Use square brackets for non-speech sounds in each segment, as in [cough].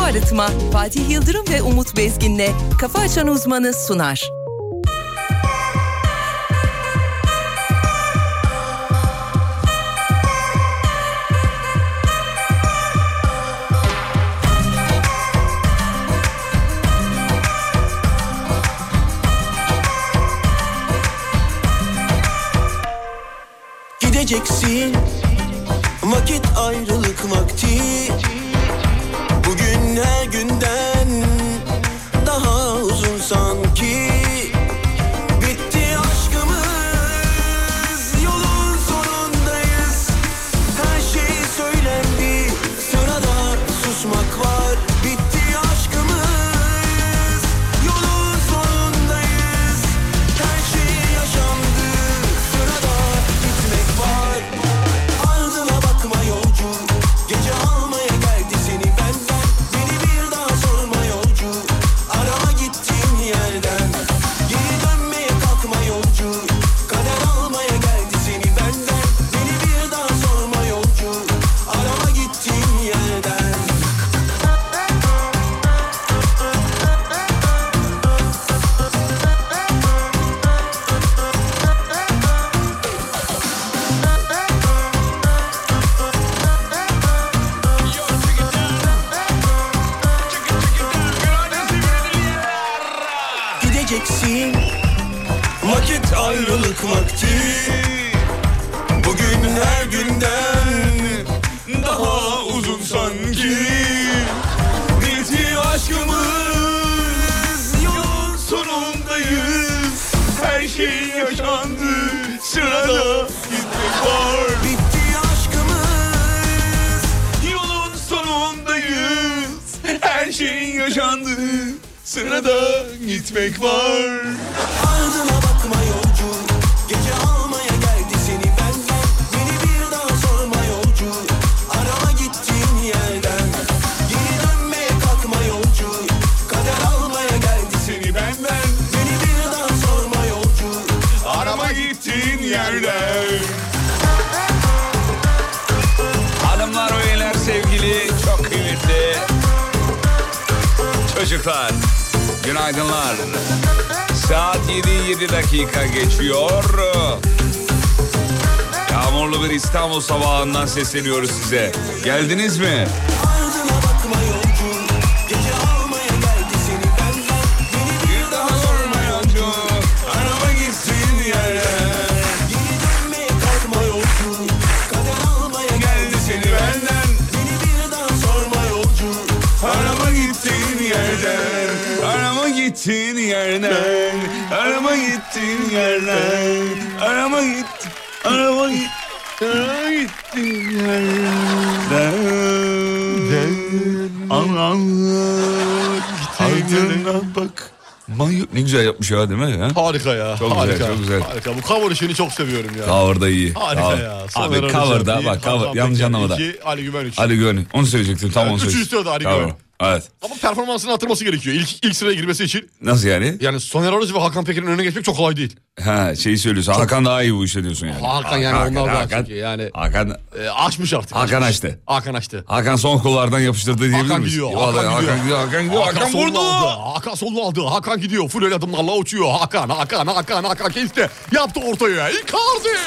Arıtma Fatih Yıldırım ve Umut Bezgin'le Kafa Açan Uzmanı sunar. Gideceksin Vakit ayrılık vakti Bugün her günden Daha uzun sanki Bitti aşkımız Yolun sonundayız Her şey söylendi Sırada susmak var Bitti aşkımız Yolun sonundayız Her şey yaşandı Sırada gitmek var Ardına bakma yolcu Gece almaya geldi seni benden Beni bir daha sorma yolcu Arama gittiğin yerden Geri dönmeye kalkma yolcu Kader almaya geldi seni benden Beni bir daha sorma yolcu Arama gittiğin yerden Gideceksin Vakit ayrılık vakti Bugün her günden Daha uzun sanki Bitti aşkımız Yolun sonundayız Her şey yaşandı Sırada gitmek var Bitti aşkımız Yolun sonundayız Her şeyin yaşandığı Sırada gitmek var Ardına bakma yolcu Gece almaya geldi seni benden Beni bir daha sorma yolcu Arama gittiğin yerden Geri dönmeye kalkma yolcu Kader almaya geldi seni benden Beni bir daha sorma yolcu Arama gittiğin yerden Hanımlar beyler sevgili çok kıymetli çocuklar günaydınlar. Saat 7.7 dakika geçiyor. Yağmurlu bir İstanbul sabahından sesleniyoruz size. Geldiniz mi? Ardına bakma yolcu Gece almaya geldi seni benden Beni bir daha sorma yolcu Arama gitsin yere Geri dönmeye kalkma yolcu Kader almaya geldi seni benden Beni bir daha sorma yolcu Arama gittiğin yerden, arama gittiğin yerden, arama gittiğin yerden, arama git, arama git, arama gittiğin yerden. Anlamlar ardına bak. Mayo ne güzel yapmış ya değil mi? Ha? Harika ya. Çok güzel, harika, çok güzel. Harika. Bu cover işini çok seviyorum ya. Cover'da iyi. Harika Cover. ya. Abi Soner cover'da Arıcan, bak iyi, cover Hakan yanlış Peker, anlamadı. iki, Ali Güven üç. Ali Güven onu söyleyecektim tam Evet, onu üçü söyleyecektim. istiyordu Ali Cover. Güven. Evet. Ama performansını hatırlaması gerekiyor. İlk, ilk sıraya girmesi için. Nasıl yani? Yani Soner Arıcı ve Hakan Peker'in önüne geçmek çok kolay değil. Ha şeyi söylüyorsun. Hakan daha iyi bu işte diyorsun yani. Hakan yani onlar daha çünkü yani. Hakan, Ee, açmış artık. Hakan açmış. açtı. Hakan açtı. Hakan son kollardan yapıştırdı diyebilir Hakan miyiz? gidiyor. Vallahi Hakan gidiyor. Hakan gidiyor. Hakan gidiyor. Hakan, solunu vurdu. Aldı. Hakan solunu aldı. Hakan gidiyor. Full el adımlarla uçuyor. Hakan, Hakan, Hakan, Hakan kesti. Yaptı ortaya. Icardi.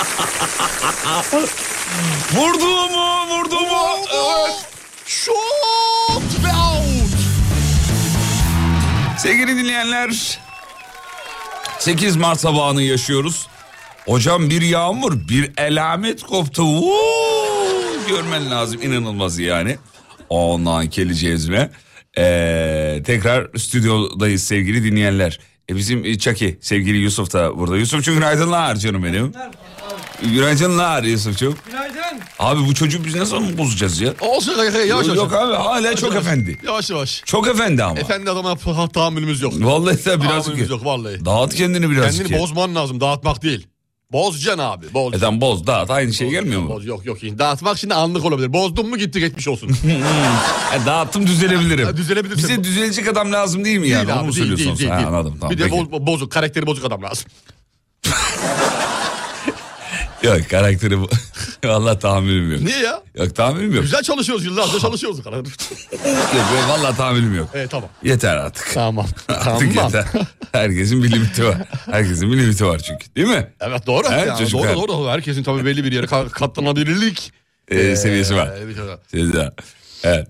[laughs] Vurdu mu? Vurdu mu? Evet. Şut ve out. Sevgili dinleyenler. 8 Mart sabahını yaşıyoruz. Hocam bir yağmur, bir elamet koptu. Vuuu! Görmen lazım inanılmaz yani. Ondan geleceğiz mi? Ee, tekrar stüdyodayız sevgili dinleyenler. E bizim Çaki, sevgili Yusuf da burada. Yusufçum günaydınlar canım benim. Günaydınlar Yusufçum. Günaydın. Abi bu çocuğu biz nasıl bozacağız ya? Olsun yavaş yavaş. Yok, yavaş. abi hala çok efendi. Yavaş yavaş. Çok efendi ama. Efendi adama ha- tahammülümüz yok. Vallahi sen Tahammülümüz birazcık... yok vallahi. Dağıt kendini birazcık. Kendini ya. bozman lazım. Dağıtmak değil. Bozcan abi. Boz. E tamam boz dağıt aynı şey gelmiyor mu? Boz, yok yok. Dağıtmak şimdi anlık olabilir. Bozdun mu gitti geçmiş olsun. [laughs] E, dağıttım düzelebilirim. Ha, düzelebilirsin. Bize düzelecek adam lazım değil mi yani? değil Onu mu abi değil söylüyorsun değil değil. sen? Ha, değil. anladım tamam. bir de peki. [gasps] bo- bozuk karakteri bozuk adam lazım. Yok karakteri bu. [laughs] Valla tahminim yok. Niye ya? Yok tahminim yok. Güzel çalışıyoruz yıllarca çalışıyoruz. [laughs] Yok, Valla tahminim yok. evet tamam. Yeter artık. Tamam. [laughs] Artık tamam. yeter. Herkesin bir limiti var. Herkesin bir limiti var çünkü. Değil mi? Evet doğru. Evet, Yani çocuklar. doğru doğru. Herkesin tabii belli bir yere ka- katlanabilirlik. Ee, seviyesi var. Ee, bir şey var. Seviyesi var. Evet.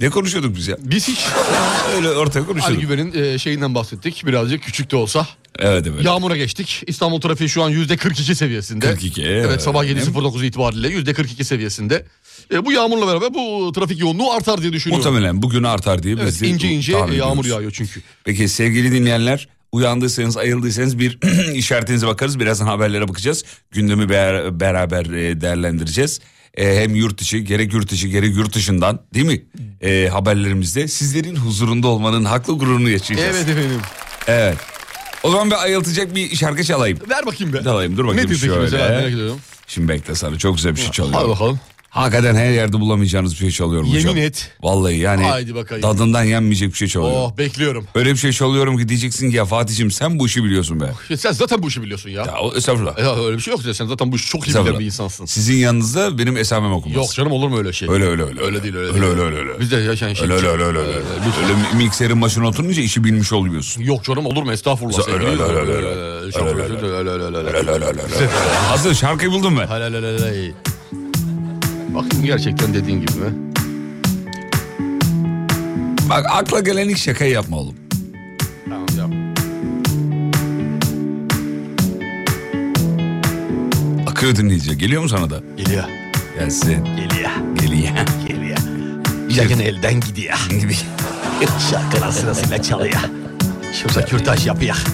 Ne konuşuyorduk biz ya? Biz hiç [laughs] Öyle ortak konuşuyorduk. Argüven'in e, şeyinden bahsettik. Birazcık küçük de olsa. Evet evet. Yağmura geçtik. İstanbul trafiği şu an yüzde 42 seviyesinde. 42, Evet, evet. sabah 7.09 itibariyle yüzde 42 seviyesinde. E, bu yağmurla beraber bu trafik yoğunluğu artar diye düşünüyorum. Muhtemelen bugün artar diye biz Evet, de ince ince tahmin yağmur ediyoruz. yağıyor çünkü. Peki sevgili dinleyenler uyandıysanız ayıldıysanız bir [clears throat] işaretinize bakarız. Birazdan haberlere bakacağız. Gündemi ber- beraber e, değerlendireceğiz. E, hem yurt içi gerek yurt içi gerek yurt dışından değil mi E, haberlerimizde sizlerin huzurunda olmanın haklı gururunu yaşayacağız. Evet efendim. Evet. O zaman bir ayıltacak bir şarkı çalayım. Ver bakayım be. Çalayım dur bakayım Ne diyecek şöyle. mesela merak ediyorum. Şimdi bekle sana çok güzel bir şey Hadi çalıyorum. bakalım. Hakikaten her yerde bulamayacağınız bir şey çalıyorum Yemin hocam. et. Vallahi yani Haydi bakayım. tadından yenmeyecek bir şey çalıyorum. Oh bekliyorum. Öyle bir şey çalıyorum ki diyeceksin ki ya Fatih'im sen bu işi biliyorsun be. Sen zaten bu işi biliyorsun ya. Ya o- estağfurullah. Ya öyle bir şey yok ya sen zaten bu işi çok iyi bilen Estağfurullah. bir insansın. Sizin yanınızda benim esamem okunmaz. Yok canım olur mu öyle şey? Öyle öyle öyle. Öyle değil, öyle Öyle değil. öyle öyle. öyle. Biz de yaşayan şey. Öyle öyle öyle öyle. öyle. Öyle mi- mikserin başına oturunca işi bilmiş olmuyorsun. Yok canım olur mu estağfurullah. Öyle, öyle, sevgili- öyle, öyle, Öyle, öyle. şey- Öyle, öyle, öyle, öyle, öyle, Öyle öyle öyle. öyle öyle. Hazır şarkıyı buldum ben. Helal, helal, helal. Bakın gerçekten dediğin gibi mi? Bak akla gelen ilk şakayı yapma oğlum. Tamam yap. Akıyor dinleyici. Geliyor mu sana da? Geliyor. Gelsin. Geliyor. Geliyor. Geliyor. Yayın elden gidiyor. Şarkılar sırasıyla çalıyor. Şurada kürtaj yapıyor. [laughs]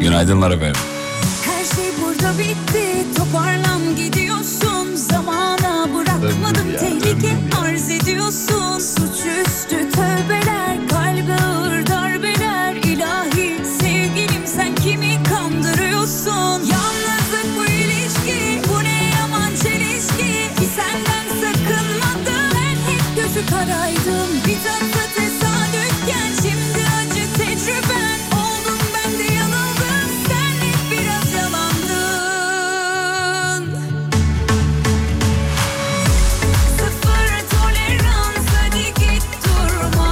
Günaydınlar efendim. Her şey burada bitti Toparlan gidiyorsun Zamana bırakmadım Ömrüm ya, Tehlike ömrüm ya. arz ediyorsun Suçüstü tövbeler Kalbe ağır darbeler İlahi sevgilim sen kimi kandırıyorsun Yalnızlık bu ilişki Bu ne yaman çelişki Ki senden sakınmadım Ben hep gözü karaydım Bir tatlı tesadüfken Şimdi acı tecrüben Oldum ben de yanıldım Sen hep biraz yalandın Sıfır tolerans hadi git durma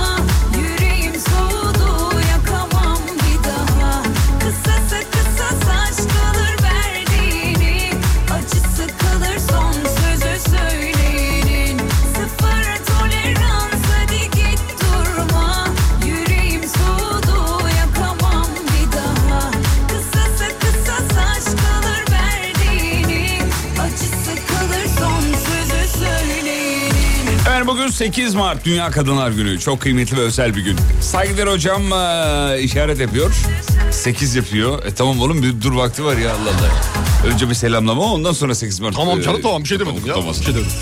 Yüreğim soğudu yakamam bir daha Kısası kısa saç kalır verdiğini Acısı kalır son sözü söyleyenin Sıfır tolerans hadi git durma Yüreğim soğudu yakamam bir daha Kısası kısa saç kalır verdiğini Acısı kalır son sözü söyleyenin Efendim bugün 8 Mart Dünya Kadınlar Günü. Çok kıymetli ve özel bir gün. Saygıdeğer hocam eee, işaret yapıyor. 8 yapıyor. E tamam oğlum bir dur vakti var ya Allah Allah. Önce bir selamlama ondan sonra 8 Mart. e, Tamam canım eee, tamam bir şey demedim ya. Bir kutlaması. şey demedim.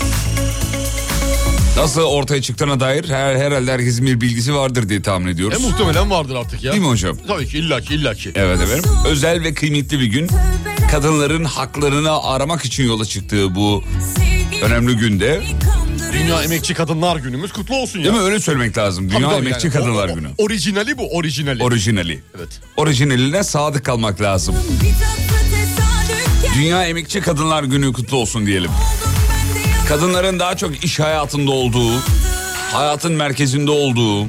Nasıl ortaya çıktığına dair her, herhalde herkesin bir bilgisi vardır diye tahmin E ediyoruz. muhtemelen vardır artık ya. Değil mi hocam? Tabii ki illaki illaki. Evet efendim. Özel ve kıymetli bir gün. Kadınların haklarını aramak için yola çıktığı bu önemli günde. Dünya Emekçi Kadınlar Günümüz kutlu olsun ya. Değil mi öyle söylemek lazım. Tabii, Dünya tabii Emekçi yani. Kadınlar O- o- Günü. Orijinali bu orijinali. Orijinali. evet. Orijinaline sadık kalmak lazım. Bir tatlı tesadüfken Dünya Emekçi Kadınlar Günü kutlu olsun diyelim. oldum ben de yanıldım Kadınların daha çok iş hayatında olduğu, hayatın merkezinde olduğu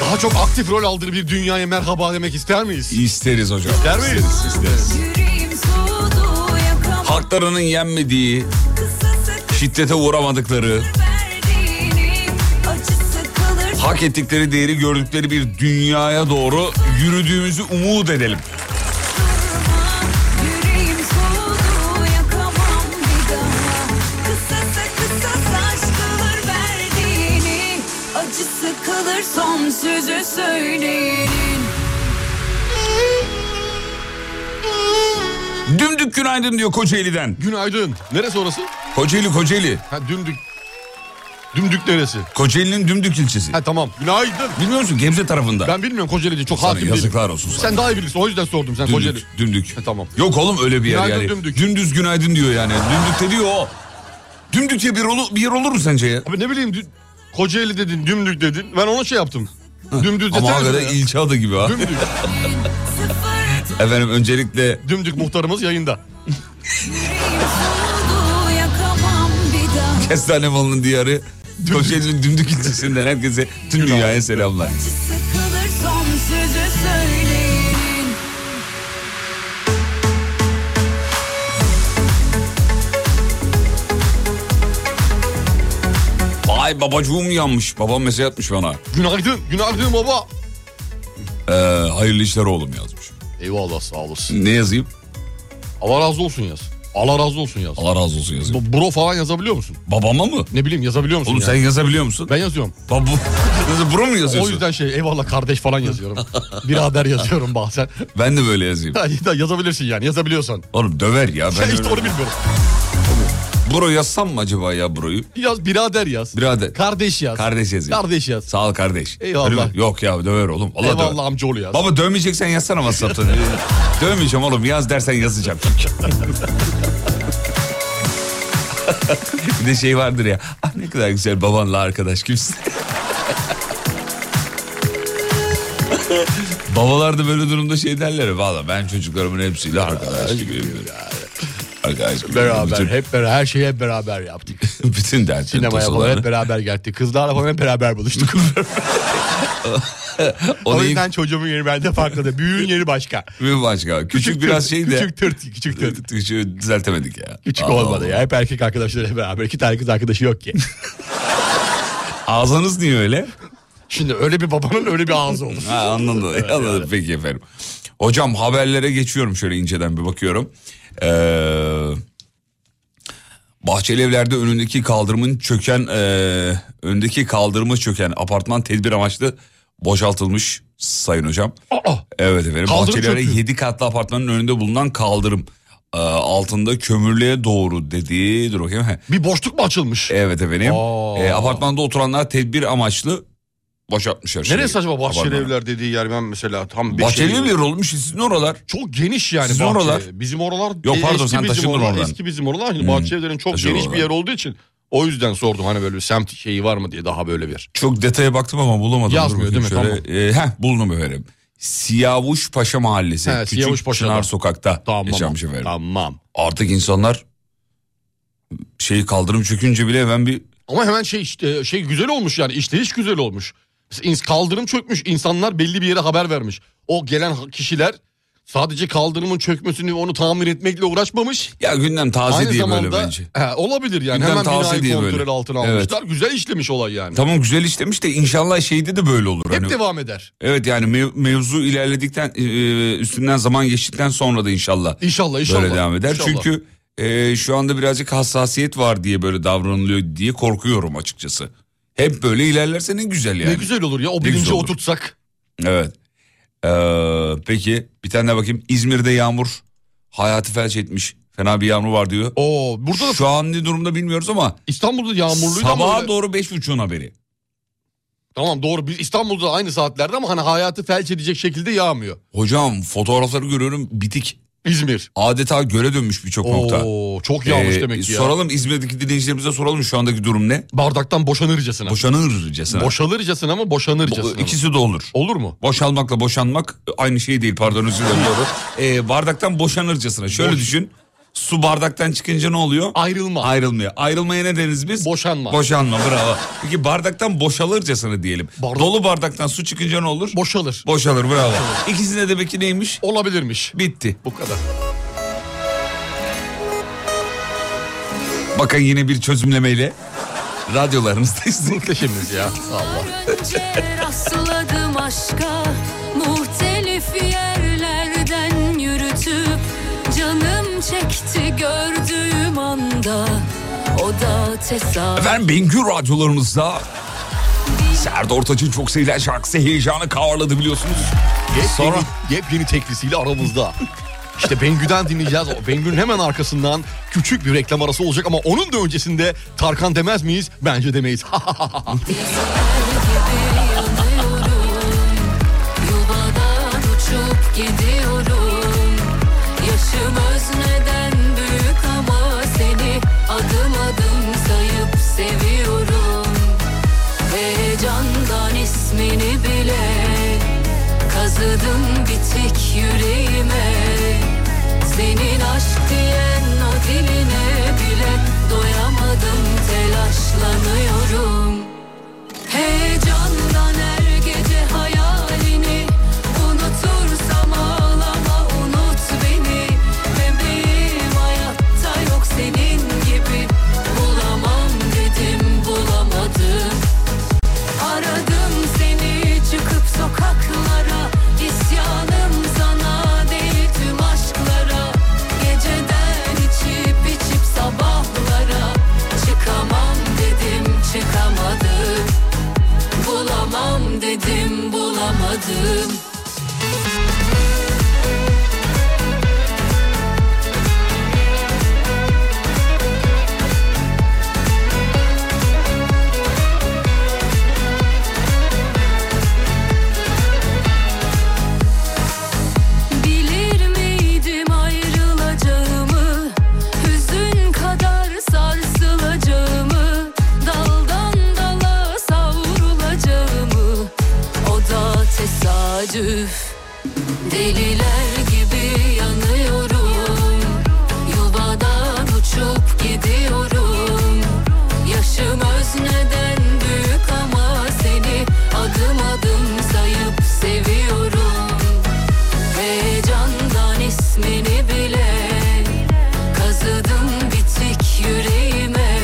Daha çok aktif rol aldığı bir dünyaya merhaba demek ister miyiz? isteriz hocam. İster miyiz? İsteriz. Yüreğim soğudu yakamam Haklarının yenmediği, Kısası şiddete uğramadıkları, verdiğini Acısı kalır hak ettikleri değeri gördükleri bir dünyaya doğru yürüdüğümüzü umut edelim. durma Yüreğim soğudu yakamam bir daha Kısasa kısa saç kalır verdiğini Acısı kalır son sözü söyleyenin Dümdük günaydın diyor Kocaeli'den. Günaydın. Neresi orası? Kocaeli Kocaeli. Ha dümdük. Dümdük neresi? Kocaeli'nin Dümdük ilçesi. Ha tamam. Günaydın. Bilmiyor musun Gebze tarafında? Ben bilmiyorum Kocaeli'de çok Sana hakim değilim. yazıklar olsun sana. Sen daha iyi bilirsin o yüzden sordum sen Dümdük, Kocaeli. dümdük. E, tamam. Yok oğlum öyle bir yer Günaydın, yani. dümdük. Dümdüz günaydın diyor yani. Dümdük de diyor o. Dümdük diye bir, olu- bir yer olur mu sence ya? Abi ne bileyim dü- Kocaeli dedin dümdük dedin ben ona şey yaptım. Dümdüz Ama yeter mi hakikaten ya? ilçe adı gibi ha. Dümdük. Efendim öncelikle Dümdük muhtarımız yayında. Soğudu yakamam bir daha [laughs] Kestane Malı'nın diyarı Kocaeli'nin Dümdük ilçesinden herkese tüm dünyaya selamlar. Sıkılır son sözü söyleyin Vay babacığım yanmış. Babam mesaj atmış bana. Günaydın, günaydın baba. Ee, hayırlı işler oğlum yazmış. Eyvallah sağ olasın. Ne yazayım? Allah razı olsun yaz. Allah razı olsun yaz. Allah razı olsun yazayım. Bu- Bro falan yazabiliyor musun? Babama mı? Ne bileyim yazabiliyor musun? Oğlum sen yani? yazabiliyor musun? Ben yazıyorum. Babu. [laughs] Nasıl bro mu O yazıyorsun? yüzden şey eyvallah kardeş falan yazıyorum. Birader yazıyorum bazen. Ben de böyle yazayım. [laughs] Ya da yazabilirsin yani yazabiliyorsan. Oğlum döver [laughs] ya. Ben Ben işte öyle- [laughs] onu bilmiyorum. Bro yazsam mı acaba ya broyu? Yaz birader yaz. Birader. Kardeş yaz. Kardeş yazayım. Kardeş yaz. Sağ ol kardeş. Eyvallah. Öyle mi? Yok ya döver oğlum. Allah döver. Eyvallah amcaoğlu yaz. Baba dövmeyeceksen yazsana [laughs] WhatsApp'tan. Dövmeyeceğim oğlum yaz dersen yazacağım. bir de şey vardır ya. Ah ne kadar güzel babanla arkadaş kimsin? [laughs] Babalar da böyle durumda şey derler. Valla ben çocuklarımın hepsiyle arkadaş gibiyim. Arkadaş gibiyim. Beraber Bütün, hep beraber her şeyi hep beraber yaptık. bütün dertlerin Sinemaya falan hep tosalarını. beraber geldik. Kızlarla falan hep beraber [laughs] buluştuk. O o da yüzden çocuğumun yeri bende farklı. Büyüğün yeri başka. bir başka. Küçük, biraz şey de. Küçük tırt, küçük tırt. Küçük düzeltemedik ya. Küçük Allah olmadı Allah. ya. Hep erkek arkadaşları beraber. İki tane kız arkadaşı yok ki. [laughs] Ağzınız niye öyle? Şimdi öyle bir babanın öyle bir ağzı olur. Ha, [laughs] anladım. anladım. Peki efendim. Hocam haberlere geçiyorum şöyle inceden bir bakıyorum. Ee, bahçeli evlerde önündeki kaldırımın çöken, e, öndeki kaldırımı çöken apartman tedbir amaçlı boşaltılmış sayın hocam. Aa, Evet efendim. Kaldırım Bahçelere çöküyor. 7 katlı apartmanın önünde bulunan kaldırım e, altında kömürlüğe doğru dediği dur bakayım. Heh. bir boşluk mu açılmış? Evet efendim. Aa. E, apartmanda oturanlar tedbir amaçlı boşaltmışlar. şeyi. Neresi acaba bahçeli Apartmanı. evler dediği yer ben mesela tam bir Bahçeli şey- evler olmuş sizin oralar. Çok geniş yani Sizin bahçe. oralar. Bizim oralar Yok, e, pardon, eski sen bizim taşındın oralar, oradan. Eski bizim oralar şimdi bahçe evlerin çok Taşındın geniş bir oradan. yer olduğu için o yüzden sordum hani böyle semt şeyi var mı diye daha böyle bir. Çok detaya baktım ama bulamadım. Dur Yazmıyor değil mi? bakayım Şöyle. Ee, heh, buldum efendim. Siyavuş Paşa Mahallesi. He, Küçük Siyavuşpaşa'da. Çınar Sokak'ta Tamam. yaşanmış efendim. Tamam. Artık insanlar şeyi kaldırım çökünce bile ben bir... Ama hemen şey işte şey güzel olmuş yani işleyiş güzel olmuş. İns- Kaldırım çökmüş insanlar belli bir yere haber vermiş. O gelen ha- kişiler sadece kaldırımın çökmesini onu tamir etmekle uğraşmamış. Ya gündem taze Aynı diye zamanda böyle bence. He, olabilir yani Gündem hemen tavsiye binayı diye kontrol böyle. altına Evet. almışlar. Güzel işlemiş olay yani. Tamam güzel işlemiş de inşallah şeyde de böyle olur. Hep Hani- devam eder. Evet yani mev- mevzu ilerledikten e, üstünden zaman geçtikten sonra da inşallah İnşallah inşallah. böyle devam eder. İnşallah. Çünkü e, şu anda birazcık hassasiyet var diye böyle davranılıyor diye korkuyorum açıkçası. Hep böyle ilerlerse ne güzel yani. Ne güzel olur ya o güzel bilinci olur. oturtsak. Evet. Ee, peki bir tane daha bakayım. İzmir'de yağmur hayatı felç etmiş. Fena bir yağmur var diyor. Oo burada da Şu an ne durumda bilmiyoruz ama İstanbul'da yağmurluydu ama sabaha öyle- doğru beş buçuğun haberi. Tamam doğru. Biz İstanbul'da aynı saatlerde ama hani hayatı felç edecek şekilde yağmıyor. Hocam fotoğrafları görüyorum bitik. İzmir. Adeta göle dönmüş birçok nokta. Oo çok yağmış Ee, demek ki ya. Soralım İzmir'deki dinleyicilerimize soralım şu andaki durum ne? Bardaktan boşanırcasına. Boşanırcasına. Boşalırcasına mı boşanırcasına mı? İkisi de olur. Olur mu? Boşalmakla boşanmak aynı şey değil pardon özür dilerim doğru. Ee, bardaktan boşanırcasına şöyle Boş- düşün. Su bardaktan çıkınca ne oluyor? Ayrılma. Ayrılmıyor. Ayrılmaya ne deriz biz? Boşanma. Boşanma bravo. Peki bardaktan boşalırcasına diyelim. Bardak- Dolu bardaktan su çıkınca ne olur? Boşalır. Boşalır bravo. İkisinde de peki neymiş? Olabilirmiş. Bitti. Bu kadar. Bakın yine bir çözümlemeyle radyolarımızdayız. Muhteşemiz ya. Allah. Önce rastladım aşka Muhtelif yerlerden yürütüp Canım çekti gördüğüm anda O da tesadüf Efendim Bengü radyolarımızda Serdar Ortaç'ın çok sevilen şarkısı heyecanı kavraladı biliyorsunuz. Yepyeni, Sonra- yepyeni teklisiyle aramızda. İşte Bengü'den dinleyeceğiz. O Bengü'nün hemen arkasından küçük bir reklam arası olacak ama onun da öncesinde Tarkan demez miyiz? Bence demeyiz. [laughs] yanıyorum Yuvadan uçup gidiyorum Yaşım özneden büyük ama seni Adım adım sayıp seviyorum Heyecandan ismini bile Sızıdın bitik yüreğime Senin aşk diyen o diline bile Doyamadım telaşlanıyorum Heyecandan her gece hayalini Unutursam ağlama unut beni Bebeğim hayatta yok senin gibi Bulamam dedim bulamadım Aradım seni çıkıp sokaklara İsyanım sana değil tüm aşklara Geceden içip içip sabahlara Çıkamam dedim çıkamadım Bulamam dedim bulamadım Bilir miydim ayrılacağımı Hüzün kadar sarsılacağımı Daldan dala savrulacağımı O da tesadüf Deliler gibi yanıyorum Yuvadan uçup gidiyorum Yaşım özneden büyük ama seni Adım adım sayıp seviyorum Heyecandan ismini bile Kazıdım bitik yüreğime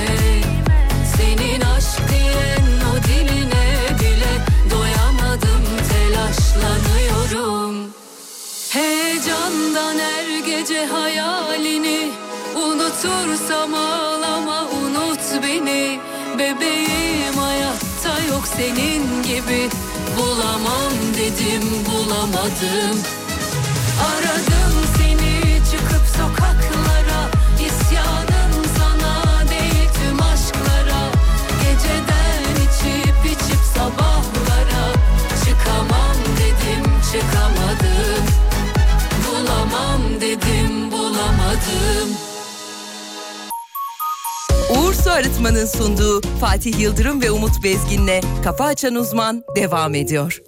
Senin aşk diyen o diline bile Doyamadım telaşlanıyorum Heyecandan her gece hayalini Unutursam ağlama unut beni Bebeğim hayatta yok senin gibi Bulamam dedim bulamadım Aradım seni çıkıp sokaklara İsyanım sana değil tüm aşklara Geceden içip içip sabahlara Çıkamam dedim çıkamadım Bulamam dedim bulamadım Uğur Su Arıtma'nın sunduğu Fatih Yıldırım ve Umut Bezgin'le Kafa Açan Uzman devam ediyor.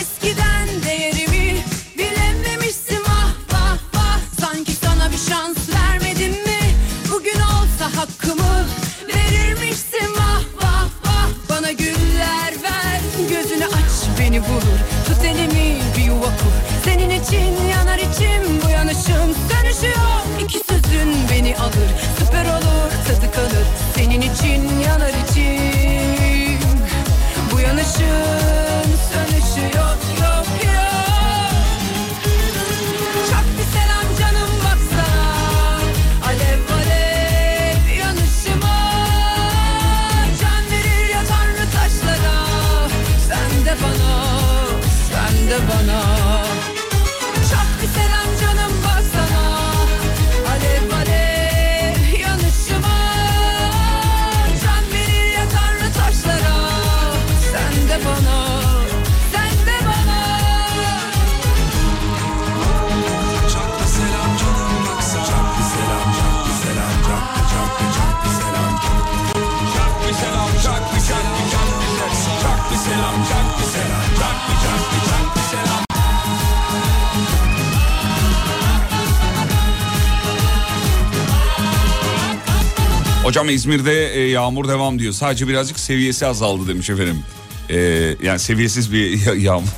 Eskiden değerimi bilememişsin ah vah vah Sanki sana bir şans vermedim mi bugün olsa hakkımı verirmişsin vah vah vah Bana güller ver gözünü aç beni bulur tut elimi bir yuva kur Senin için yanar içim bu yanışım dönüşüyor İki sözün beni alır süper olur tadı kalır Senin için yanar içim bu yanışın sönüşü yok yok yok Çok bir selam canım baksa Alev alev yanışıma Can verir ya tanrı taşlara Sen de bana, sen de bana çok bir selam canım baksana Alev alev yanışıma Can verir ya tanrı taşlara Sen de bana, sen de bana Hocam İzmir'de e, yağmur devam diyor. Sadece birazcık seviyesi azaldı demiş efendim. E, yani seviyesiz bir [laughs] ya- yağmur.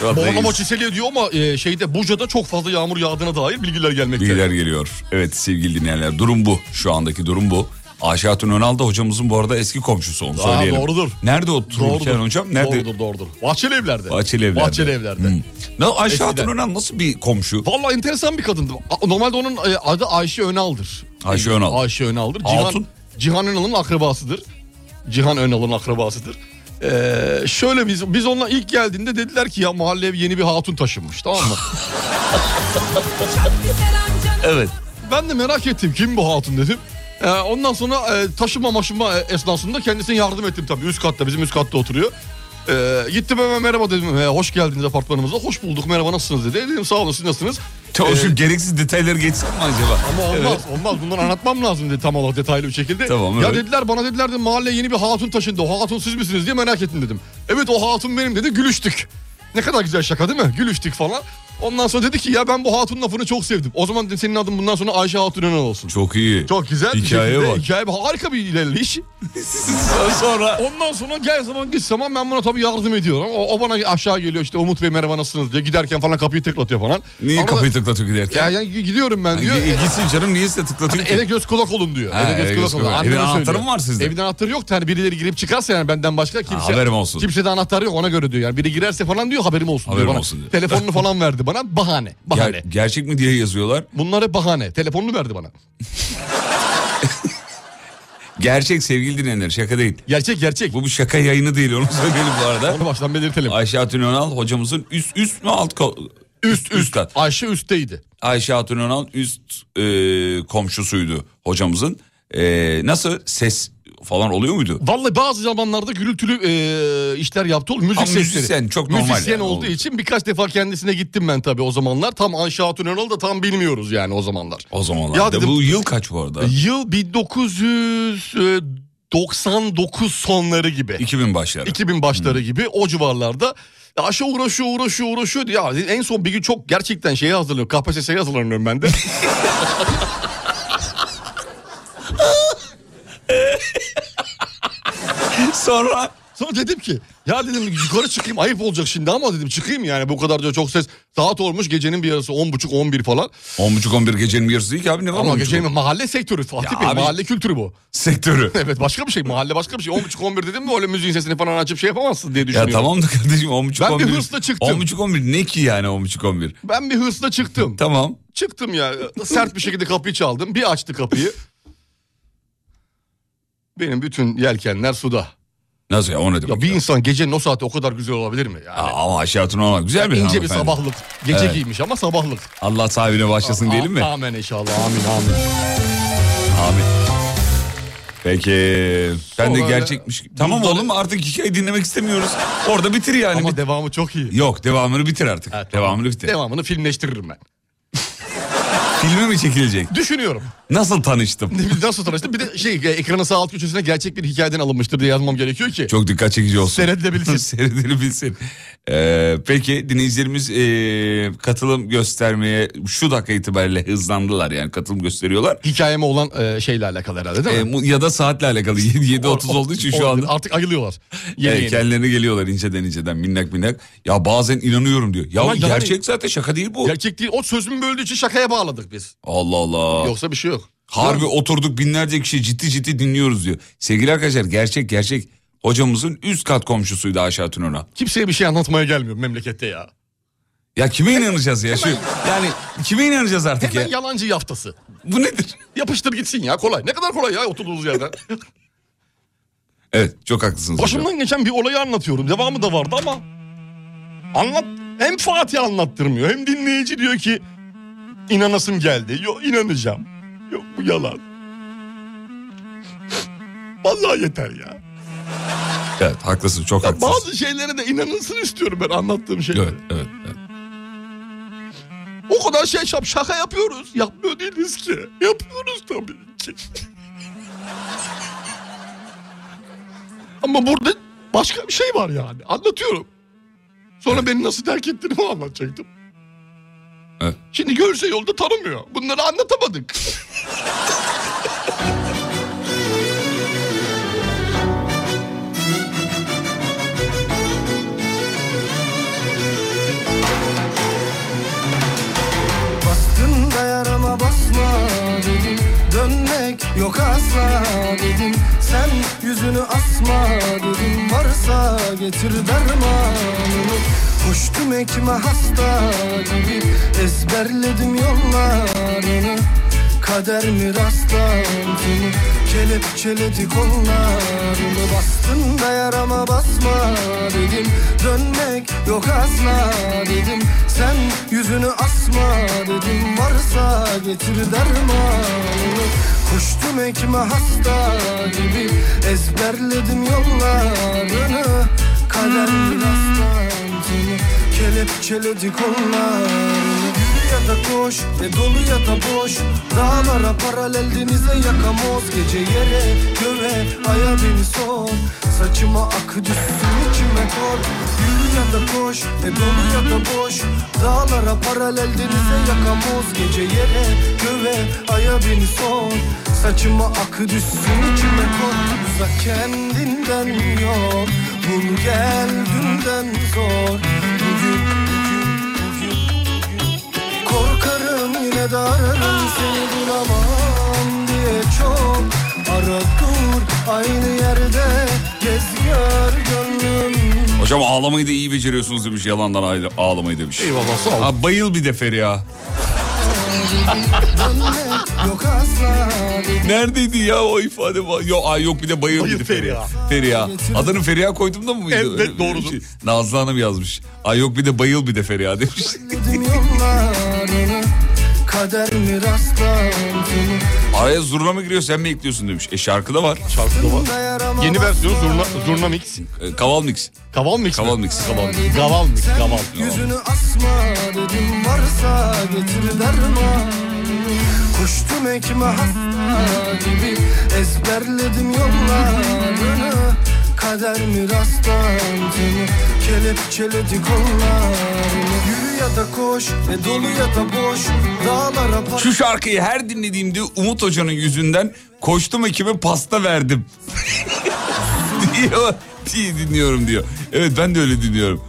Şu anda Bornova çiseliyor diyor ama e, şeyde Buca'da çok fazla yağmur yağdığına dair bilgiler gelmekte. Bilgiler geliyor. Evet sevgili dinleyenler durum bu. Şu andaki durum bu. Ayşe Hatun Önal da hocamızın bu arada eski komşusu onu Aa, söyleyelim. doğrudur. Nerede otururken hocam? Nerede? Doğrudur doğrudur. Bahçeli evlerde. Bahçeli evlerde. Bahçeli evlerde. Hmm. Ne, Ayşe Eskiden. Hatun Önal nasıl bir komşu? Vallahi enteresan bir kadındı. A- Normalde onun e, adı Ayşe Önal'dır. Ayşe Önal. Ayşe Önal'dır. Hatun? Cihan, Cihan Önal'ın akrabasıdır. Cihan Önal'ın akrabasıdır. Ee, şöyle biz biz onunla ilk geldiğinde dediler ki ya mahalleye yeni bir hatun taşınmış tamam mı? Evet. ben de merak ettim kim bu hatun dedim. Ee, ondan sonra e, taşıma maşıma e, esnasında kendisine yardım ettim tabii üst katta bizim üst katta oturuyor. Ee, gittim hemen merhaba dedim. "Ee, hoş geldiniz apartmanımıza. Hoş bulduk merhaba nasılsınız dedi. Dedim sağ olun siz nasılsınız? Tamam Ee, şu gereksiz detayları geçsin mi acaba? Ama olmaz olmaz bunları anlatmam lazım dedi tam olarak detaylı bir [laughs] şekilde. Tamam, ya evet. dediler bana dediler de mahalleye yeni bir hatun taşındı. O hatun siz misiniz diye merak ettim dedim. Evet o hatun benim dedi gülüştük. Ne kadar güzel şaka değil mi? Gülüştük falan. Ondan sonra dedi ki ya ben bu hatun lafını çok sevdim. O zaman dedim, senin adın bundan sonra Ayşe Hatun Önal olsun. Çok iyi. Çok güzel bir Hikaye şekilde, var. Hikaye harika bir ilerleyiş. [laughs] Sonra Ondan sonra gel zaman git zaman ben buna tabii yardım ediyorum. O, o bana aşağı geliyor işte Umut Bey merhaba nasılsınız diye giderken falan kapıyı tıklatıyor falan. niye Ama- kapıyı tıklatıyor giderken? Ya, ya gidiyorum ben diyor. Hani Gi- Gitsin canım niye size tıklatıyor ki? Eve göz kulak olun diyor. Ha, eve göz kulak olun. Evin Anneme anahtarı söylüyor. mı var sizde? Evin anahtarı yok. da Yani birileri girip çıkarsa yani benden başka kimse. haberim olsun. Kimse de anahtarı yok ona göre diyor. Yani biri girerse falan diyor haberim olsun Haberim diyor bana. olsun diyor. Telefonunu falan verdi bana. Bahane. Bahane. Ger- gerçek mi diye yazıyorlar. Bunlar hep bahane. Telefonunu verdi bana. Gerçek sevgili dinleyenler şaka değil. Gerçek gerçek. Bu bir şaka yayını değil onu [laughs] söyleyelim bu arada. Onu baştan belirtelim. Ayşe Hatun Önal hocamızın üst üst mü alt ko- üst üst. kat. Ayşe üstteydi. Ayşe Hatun Önal üst e, komşusuydu hocamızın. E, nasıl ses falan oluyor muydu? Vallahi bazı zamanlarda gürültülü e, işler yaptı. Müzik Ama sesleri. müzisyen, çok normal Müzisyen yani, olduğu oldu. için birkaç defa kendisine gittim ben tabii o zamanlar. Tam Ayşe Hatun Erol da tam bilmiyoruz yani o zamanlar. O zamanlar. Ya da dedim- bu yıl kaç bu arada? Yıl 1999 sonları gibi. 2000 başları. Hmm. 2000 başları gibi o civarlarda Ya aşağı uğraşıyor uğraşıyor uğraşıyor ya en son bir gün çok gerçekten şeye hazırlanıyor KPSS'ye hazırlanıyorum ben de. [laughs] Sonra Sonra dedim ki ya dedim yukarı çıkayım ayıp olacak şimdi ama dedim çıkayım yani bu kadar da çok ses saat olmuş gecenin bir yarısı 10.30 11 falan. 10.30 11 gecenin yarısı değil ki abi ne var Ama 10.30? gecenin mahalle sektörü Fatih Ya Bey abi- mahalle kültürü bu. sektörü. [laughs] Evet başka bir şey mahalle başka bir şey 10.30 11 dedim mi öyle müziğin sesini falan açıp şey yapamazsın diye Ya düşünüyorum. tamam da kardeşim 10.30 Ben bir 11. hırsla çıktım. 10.30 11 ne ki yani 10.30 11? Ben bir hırsla [laughs] çıktım. Tamam. Çıktım ya. Sert bir şekilde kapıyı çaldım. Bir açtı kapıyı. Benim bütün yelkenler suda. Nasıl ya o ne demek? Ya bir insan gecenin o saati o kadar güzel olabilir mi? Yani Aa, ama Ayşe Hatun Önal güzel bir ince bir hanımefendi. sabahlık. Gece Evet. giymiş ama sabahlık. Allah sahibine başlasın diyelim mi? A- Amin inşallah. Amin amin. Amin. Peki. Ben de Sonra- gerçekmiş. Tamam oğlum artık hikaye dinlemek istemiyoruz. Orada bitir yani. Ama Bir- devamı çok iyi. Yok devamını bitir artık. Ha, tamam. Devamını bitir. Devamını filmleştiririm ben. [laughs] Filme mi çekilecek? Düşünüyorum. Nasıl tanıştım? Nasıl tanıştım? Bir de şey e, ekranın sağ alt köşesine gerçek bir hikayeden alınmıştır diye yazmam gerekiyor ki. Çok dikkat çekici olsun. [laughs] Seyredilebilsin. Seyredilebilsin. Ee, peki dinleyicilerimiz ee, katılım göstermeye şu dakika itibariyle hızlandılar yani katılım gösteriyorlar. Hikayeme olan e, şeyle alakalı herhalde değil mi? Ee, bu- ya da saatle alakalı [laughs] 7.30 olduğu için şu Olabilir. anda Artık ayılıyorlar. Yeni Ee, yeni. kendilerine geliyorlar inceden inceden minnak minnak. Ya bazen inanıyorum diyor. Ya Ama yani- gerçek zaten şaka değil bu. Gerçek değil. O sözümü böldüğü için şakaya bağladık biz. Allah Allah. Yoksa bir şey yok. Harbi Ya, oturduk binlerce kişi ciddi ciddi dinliyoruz diyor. Sevgili arkadaşlar gerçek gerçek hocamızın üst kat komşusuydu Ayşe Hatun Önal. Kimseye bir şey anlatmaya gelmiyor memlekette ya. Ya kime inanacağız ya? Şu, yani kime inanacağız artık Hemen ya? yalancı yaftası. Bu nedir? Yapıştır gitsin ya kolay. Ne kadar kolay ya oturduğunuz yerden. [laughs] Evet çok haklısınız hocam. Başımdan geçen bir olayı anlatıyorum. Devamı da vardı ama. Anlat. Hem Fatih anlattırmıyor hem dinleyici diyor ki inanasım geldi. Yok inanacağım. Yok bu yalan. Vallahi yeter ya. Evet haklısın çok Ya haklısın. bazı şeylere de inanılsın istiyorum ben anlattığım şeylere. Evet, evet, evet. O kadar şey şap şaka yapıyoruz. Yapmıyor değiliz ki. Yapıyoruz tabii ki. Ama burada başka bir şey var yani. Anlatıyorum. Sonra beni nasıl terk ettiğini anlatacaktım. Evet. Şimdi görse yolda tanımıyor. Bunları anlatamadık. Bastın da yarama basma dedim Dönmek yok asla dedim Sen yüzünü asma dedim Varsa getir dermanını Koştum ekme hasta gibi Ezberledim yollarını Kader mi rastlantını Kelepçeledi kollarını Bastın da yarama basma dedim Dönmek yok asla dedim Sen yüzünü asma dedim Varsa getir dermanını Koştum ekme hasta gibi Ezberledim yollarını Kader biraz da seni Kelepçeledi kollarını Yürü ya da koş ve dolu ya da boş Dağlara paralel denize yakamoz Gece yere göve aya beni son Saçıma akı düşsün içime kor Yürü ya da koş ve dolu ya da boş Dağlara paralel denize yakamoz Gece yere göve aya beni son Saçıma akı düşsün içime kor Uzak kendinden yok Bul gel dünden zor Bugün, bugün, bugün, bugün. Korkarım yine de ararım seni bulamam diye çok Ara dur aynı yerde gez gör gönlüm Hocam ağlamayı da iyi beceriyorsunuz demiş. Yalandan aile- ağlamayı demiş. Eyvallah sağ ol. Ha, bayıl bir de Feriha. Dönmek yok asla Neredeydi ya o ifade? var? Yok, ay yok bir de bayıl, Bayıl bir de Feriha. Feriha. Adını Feriha koydum da mı mıydı? Evet, Öyle bir doğrudur. şey. Nazlı Hanım yazmış. Ay yok bir de bayıl bir de Feriha demiş. Dedim yollarını Kader mi rastlantını Araya zurna mı giriyor sen mi ekliyorsun demiş. E şarkıda var. Şarkıda var. Dayanamaz Yeni versiyon Zurna, Zurna Mix. E, Kaval Mix. Kaval Mix mi? Kaval Mix. Kaval Mix. Kaval Mix. Sen Kaval. Yüzünü asma dedim varsa getir derman Koştum ekme hasta gibi ezberledim yollarını Kader mi rastlantını kelepçeledi kollarını Yürü ya da koş ve dolu ya da boş dağlara para Şu şarkıyı her dinlediğimde Umut Hoca'nın yüzünden koştum ekime pasta verdim. [laughs] diyor, diye dinliyorum diyor. Evet ben de öyle dinliyorum.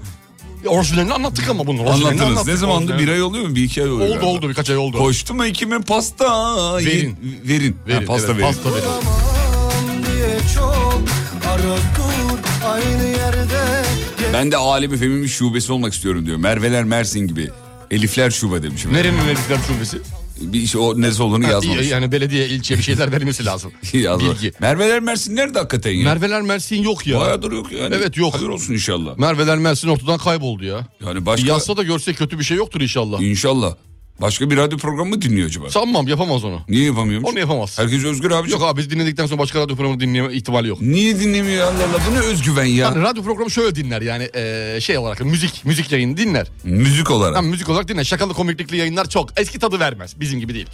Ya Orijinalini anlattık ama bunu. Anlattınız. Ne zamandı? Bir ay oluyor mu? Bir iki ay oluyor. Oldu galiba. oldu birkaç ay oldu. Koştum ekime pasta. Verin. Verin. Verin. Ha, Verin, pasta evet, verin. Pasta verin. Aman diye çok ara dur aynı yerde gel Ben de Alem Efem'in bir şubesi olmak istiyorum diyor. Merveler Mersin gibi. Elifler şube demiş. Nerenin vericiler şubesi? Bir iş o neresi olduğunu yazmamış. İyi, Yani belediye, ilçe bir şeyler verilmesi lazım. Yazmamış. Bilgi. Merveler Mersin nerede hakikaten ya? Merveler Mersin yok ya. Bayağıdır yok yani. Evet, yok. Hayır olsun inşallah. Merveler Mersin ortadan kayboldu ya. Yani başka Yazsa da görse kötü bir şey yoktur inşallah. inşallah. Başka bir radyo programı mı dinliyor acaba? Sanmam yapamaz onu. Niye yapamıyormuş? Onu yapamaz. Herkes özgür abi. Yok abi biz dinledikten sonra başka radyo programı dinleme ihtimali yok. Niye dinlemiyor Allah Allah? Bu ne özgüven ya? Yani radyo programı şöyle dinler yani eee, şey olarak müzik müzik yayını dinler. Müzik olarak. Yani müzik olarak dinler. Şakalı komiklikli yayınlar çok. Eski tadı vermez. Bizim gibi değil.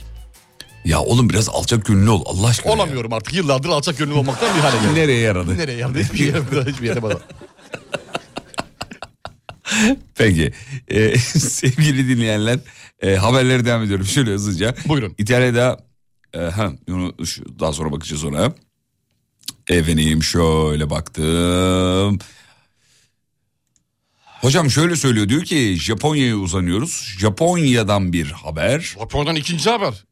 Ya oğlum biraz alçak gönüllü ol Allah aşkına. ya. Olamıyorum artık. Yıllardır alçak gönüllü olmaktan bir hale geldim. Nereye yaradı? Nereye yerde [laughs] hiçbir yere, hiçbir yere bana. Peki. Ee, [laughs] sevgili dinleyenler e, haberlere devam ediyorum şöyle hızlıca. Buyurun. İtalya'da e, ha, onu şu- daha sonra bakacağız ona. Efendim şöyle baktım. Hocam şöyle söylüyor diyor ki Japonya'ya uzanıyoruz. Japonya'dan bir haber. Japonya'dan ikinci haber.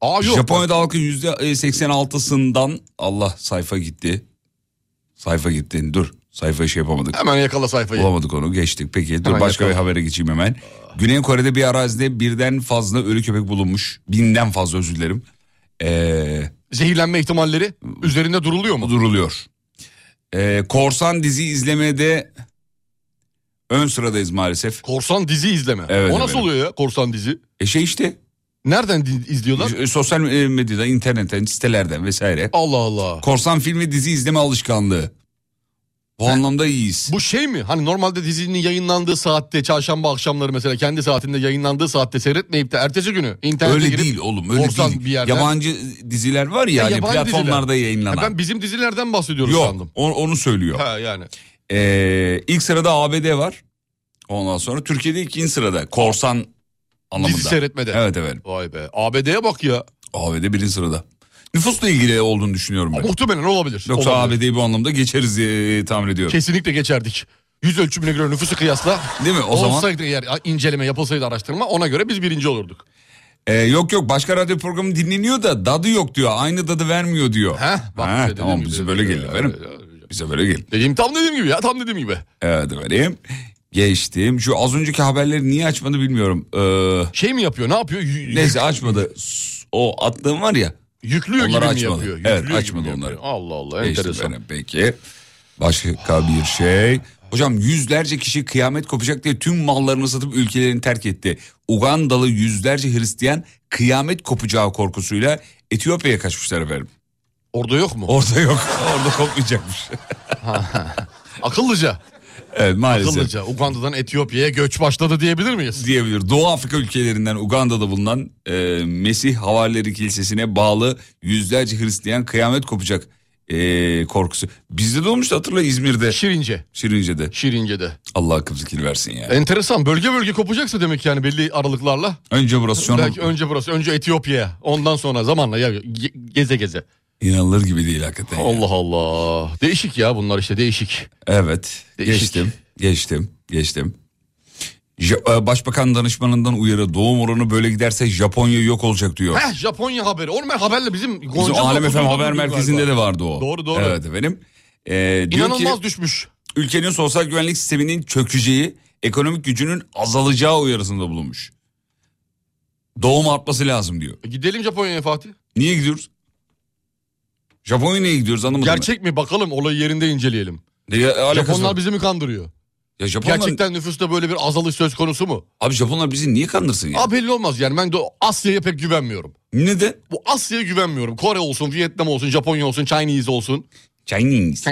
Aa yok. Japonya'da halkın yüzde 86'sından Allah sayfa gitti. Sayfa gitti dur sayfa şey yapamadık. Hemen yakala sayfayı. Bulamadık onu geçtik peki. Dur Hemen başka bir yapalım. habere geçeyim hemen. Güney Kore'de bir arazide birden fazla ölü köpek bulunmuş. Binden fazla özür dilerim. Ee, Zehirlenme ihtimalleri üzerinde duruluyor mu? duruluyor. Ee, korsan dizi izlemede ön sıradayız maalesef. Korsan dizi izleme. Evet, o nasıl evet. oluyor ya korsan dizi? E şey işte Nereden di- izliyorlar? e, sosyal medyada, internetten, sitelerden vesaire. Allah Allah. Korsan film ve dizi izleme alışkanlığı. Bu anlamda iyiyiz. Bu şey mi? Hani normalde dizinin yayınlandığı saatte çarşamba akşamları mesela kendi saatinde yayınlandığı saatte seyretmeyip de ertesi günü internete Öyle girip değil oğlum öyle korsan değil. bir yerden- Yabancı diziler var ya, Ya hani yabancı platformlarda Ha, yayınlanan. ben bizim dizilerden bahsediyorum Yok sandım. o- onu söylüyor. Ha yani. Ee, ilk sırada ABD var. Ondan sonra Türkiye'de ikinci sırada. Korsan anlamında. Dizi seyretmede. Evet evet. Vay be. ABD'ye bak ya. ABD birinci sırada. Nüfusla ilgili olduğunu düşünüyorum ben. Muhtemelen olabilir. Yoksa Olabilir. ABD'yi bu anlamda geçeriz diye tahmin ediyorum. Kesinlikle geçerdik. Yüz ölçümüne göre nüfusu kıyasla Değil mi? O zaman olsaydı eğer inceleme yapılsaydı araştırma ona göre biz birinci olurduk. Ee, yok yok başka radyo programı dinleniyor da dadı yok diyor. Aynı dadı vermiyor diyor. Heh, bak Ha, işte dediğim tamam gibi. Ee, bize böyle gelin efendim. Bize böyle gelin. Dediğim tam dediğim gibi ya tam dediğim gibi. Evet efendim. Geçtim. Şu az önceki haberleri niye açmadı bilmiyorum. Ee, Şey mi yapıyor ne yapıyor? Y- neyse açmadı. O attığım var ya. Yüklüyor Onları gibi açmadı. mi yapıyor? Evet, Yüklüyor gibi açmadı mi yapıyor? onları. Allah Allah Geçtim enteresan. efendim, Peki. Başka bir şey. Hocam yüzlerce kişi kıyamet kopacak diye tüm mallarını satıp ülkelerini terk etti. Ugandalı yüzlerce Hristiyan kıyamet kopacağı korkusuyla Etiyopya'ya kaçmışlar efendim. Orada yok mu? [laughs] Orada yok. Orada kopmayacakmış. Akıllıca. Evet maalesef. Akıllıca Uganda'dan Etiyopya'ya göç başladı diyebilir miyiz? diyebilir. Doğu Afrika ülkelerinden Uganda'da bulunan e, Mesih Havarileri Kilisesi'ne bağlı yüzlerce Hristiyan kıyamet kopacak e, korkusu. Bizde de olmuştu hatırla İzmir'de. Şirince. Şirince'de. Şirince'de. Allah akıl fikir versin ya. Enteresan bölge bölge kopacaksa demek yani belli aralıklarla. Önce burası sonra Belki önce burası önce Etiyopya'ya ondan sonra zamanla ya ge- geze geze. inanılır gibi değil hakikaten. ya. Allah Allah. Değişik ya bunlar işte değişik. Evet. Değişik. Geçtim. Geçtim. Geçtim. Ja- e, Başbakan danışmanından uyarı doğum oranı böyle giderse Japonya yok olacak diyor. Heh Japonya haberi. Oğlum ben haberle bizim Gonca Bizim Alem Dokuz'un FM haber haberi merkezinde galiba. de vardı o. Doğru, doğru. Evet efendim. Ee, diyor İnanılmaz ki düşmüş. ülkenin sosyal güvenlik sisteminin çökeceği, ekonomik gücünün azalacağı uyarısında bulunmuş. Doğum artması lazım diyor. E, Gidelim Japonya'ya Fatih. Niye gidiyoruz? Japonya'ya niye gidiyoruz anlamadım. ben. Gerçek mi bakalım olayı yerinde inceleyelim. Ya, alakası Japonlar var. bizi mi kandırıyor? Ya Japonlar, Gerçekten nüfusta böyle bir azalış söz konusu mu? Abi Japonlar bizi niye kandırsın ya? Aa, belli olmaz yani ben de Asya'ya pek güvenmiyorum. Neden? Bu Asya'ya güvenmiyorum. Kore olsun, Vietnam olsun, Japonya olsun, Chinese olsun. Ee, Chinese.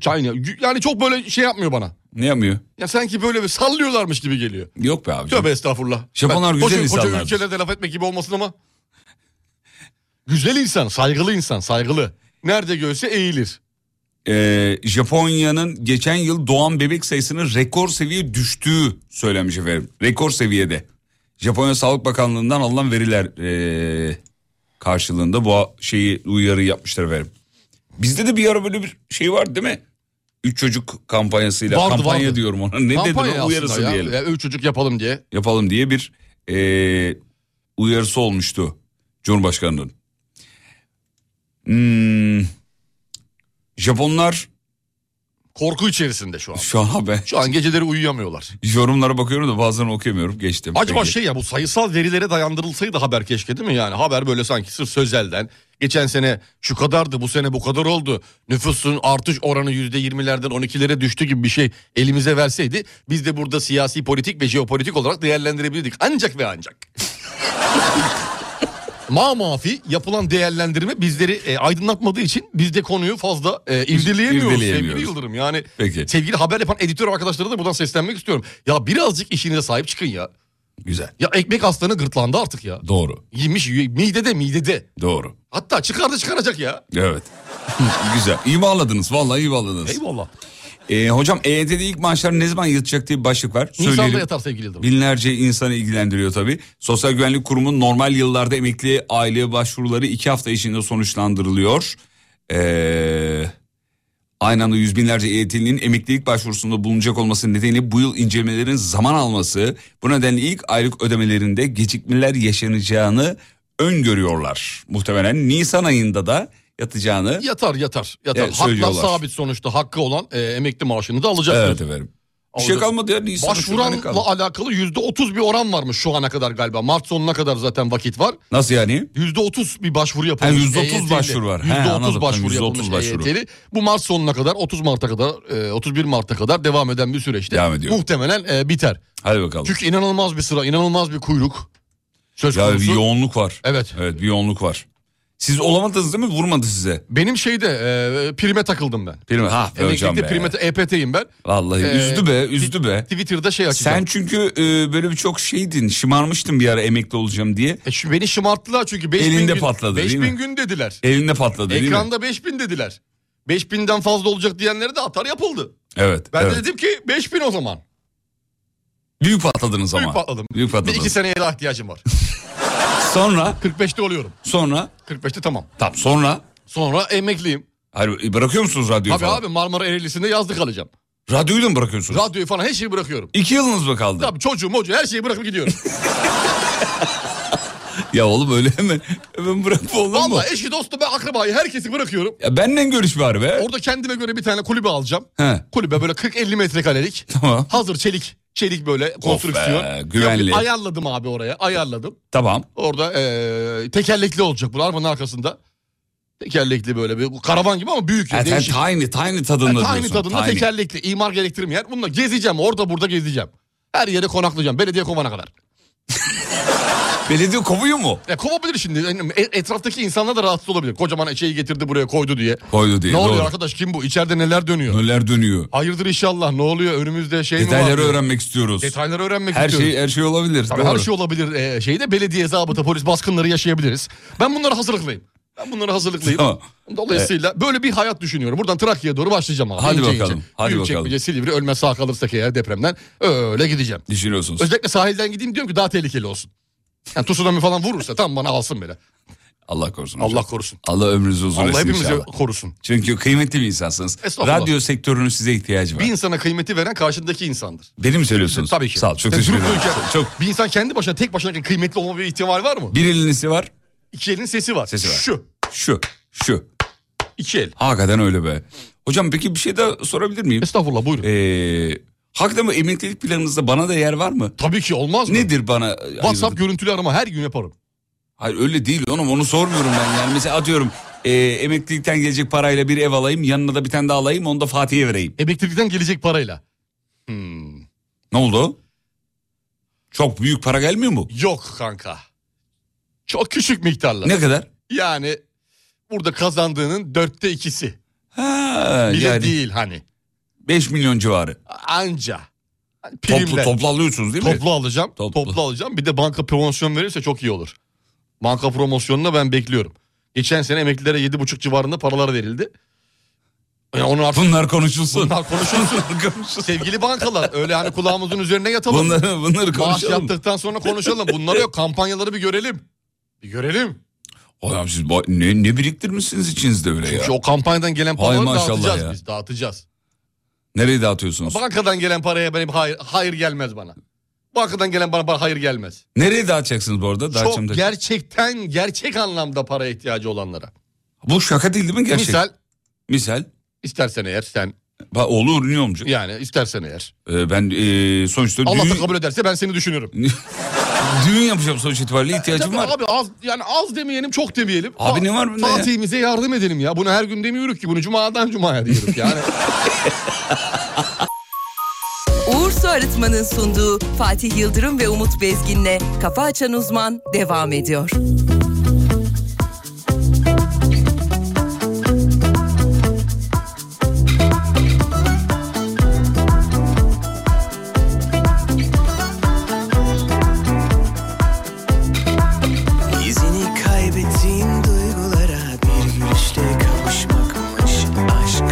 China. Yani çok böyle şey yapmıyor bana. Ne yapmıyor? Ya sanki böyle bir sallıyorlarmış gibi geliyor. Yok be abi. Tövbe estağfurullah. Japonlar güzel koca, Koca insanlardır. ülkelerde laf etmek gibi olmasın ama. Güzel insan, saygılı insan, saygılı. Nerede görse eğilir. Ee, Japonya'nın geçen yıl doğan bebek sayısının rekor seviye düştüğü söylenmiş efendim. Rekor seviyede. Japonya Sağlık Bakanlığı'ndan alınan veriler ee, karşılığında bu şeyi uyarı yapmışlar efendim. Bizde de bir ara böyle bir şey var değil mi? Üç çocuk kampanyasıyla Vardı, kampanya vardı. diyorum ona. Ne Kampanya dedim o aslında uyarısı ya. diyelim. Ya, üç çocuk yapalım diye. yapalım diye bir eee, uyarısı olmuştu Cumhurbaşkanı'nın. Hmm, Japonlar Korku içerisinde şu an. şu an ben Şu an geceleri uyuyamıyorlar. yorumlara bakıyorum da bazen okuyamıyorum geçtim. Acaba Peki. şey ya bu sayısal verilere dayandırılsaydı haber keşke değil mi? Yani haber böyle sanki sırf sözelden. Geçen sene şu kadardı bu sene bu kadar oldu. Nüfusun artış oranı yüzde yirmilerden 12'lere düştü gibi bir şey elimize verseydi. Biz de burada siyasi politik ve jeopolitik olarak değerlendirebilirdik. Ancak ve ancak. Ma mafi yapılan değerlendirme bizleri e, aydınlatmadığı için biz de konuyu fazla e, irdeleyemiyoruz sevgili irdeleyemiyoruz. Yıldırım. Yani Peki. sevgili haber yapan editör arkadaşlara da buradan seslenmek istiyorum. Ya birazcık işinize sahip çıkın ya. güzel. Ya ekmek aslanı gırtlağında artık ya. Doğru. Yemiş yiyor- midede midede. Doğru. Hatta çıkardı çıkaracak ya. Evet. [laughs] güzel. İyi bağladınız. Vallahi iyi bağladınız. Eyvallah. Ee, hocam EYT'de ilk maaşlar ne zaman yatacak diye bir başlık var. Nisan'da Söyleyelim. yatar sevgili Yıldırım. Binlerce insanı ilgilendiriyor tabii. Sosyal Güvenlik Kurumu normal yıllarda emekli aile başvuruları iki hafta içinde sonuçlandırılıyor. Ee, aynı anda yüz binlerce EYT'linin emeklilik başvurusunda bulunacak olması nedeniyle bu yıl incelemelerin zaman alması. Bu nedenle ilk aylık ödemelerinde gecikmeler yaşanacağını öngörüyorlar. Muhtemelen Nisan ayında da yatacağını. Yatar yatar yatar. Evet, Haklar söylüyorlar. sabit sonuçta hakkı olan e, emekli maaşını da alacaktır. Evet efendim. Bir şey Alacak. kalmadı ya Nisan'a şurada ne kaldı? Başvuranla alakalı yüzde otuz bir oran varmış şu ana kadar galiba. Mart sonuna kadar zaten vakit var. Nasıl yani? Yüzde otuz bir başvuru yapılmış. E Ha, %30 EYT'li. başvuru var. He, Yüzde otuz anladım. başvuru Tamam, yapılmış E %30 başvuru. EYT'li. Bu Mart sonuna kadar 30 Mart'a kadar e, 31 Mart'a kadar devam eden bir süreçte. Devam ediyor. Muhtemelen e, biter. Hadi bakalım. Çünkü inanılmaz bir sıra, inanılmaz bir kuyruk. Söz ya bir konusu. yoğunluk var. Evet. Evet bir yoğunluk var. Siz olamadınız değil mi? Vurmadı size. Benim şeyde e, prime takıldım ben. Prim, ha be hocam Emeklilikte be. prime EPT'yim ben. Vallahi Ee, üzdü be, üzdü be. Twitter'da şey açacağım. Sen çünkü e, böyle bir çok şeydin, şımarmıştın bir ara emekli olacağım diye. E, şu, beni şımarttılar çünkü 5000 Elinde gün, patladı, değil 5000 mi? gün dediler. Elinde patladı değil mi? Ekranda 5000 dediler. 5000'den fazla olacak diyenlere de atar yapıldı. Evet. Ben evet. de dedim ki 5000 o zaman. Büyük patladınız ama. Büyük patladım. Büyük Bir patladınız. iki seneye daha ihtiyacım var. [laughs] Sonra, 45'te oluyorum. sonra, 45'te tamam. tam sonra. Sonra emekliyim. Hayır e, bırakıyor musunuz radyoyu Tabii falan? abi Marmara Ereğlisi'nde yazlık alacağım. Radyoyu da mı bırakıyorsunuz? Radyoyu falan her şeyi bırakıyorum. İki yılınız mı kaldı? Tabii çocuğum hoca her şeyi bırakıp gidiyorum. Ya oğlum öyle hemen, hemen bırakma [laughs] olur mu? Valla eşi dostu ve akrabayı herkesi bırakıyorum. Ya benle görüş bari be. Orada kendime göre bir tane kulübe alacağım. He. Kulübe böyle 40-50 metrekarelik. Tamam. Hazır çelik. Çelik böyle konstrüksiyon. be, güvenli. Yapıp Ayarladım abi oraya. Ayarladım. Tamam. Orada eee, tekerlekli olacak bu arabanın arkasında. Tekerlekli böyle bir karavan gibi ama büyük. ya, Ha, sen değişik. tiny, tiny tadında Yani diyorsun. tiny tadında tekerlekli imar gerektirmeyen. Bununla gezeceğim orada burada gezeceğim. Her yere konaklayacağım. Belediye kovana kadar. Belediye kovuyor mu? Ya kovabilir şimdi. Yani e- Etraftaki insanlar da rahatsız olabilir. Kocaman şeyi getirdi buraya koydu diye. Koydu diye. ne oluyor doğru. arkadaş kim bu? İçeride neler dönüyor? Neler dönüyor? Hayırdır inşallah ne oluyor? Önümüzde şey mi var? Detayları öğrenmek istiyoruz. Detayları öğrenmek her istiyoruz. şey her şey olabilir. Tabii doğru. her şey olabilir. Ee, şeyde belediye, zabıta, polis baskınları yaşayabiliriz. Ben bunlara hazırlıklıyım. Ben bunlara hazırlıklıyım. Tamam. Dolayısıyla böyle bir hayat düşünüyorum. Buradan Trakya'ya doğru başlayacağım abi. Hadi bakalım, hadi Büyükçekmece, bakalım. Silivri ölme sağ kalırsak eğer depremden öyle gideceğim. Düşünüyorsunuz. Özellikle sahilden gideyim diyorum ki daha tehlikeli olsun. Yani tsunami falan vurursa tam bana alsın beni. Allah korusun. hocam. Allah korusun. Allah ömrünüzü uzun Allah etsin hepimizi inşallah. korusun. Çünkü kıymetli bir insansınız. Estağfurullah. Radyo sektörünün size ihtiyacı var. Bir insana kıymeti veren karşındaki insandır. Benim mi söylüyorsunuz? Tabii ki. Sağ ol. Çok Sen teşekkür durup ederim. dururken Çok. Bir insan kendi başına tek başına kıymetli olma bir ihtimal var mı? Bir elinisi var. İki elin sesi var. Sesi var. Şu. Şu. Şu. iki el. Hakikaten öyle be. Hocam peki bir şey daha sorabilir miyim? Estağfurullah buyurun. Ee, hakikaten bu emeklilik planınızda bana da yer var mı? Tabii ki olmaz mı? Nedir bana? WhatsApp görüntülü arama her gün yaparım. Hayır öyle değil oğlum onu sormuyorum ben. Yani mesela atıyorum e, emeklilikten gelecek parayla bir ev alayım yanına da bir tane daha alayım onu da Fatih'e vereyim. Emeklilikten gelecek parayla. Ne oldu? Çok büyük para gelmiyor mu? Yok kanka. Çok küçük miktarlar. Ne kadar? Yani burada kazandığının dörtte ikisi. Ha, Bile yani değil hani. 5 milyon civarı. Anca. Hani Toplu, primle. toplu alıyorsunuz değil mi? Toplu alacağım. Toplu. Toplu. alacağım. Bir de banka promosyon verirse çok iyi olur. Banka promosyonuna ben bekliyorum. Geçen sene emeklilere 7,5 civarında paralar verildi. Yani onu artık Bunlar konuşulsun. [laughs] bunlar konuşulsun. Sevgili bankalar öyle hani kulağımızın üzerine yatalım. Bunları, bunları Maaş konuşalım. yaptıktan sonra konuşalım. Bunları yok kampanyaları bir görelim. Bir görelim. Hocam siz ba- ne, ne biriktirmişsiniz içinizde öyle ya? Çünkü o kampanyadan gelen Hay paraları maşallah dağıtacağız ya. biz dağıtacağız. Nereye dağıtıyorsunuz? Bankadan gelen paraya benim hayır, hayır gelmez bana. Bankadan gelen bana para hayır gelmez. Nereye dağıtacaksınız bu arada? Çok Dağıtacağım da- gerçekten gerçek anlamda paraya ihtiyacı olanlara. Bu şaka değil değil mi gerçek? Misal Misal. istersen eğer sen Ba- olur niye olmayacak? yani istersen eğer. Ee, ben e, sonuçta Allah da düğün, kabul ederse ben seni düşünürüm. [laughs] düğün yapacağım sonuç itibariyle ihtiyacım Tabii var. Abi az yani az demeyelim çok demeyelim. Abi ne var bunda ya? Fatih'imize yardım edelim ya. Bunu her gün demiyoruz ki bunu cumadan cumaya [laughs] diyoruz yani. Uğur Su Arıtma'nın sunduğu Fatih Yıldırım ve Umut Bezgin'le Kafa Açan Uzman devam ediyor. İzini kaybettiğim duygulara bir gülüşte kavuşmakmış aşk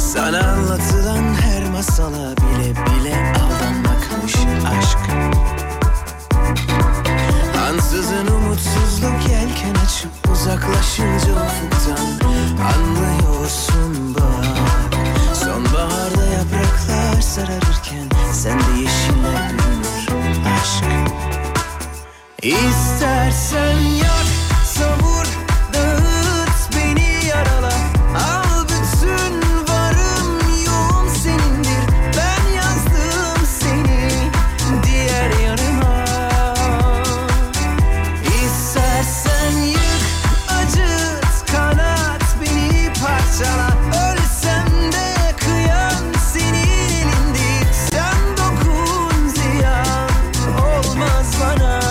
Sana anlatılan her masala bile bile aldanmakmış aşk Ansızın umutsuzluk yelken açıp uzaklaşınca ufuktan Anlıyorsun bak Sonbaharda yapraklar sararırken Sen de yeşiller bürünür aşk İstersen yak, savur, dağıt beni yarala Al bütün varım yoğum senindir Ben yazdım seni diğer yarıma İstersen yık, acıt, kanat beni parçala Ölsem de kıyam senin elindir Sen dokun ziyan olmaz bana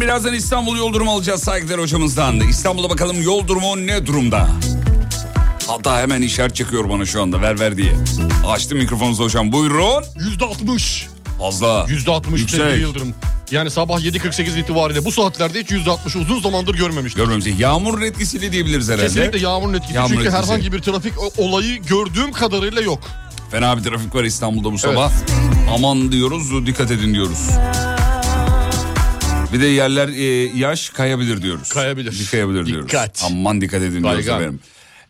Birazdan İstanbul yol durumu alacağız saygıdeğer hocamızdan. İstanbul'a bakalım yol durumu ne durumda? Hatta hemen işaret çekiyor bana şu anda ver ver diye. Açtı mikrofonunuzu hocam buyurun. Yüzde altmış. Fazla. Yüzde altmış Yüksek. sevgili Yıldırım. Yani sabah 7.48 itibariyle bu saatlerde hiç yüzde altmışı uzun zamandır görmemiştim. Görmemiz Yağmurun etkisiyle diyebiliriz herhalde. Kesinlikle yağmurun etkisi. Yağmur Çünkü etkisi. herhangi bir trafik o- olayı gördüğüm kadarıyla yok. Fena bir trafik var İstanbul'da bu sabah. Aman diyoruz, dikkat edin diyoruz. Bir de yerler e, yaş kayabilir diyoruz. Kayabilir. Kayabilir diyoruz. Dikkat. Aman dikkat edin diyoruz Kaygan. efendim.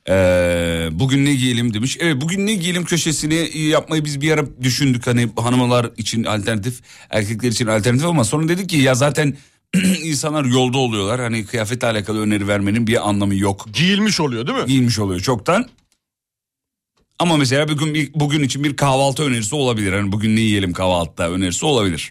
Ee, bugün ne giyelim demiş. Evet bugün ne giyelim köşesini yapmayı biz bir ara düşündük. Hani hanımlar için alternatif, erkekler için alternatif ama sonra dedik ki ya zaten [clears throat] insanlar yolda oluyorlar. Hani kıyafetle alakalı öneri vermenin bir anlamı yok Giyilmiş oluyor değil mi? giymiş oluyor çoktan. Ama mesela bugün bir- bugün için bir kahvaltı önerisi olabilir. Hani bugün ne yiyelim kahvaltıda önerisi olabilir.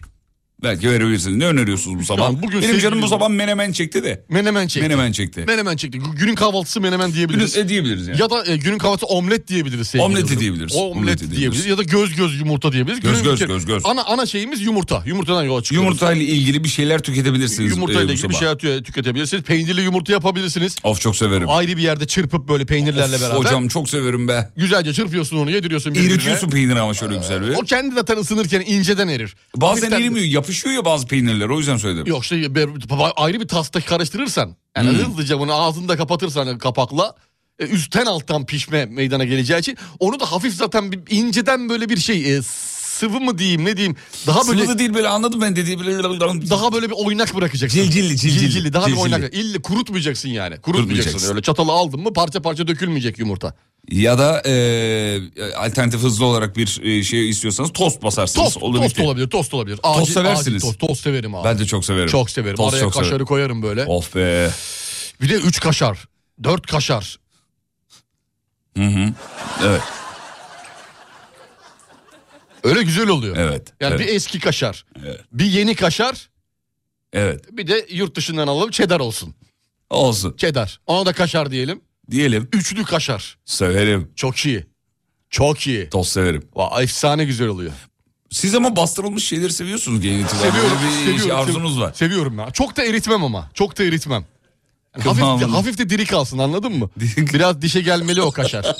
Belki verebilirsiniz. Ne öneriyorsunuz bu sabah? Yani Benim bugün canım sevgili- bu sabah menemen çekti de. Menemen çekti. Menemen. Menemen çekti. çekti. Günün kahvaltısı menemen diyebiliriz. E, diyebiliriz yani. Ya da e, günün kahvaltısı omlet diyebiliriz. sevgili Omleti Yıldırım. diyebiliriz. Omlet, Omleti diyebiliriz. diyebiliriz. Ya da göz göz yumurta diyebiliriz. Göz Günün göz, bir kere- göz göz. Ana, ana şeyimiz yumurta. Yumurtadan yola çıkıyoruz. Yumurta ile ilgili bir şeyler tüketebilirsiniz. Yumurtayla e, bu ilgili bir sabah. şeyler tü- tüketebilirsiniz. Peynirli yumurta yapabilirsiniz. Of çok severim. Ayrı bir yerde çırpıp böyle peynirlerle Of, beraber. Hocam çok severim be. Güzelce çırpıyorsun onu yediriyorsun birbirine. İritiyorsun peyniri ama şöyle güzel bir. O kendi zaten ısınırken inceden erir. Bazen Ee, Hafiften- erimiyor. Yapışıyor ya bazı peynirler. O yüzden söyledim. Yok işte bir- bir- ayrı bir tasta karıştırırsan. Yani Hmm. hızlıca bunu ağzında kapatırsan kapakla. e, Üstten alttan pişme meydana geleceği için. Onu da hafif zaten bir, inceden böyle bir şey e, sıvı mı diyeyim ne diyeyim. Daha böyle Sıvı da değil böyle anladım ben dediği. Daha daha böyle bir oynak bırakacaksın. Cilcilli, cilcilli. Cilcilli, daha Cilcilli. bir oynak. İlli kurutmayacaksın yani. Kurutmayacaksın. Kurutmayacaksın. Öyle çatalı aldın mı parça parça dökülmeyecek yumurta. Ya da e, alternatif hızlı olarak bir e, şey istiyorsanız tost basarsınız. Tost, Olur tost bitti. olabilir, tost olabilir. Acil, Tost seversiniz. acil tost, tost severim abi. Ben de çok severim. Çok severim. Tost Araya çok kaşarı severim. koyarım böyle. Of be. Bir de 3 kaşar, 4 kaşar. Evet. Öyle güzel oluyor. Evet. Yani evet, bir eski kaşar, Evet. bir yeni kaşar, evet. bir de yurt dışından alalım çedar olsun. Olsun. Çedar. Ona da kaşar diyelim. Diyelim. Üçlü kaşar. Severim. Çok iyi. Çok iyi. Tost severim. Vay, efsane güzel oluyor. Siz ama bastırılmış şeyleri seviyorsunuz genel itibariyle. Seviyorum. Böyle bir şey, seviyorum, arzunuz seviyorum. var. Seviyorum ya. Çok da eritmem ama. Çok da eritmem. Yani hafif, de, Tamam. hafif de diri kalsın anladın mı? Biraz dişe gelmeli o kaşar.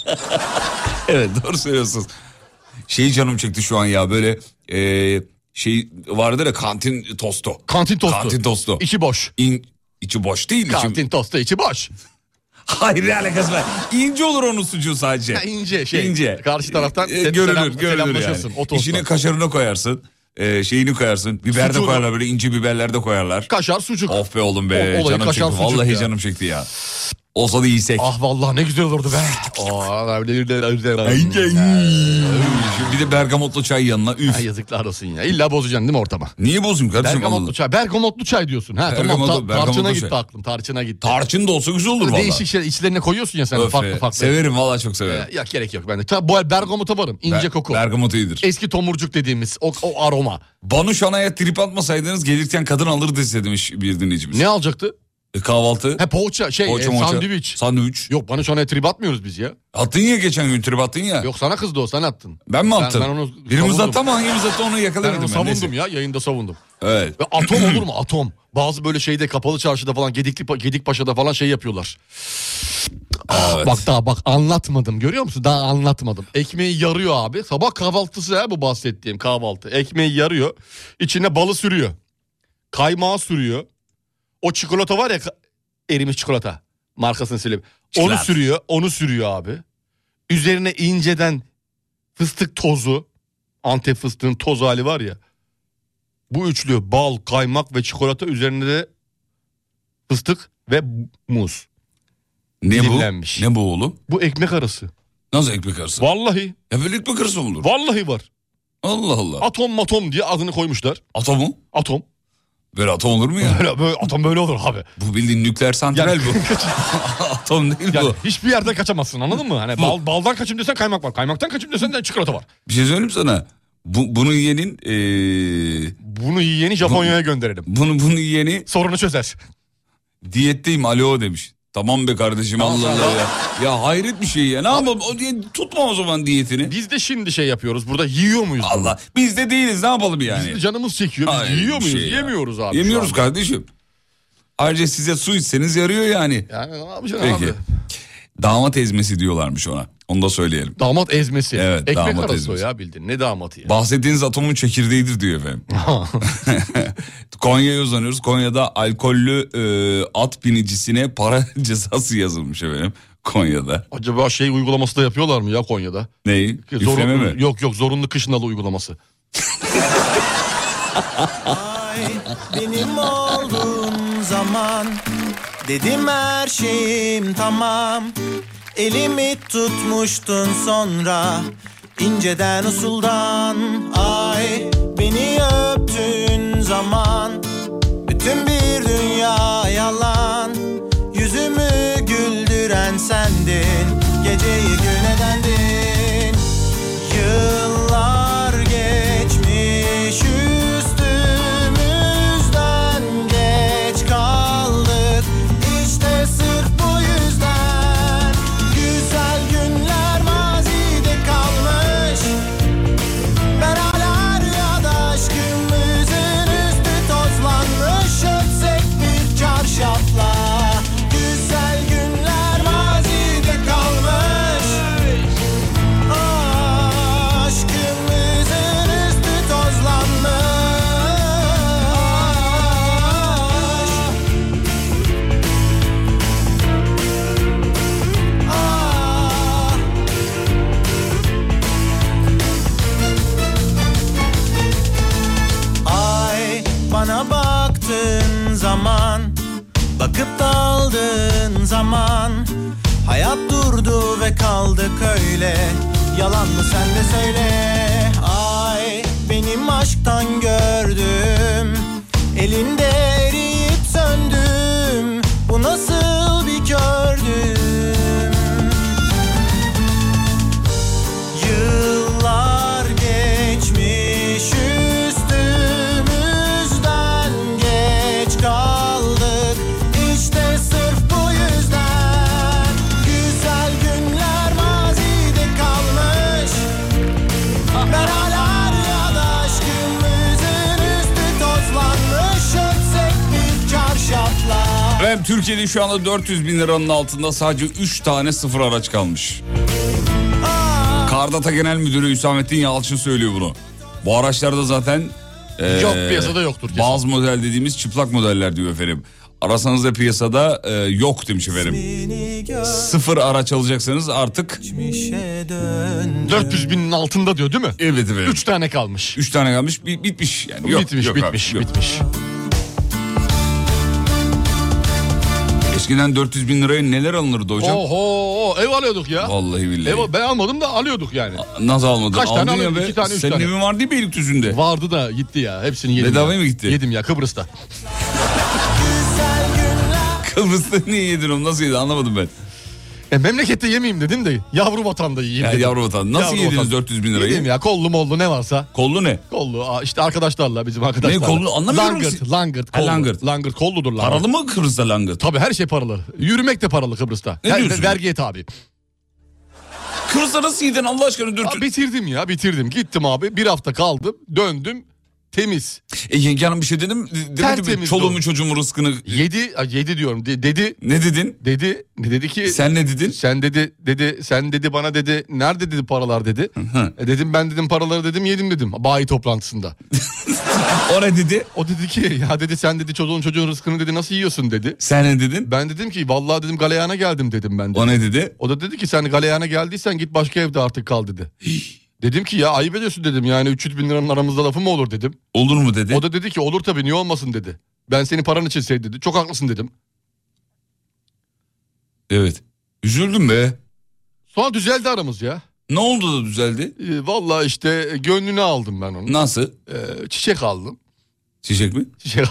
Evet doğru söylüyorsunuz. Şey canım çekti şu an ya böyle e, şey vardır ya kantin tostu. Kantin tostu. Kantin tostu. İçi boş. İn, içi boş değil. içi- Kantin tostu içi boş. Hayır ne alakası var. İnce olur onun sucuğu sadece. Ha, ince şey. Karşı taraftan E, selam- görülür, selam- görülür selamlaşırsın, yani. o tostla. İçine kaşarını koyarsın. e, şeyini koyarsın. Biber de Sucuğunu. koyarlar böyle ince biberler de koyarlar. Kaşar sucuk. of be oğlum be. O- olayı canım kaşar çekti. sucuk Vallahi ya. canım çekti ya. Olsa da yesek. Ah vallahi ne güzel olurdu be. Aa, Bir de bergamotlu çay yanına üf. Ha, yazıklar olsun ya. İlla bozacaksın değil mi ortamı? Niye bozayım kardeşim? Bergamotlu anladım. çay. Bergamotlu çay diyorsun. Ha, tamam, Bergamotlu- ta- tarçına bergamotlu gitti çay. aklım. Tarçına gitti. Tarçın da olsa güzel olur valla. Değişik şeyler içlerine koyuyorsun ya sen Öf be. farklı farklı. Severim valla çok severim. Yok gerek yok bende. Ta, bu bergamota varım. İnce Ber- koku. Bergamot iyidir. Eski tomurcuk dediğimiz o, o aroma. Banu Şanay'a trip atmasaydınız gelirken kadın alırdı size demiş bir dinleyicimiz. Ne alacaktı? E, kahvaltı. He poğaça şey Poğaça, e, moğaça. sandviç. Sandviç. Yok bana şu an trip atmıyoruz biz ya. Attın ya geçen gün trip attın ya. Yok sana kızdı o sen attın. Ben mi attım? Ben, ben onu Birimiz savundum. attı ama hangimiz attı onu Ben yakalayabildim. onu savundum neyse. ya yayında savundum. Evet. Ve [clears throat] atom olur mu atom? Bazı böyle şeyde kapalı çarşıda falan Gedikli, Pa- Gedikpaşa'da falan şey yapıyorlar. Ah, Evet. Bak daha bak anlatmadım görüyor musun? Daha anlatmadım. Ekmeği yarıyor abi. Sabah kahvaltısı ha bu bahsettiğim kahvaltı. Ekmeği yarıyor. İçine balı sürüyor. Kaymağı sürüyor. O çikolata var ya ka- erimiş çikolata. Markasını söyleyeyim. Onu Çikolata. sürüyor. Onu sürüyor abi. Üzerine inceden fıstık tozu. Antep fıstığının toz hali var ya. Bu üçlü bal, kaymak ve çikolata üzerinde de fıstık ve muz. Ne bu? Dilimlenmiş. Ne bu oğlum? Bu ekmek arası. Nasıl ekmek arası? Vallahi. Ya böyle ekmek arası mı olur? Vallahi var. Allah Allah. Atom matom diye adını koymuşlar. Atomu? Atom. Böyle atom olur mu ya? Böyle, böyle atom böyle olur abi. bu bildiğin nükleer santral Yani- bu. [laughs] atom değil Yani bu. hiçbir yerden kaçamazsın anladın mı? Hani bal, baldan kaçayım desen kaymak var. Kaymaktan kaçayım desen de çikolata var. Bir şey söyleyeyim sana. Bu, bunu yiyenin... e, eee Bunu yeni Japonya'ya gönderelim. bunu, bunu yiyeni Sorunu çözer. diyetteyim alo demiş. Tamam be kardeşim Allah Allah ya. Ya hayret bir şey ya. Ne yapalım? O diye tutma o zaman diyetini. Biz de şimdi şey yapıyoruz. Burada yiyor muyuz? bunu? Allah. Biz de değiliz ne yapalım yani? Biz de canımız çekiyor. Biz Hayır, yiyor bir muyuz? şey ya. Yemiyoruz abi. şu Yemiyoruz an. kardeşim. Ayrıca size su içseniz yarıyor yani. Yani Hani ne yapacaksın Peki. abi? Damat ezmesi diyorlarmış ona. Onu da söyleyelim. Damat ezmesi. Evet, Ekmek damat arası ezmesi. o ya bildin. Ne damatı ya? Bahsettiğiniz atomun çekirdeğidir diyor efendim. Konya'ya uzanıyoruz. Konya'da alkollü e, at binicisine para [laughs] cezası yazılmış efendim. Konya'da. Acaba şey uygulaması da yapıyorlar mı ya Konya'da? Neyi? Üfleme Zorunlu, mi? yok yok zorunlu kış nalı uygulaması. Benim olduğun zaman Dedim her şeyim tamam Elimi tutmuştun sonra inceden usuldan Ay beni öptüğün zaman Bütün bir dünya yalan Yüzümü güldüren sendin Geceyi gün edendin Yıllar geçmiş üstümüzden geç kaldık İşte sırf bu yüzden Güzel günler mazide kalmış Ben hala rüyada aşkımızın üstü tozlanmış Öpsek bir çarşafla Güzel günler mazide kalmış Aşkımızın üstü tozlanmış Ah. Ay bana baktığın zaman Bakıp daldığın zaman Hayat durdu ve kaldık öyle Yalan mı sen de söyle Ay benim aşktan gördüm Elinde eriyip söndüm Bu nasıl bir gördüm Yıllar geçmiş üstümüzden geç kaldık İşte sırf bu yüzden Güzel günler mazide kalmış Ben hala rüyada aşkımızın üstü tozlanmış Öpsek bir çarşafla Efendim Türkiye'de şu anda 400 bin liranın altında sadece 3 tane sıfır araç kalmış. Ah, Kardata Genel Müdürü Hüsamettin Yalçın söylüyor bunu. Bu araçlarda zaten... e, Yok, piyasada yoktur kesin. Bazı model dediğimiz çıplak modeller diyor efendim. Arasanız da piyasada e, yok demiş efendim. Beni Sıfır araç alacaksanız artık... geçmişe dön 400 binin altında diyor değil mi? Evet efendim. 3 tane kalmış. 3 tane kalmış bi- bitmiş yani. Yok, bitmiş yok abi, bitmiş yok. bitmiş. Eskiden 400 bin liraya neler alınırdı hocam? Oho ev alıyorduk ya. Vallahi billahi. Ev, ben almadım da alıyorduk yani. Nasıl almadın? Kaç tane Aldın ya alıyordun? be. İki tane, üç Senin tane. evin var değil mi Beylikdüzü'nde? Vardı da gitti ya. Hepsini yedim. Bedavaya ya. mı gitti? Yedim ya Kıbrıs'ta. [laughs] Kıbrıs'ta niye yedin onu nasıl yedin anlamadım ben. E, memlekette yemeyeyim dedim de yavru vatanda yiyeyim Ya dedim. yavru vatan nasıl Yavru yediniz vatan. 400 bin lirayı? Yedim ya kollu mollu ne varsa. Kollu ne? Kollu aa, işte arkadaşlarla bizim arkadaşlarla. Ne kollu? Anlamıyorum Langırt, siz- langırt, Ha, kollu. langırt. langırt. Langırt kolludur langırt. Paralı mı Kıbrıs'ta langırt? Tabii her şey paralı. Yürümek de paralı Kıbrıs'ta. Ne Her- diyorsun? Vergiye tabi. Kıbrıs'ta nasıl yedin Allah aşkına 400? Aa, bitirdim ya bitirdim. Gittim abi bir hafta kaldım döndüm temiz. E yenge hanım bir şey dedim. Demedi mi Tertemiz çoluğumu doğru. çocuğumu rızkını? Yedi, a, yedi diyorum De- dedi Ne dedin? dedi ne dedi ki Sen ne dedin? sen dedi dedi sen dedi bana dedi nerede dedi paralar dedi. hı. E, dedim ben dedim paraları dedim yedim dedim [laughs] bayi toplantısında. O ne dedi? O dedi ki ya dedi sen dedi çocuğun çocuğun rızkını dedi nasıl yiyorsun dedi. Sen ne dedin? Ben dedim ki vallahi dedim galeyana geldim dedim ben. O Dedim. ne dedi? O da dedi ki sen galeyana geldiysen git başka evde artık kal dedi. dedim ki ya ayıp ediyorsun dedim yani 300 bin liranın aramızda lafı mı olur dedim. Olur mu dedi? O da dedi ki olur tabii niye olmasın dedi. Ben senin paran için sevdim dedi. Çok haklısın dedim. Evet. Üzüldüm be. Sonra düzeldi aramız ya. Ne oldu da düzeldi? Ee, Valla işte e, gönlünü aldım ben onu. Nasıl? Ee, çiçek aldım. Çiçek mi? Çiçek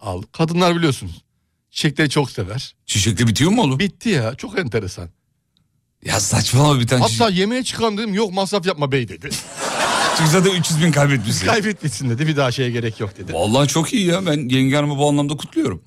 aldım. Kadınlar biliyorsunuz. Çiçekleri çok sever. Çiçekle bitiyor mu oğlum? Bitti ya çok enteresan. Ya saçmalama bir tane Hatta yemeğe çıkan dedim yok masraf yapma bey dedi. çiçek. [laughs] Çünkü zaten 300 bin [laughs] kaybetmişsin. Kaybetmişsin dedi bir daha şeye gerek yok dedi. Vallahi çok iyi ya ben yenge hanımı bu anlamda kutluyorum.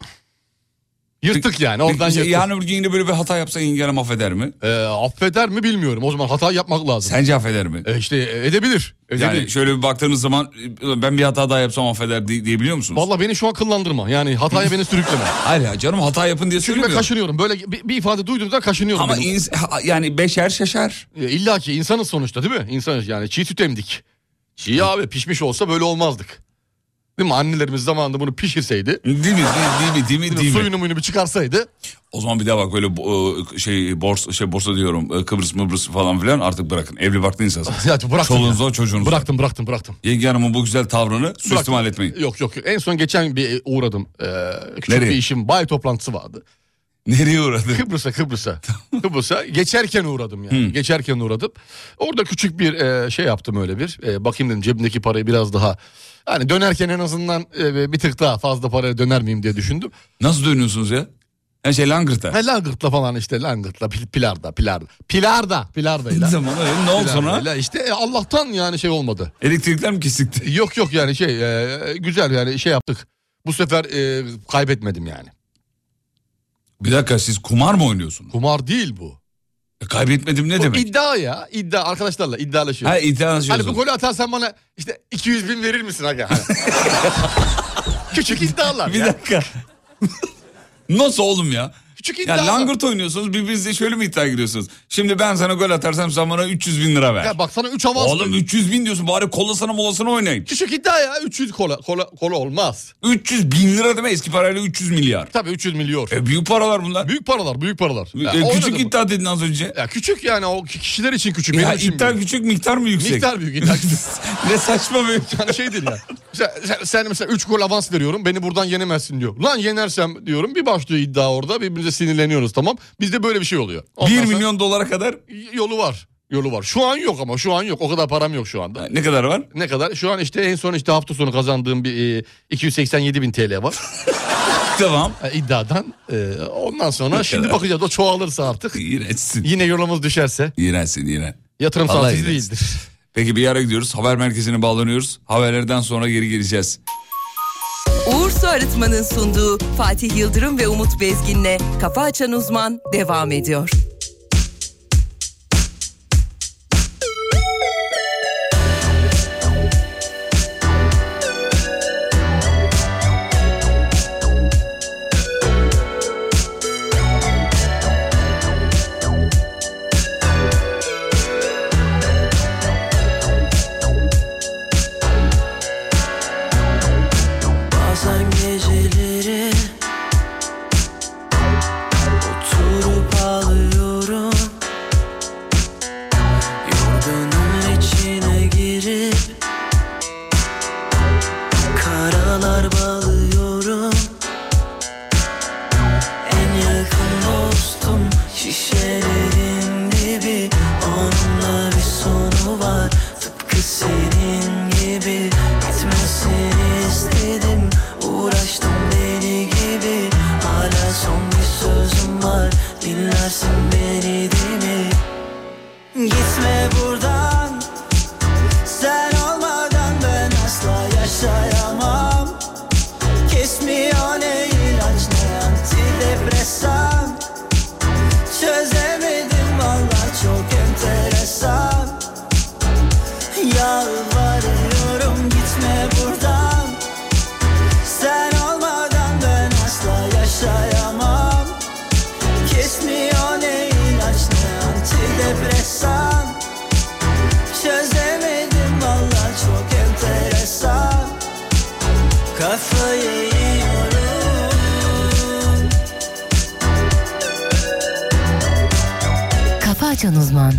Yırttık yani oradan Bir- yırttık. Yarın öbür gün şey, yine böyle bir hata yapsa yengenem affeder mi? Ee, affeder mi bilmiyorum. O zaman hata yapmak lazım. Sence affeder mi? Ee, işte edebilir. edebilir. Yani şöyle bir baktığınız zaman ben bir hata daha yapsam affeder diye, diyebiliyor musunuz? Valla beni şu an kıllandırma. [laughs] Yani hataya beni sürükleme. Hayır ya canım hata yapın diye Çünkü ben söylemiyorum. kaşınıyorum. Böyle bir, bir ifade duyduğumda kaşınıyorum. Ama benim. ins- ha- yani beşer şaşar. E, İlla ki insanız sonuçta değil mi? İnsanız yani çiğ süt emdik. Çiğ abi pişmiş olsa böyle olmazdık. Değil mi? Annelerimiz zamanında bunu pişirseydi. Değil mi? Değil, değil mi? Değil mi? Değil mi? suyunu muyunu bir çıkarsaydı. O zaman bir daha bak böyle e, şey borsa şey borsa diyorum e, Kıbrıs Mıbrıs falan filan artık bırakın. Evli barklı insansınız. Ya bıraktım. Çoluğunuza ya. çocuğunuza. Bıraktım bıraktım bıraktım. Yenge Hanım'ın bu güzel tavrını suistimal Bıraktım. etmeyin. Yok yok. yok. En son geçen bir uğradım. Ee, küçük Nereye? bir işim. Bay toplantısı vardı. Nereye uğradı? [laughs] Kıbrıs'a Kıbrıs'a. Kıbrıs'a geçerken uğradım yani. Hmm. Geçerken uğradım. Orada küçük bir e, şey yaptım öyle bir. E, bakayım dedim cebimdeki parayı biraz daha. Hani dönerken en azından e, bir tık daha fazla paraya döner miyim diye düşündüm. Nasıl dönüyorsunuz ya? Her şey Langırt'a. Ha, langırtla falan işte langırtla pil- pilarda pilarda. Pilarda pilardayla. Tamam öyle. Ne oldu sonra? Pilardayla işte e, Allah'tan yani şey olmadı. Elektrikler mi kesikti? [laughs] Yok yok yani şey e, güzel yani şey yaptık. Bu sefer e, kaybetmedim yani. Bir dakika siz kumar mı oynuyorsunuz? Kumar değil bu. E, kaybetmedim ne Bu demek? iddia ya. iddia arkadaşlarla iddialaşıyor. Ha iddialaşıyorsunuz. Hani bu golü atarsan bana işte 200 bin verir misin [laughs] aga? Hani. Küçük iddialar Bir ya. dakika. [laughs] Nasıl oğlum ya? Küçük Ya iddialar. langırt oynuyorsunuz birbirinizle şöyle mi iddia giriyorsunuz? Şimdi ben sana gol atarsam sen bana 300 bin lira ver. Ya baksana 3 avans. Oğlum 300 bin diyorsun bari kolasana molasana oynayın. Küçük iddia ya 300 kola, kola, kola olmaz. 300 bin lira deme eski parayla 300 milyar. Tabii 300 milyon. E büyük paralar bunlar. Büyük paralar büyük paralar. Ya, E, oynadın küçük mı? iddia dedin az önce. Ya küçük yani o kişiler için küçük. Ya benim için iddia büyük. küçük miktar mı yüksek? Miktar büyük iddia küçük. [laughs] ne saçma bir [laughs] Yani şey değil ya. Sen, sen- sen mesela 3 gol avans veriyorum beni buradan yenemezsin diyor. Lan yenersem diyorum bir başlıyor iddia orada birbirimize sinirleniyoruz tamam. Bizde böyle bir şey oluyor. Ondan 1 sonra milyon dolara kadar Yolu var. Yolu var. Şu an yok ama şu an yok. O kadar param yok şu anda. ne kadar var? Ne kadar? Şu an işte en son işte hafta sonu kazandığım bir e, 287 bin TL var [laughs] Tamam. E, iddiadan. E, ondan sonra şimdi kadar? bakacağız o çoğalırsa artık. İğrençsin. Yine yolumuz düşerse İğrençsin iğren. yatırım Vallahi saati iğrenç. değildir. [laughs] Peki bir yere gidiyoruz. Haber merkezine bağlanıyoruz. Haberlerden sonra geri geleceğiz. Uğur Su Arıtma'nın sunduğu Fatih Yıldırım ve Umut Bezgin'le Kafa Açan Uzman devam ediyor. Bazen geceleri Oturup ağlıyorum Yorganın içine girip Karalar bağlıyorum En yakın dostum Şişelerin dibi Onunla bir sonu var Tıpkı senin gibi Bitmesini istedim Uğraştım deli gibi Hala son bir sözüm var Dinlersin beni değil mi? Gitme buradan Sen olmadan ben asla yaşayamam Kesmiyor ne ilaç ne antidepresan Çözemedim valla çok enteresan Yalvarıyorum gitme buradan Sen olmadan ben asla yaşayamam Kesmiyor ne ilaç ne antidepresan Çözemedim valla çok enteresan Kafayı yiyorum Kafa Açan Uzman.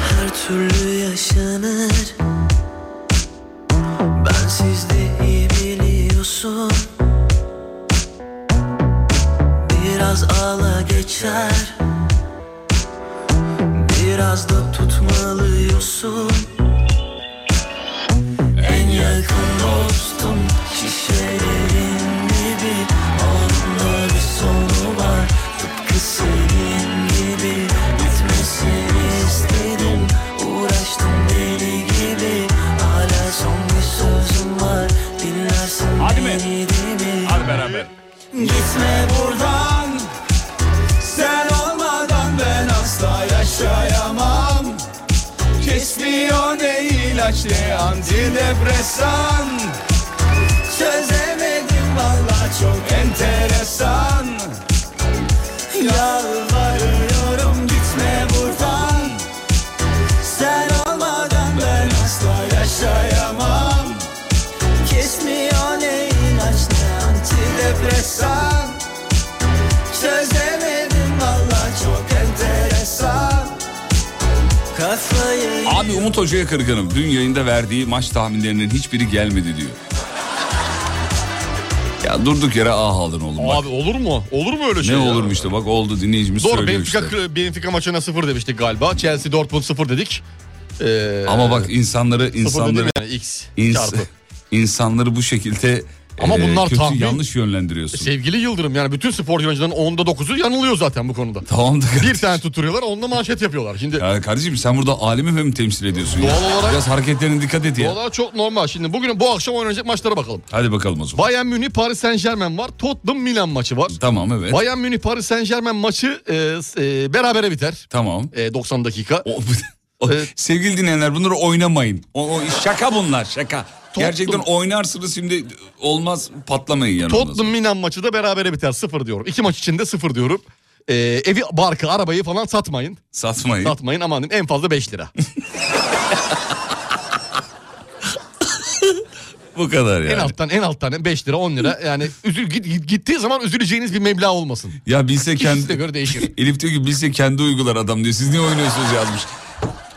Her türlü yaşanır Ben sizde iyi biliyorsun Biraz ağla geçer Biraz da tutmalıyorsun En yakın dostum Şişelerin gibi Onunla bir sonu var Tıpkı senin gibi Değil mi? Hadi beraber. Gitme buradan Sen olmadan ben asla yaşayamam Kesmiyor ne ilaç ne antidepresan Çözemedim valla çok enteresan Yalvarıyorum gitme buradan Sen olmadan ben asla yaşayamam Kesmiyor ne ilaç ne antidepresan Çözemedim valla çok enteresan Kafayı Abi Umut Hoca'ya kırgınım. Dün yayında verdiği maç tahminlerinin hiçbiri gelmedi diyor. Ya durduk yere ah aldın oğlum bak. Abi olur mu? Olur mu öyle şey? ne ya? olurmuş işte bak oldu dinleyicimiz Doğru söylüyor Benfica, işte. Benfica maçına 0 demiştik galiba. Chelsea Dortmund 0 dedik. Ee, Ama bak insanları sıfır dedim insanları yani X ins- çarpı. [laughs] insanları bu şekilde Ama e, bunlar kötü tahmin- yanlış yönlendiriyorsun. Sevgili Yıldırım yani bütün spor yayıncıların 10'da 9'u yanılıyor zaten bu konuda. Tamam da Bir tane tutturuyorlar onunla manşet yapıyorlar. Şimdi Ya kardeşim sen burada alemi mi temsil ediyorsun ya? Doğal olarak- Biraz hareketlerine dikkat et ya. bu olay çok normal. Şimdi bugün bu akşam oynanacak maçlara bakalım. Hadi bakalım o zaman. Bayern Münih Paris Saint Germain var. Tottenham Milan maçı var. Tamam evet. Bayern Münih Paris Saint Germain maçı e, e, berabere biter. Tamam. E, 90 dakika. E, O- o- Evet. Sevgili dinleyenler bunları oynamayın. O, o- şaka bunlar şaka. Gerçekten oynarsınız şimdi olmaz patlamayın yani. ondan Tottenham Milan maçı da berabere biter. Sıfır diyorum. İki maç içinde sıfır diyorum. E, evi, barkı, arabayı falan satmayın. sonra. Satmayın. Satmayın aman diyeyim en fazla [laughs] 5 lira. Bu kadar yani. En alttan en alttan 5 lira 10 lira yani üzül, git- git- gittiği zaman üzüleceğiniz bir meblağ olmasın. Ya bilse Kendine kendi... göre değişir. Elif diyor ki bilse kendi uygular adam diyor. Siz niye oynuyorsunuz yazmış. E,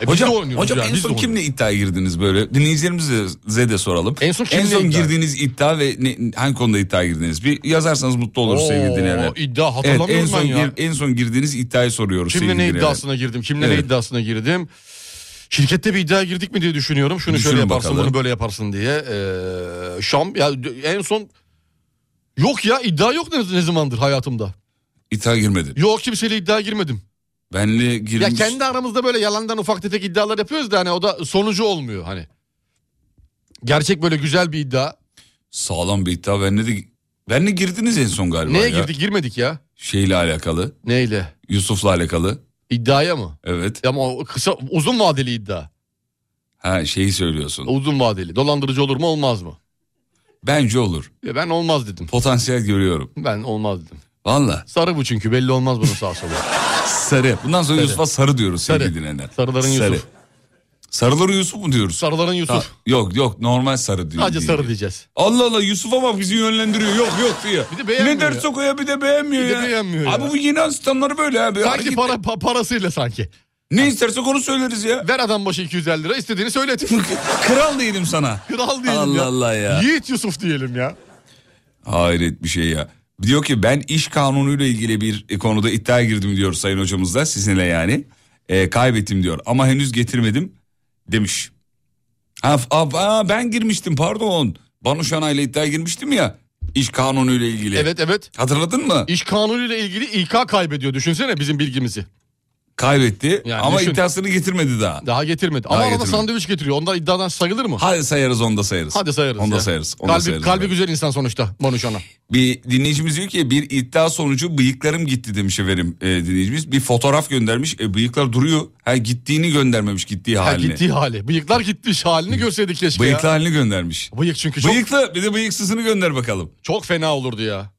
biz de Hocam, oynuyoruz hocam yani, en biz de son oynuyoruz. kimle iddiaya girdiniz böyle? Dinleyicilerimize de soralım. En son kimle iddia? girdiğiniz iddia ve ne, hangi konuda iddiaya girdiniz? Bir yazarsanız mutlu oluruz Oo, sevgili dinleyenler. iddia Evet, hatırlamıyorum en son ben ya. gir- en son girdiğiniz iddiayı soruyoruz Kimle sevgili ne dinleyenler. iddiasına girdim? Kimle Evet. ne iddiasına girdim? Şirkette bir iddia girdik mi diye düşünüyorum. Şunu Düşünün şöyle yaparsın, bakalım. bunu böyle yaparsın diye. Ee, Şam ya d- en son yok ya iddia yok ne, ne zamandır hayatımda. İddia girmedin. Yok kimseyle iddia girmedim. Benle Ya girmiş. kendi aramızda böyle yalandan ufak tefek iddialar yapıyoruz da hani o da sonucu olmuyor hani. Gerçek böyle güzel bir iddia. Sağlam bir iddia. Benle de benle girdiniz en son galiba. Neye ya. girdik girmedik ya? Şeyle alakalı. Neyle? Yusuf'la alakalı. İddiaya mı? Evet. Ama o kısa uzun vadeli iddia. Ha şeyi söylüyorsun. Uzun vadeli. Dolandırıcı olur mu olmaz mı? Bence olur. Ya ben olmaz dedim. Potansiyel görüyorum. Ben olmaz dedim. Valla Sarı bu çünkü belli olmaz bunun sağ solu. [laughs] sarı. Bundan sonra Yusuf'a sarı diyoruz Sarı. sevgili dinleyenler. Sarıların Yusuf. Sarıları Yusuf mu diyoruz? Sarıların Yusuf. Ha, yok yok normal sarı diyor. Sadece diyor. sarı diyeceğiz. Allah Allah Yusuf'a bak bizi yönlendiriyor. Yok yok diyor. Bir de beğenmiyor Ne ders ya. okuyor bir de beğenmiyor Bir de ya. beğenmiyor ya. Abi bu yeni asistanları böyle abi. Sanki Hareket- para, pa- parasıyla sanki. Ne istersek onu söyleriz ya. Ver adam başı 250 lira istediğini söylet. [laughs] Kral değilim sana. Kral diyelim Allah ya. Allah ya. Yiğit Yusuf diyelim ya. Hayret bir şey ya. Diyor ki ben iş kanunuyla ilgili bir e, konuda iddiaya girdim diyor sayın hocamız da sizinle yani. E, kaybettim diyor ama henüz getirmedim demiş. Ha, f- ha, ha, ben girmiştim pardon. Banu Şana ile iddiaya girmiştim ya. İş kanunuyla ilgili. Evet evet. Hatırladın mı? İş kanunuyla ilgili İK kaybediyor. Düşünsene bizim bilgimizi. Kaybetti Yani ama düşün. iddiasını getirmedi daha. Daha getirmedi. Ama Daha arada getirmedi. sandviç getiriyor. Onlar iddiadan sayılır mı? Hadi sayarız onu da sayarız. Hadi sayarız. Onu da ya. sayarız. Onu da kalbi sayarız. kalbi güzel insan sonuçta Manuşan'a. Bir dinleyicimiz diyor ki bir iddia sonucu bıyıklarım gitti demiş efendim e, dinleyicimiz. Bir fotoğraf göndermiş e, bıyıklar duruyor. Ha gittiğini göndermemiş gittiği Ha, halini. gittiği hali. Bıyıklar gitmiş halini görseydik keşke Bıyıklı ya. halini göndermiş. Bıyık çünkü çok, Bıyıklı bir de bıyıksızını gönder bakalım. çok fena olurdu ya.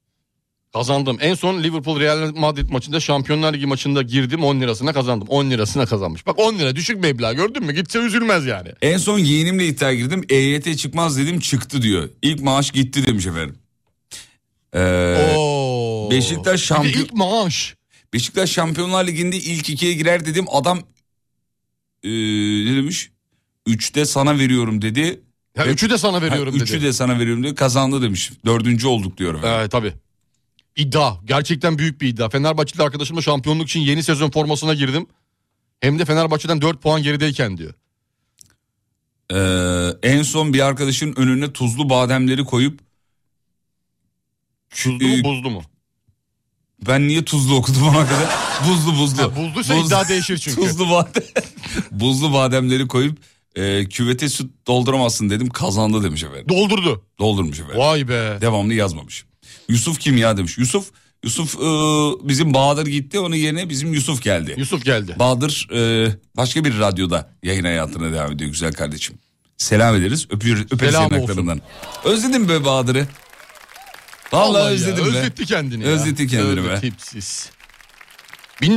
Kazandım. En son Liverpool Real Madrid maçında Şampiyonlar Ligi maçında girdim 10 lirasına kazandım. 10 lirasına kazanmış. Bak 10 lira düşük meblağ gördün mü? Gitse üzülmez yani. En son yeğenimle iddia girdim. EYT çıkmaz dedim çıktı diyor. İlk maaş gitti demiş efendim. Ee, Oo. Beşiktaş Bir de şampiyon- ilk maaş. Beşiktaş Şampiyonlar Ligi'nde ilk ikiye girer dedim. Adam e, ne demiş? Üçte sana veriyorum dedi. Ya Ve- üçü de sana veriyorum Ha, dedi. üçü de sana veriyorum dedi. Kazandı demiş. Dördüncü olduk diyor. efendim. Ee, tabii. İddia. Gerçekten büyük bir iddia. Fenerbahçeli arkadaşımla şampiyonluk için yeni sezon formasına girdim. Hem de Fenerbahçe'den 4 puan gerideyken diyor. Ee, en son bir arkadaşın önüne tuzlu bademleri koyup Buzlu Ee, mu buzlu mu? ben niye tuzlu okudum ona kadar? [laughs] Buzlu buzlu. [laughs] Ha, buzluysa iddia değişir çünkü. Tuzlu badem. buzlu bademleri koyup Ee, küvete süt dolduramazsın dedim kazandı demiş efendim. Doldurdu. Doldurmuş efendim. Vay be. Devamlı yazmamış. Yusuf kim ya demiş. Yusuf Yusuf e, bizim Bahadır gitti onun yerine bizim Yusuf geldi. Yusuf geldi. Bahadır e, başka bir radyoda yayın hayatına devam ediyor güzel kardeşim. Selam ederiz. Öpüyoruz, öperiz Selam yanaklarından. Özledim be Bahadır'ı. Vallahi, ya, özledim be. Özletti kendini ya. Özletti kendini be. Tipsiz.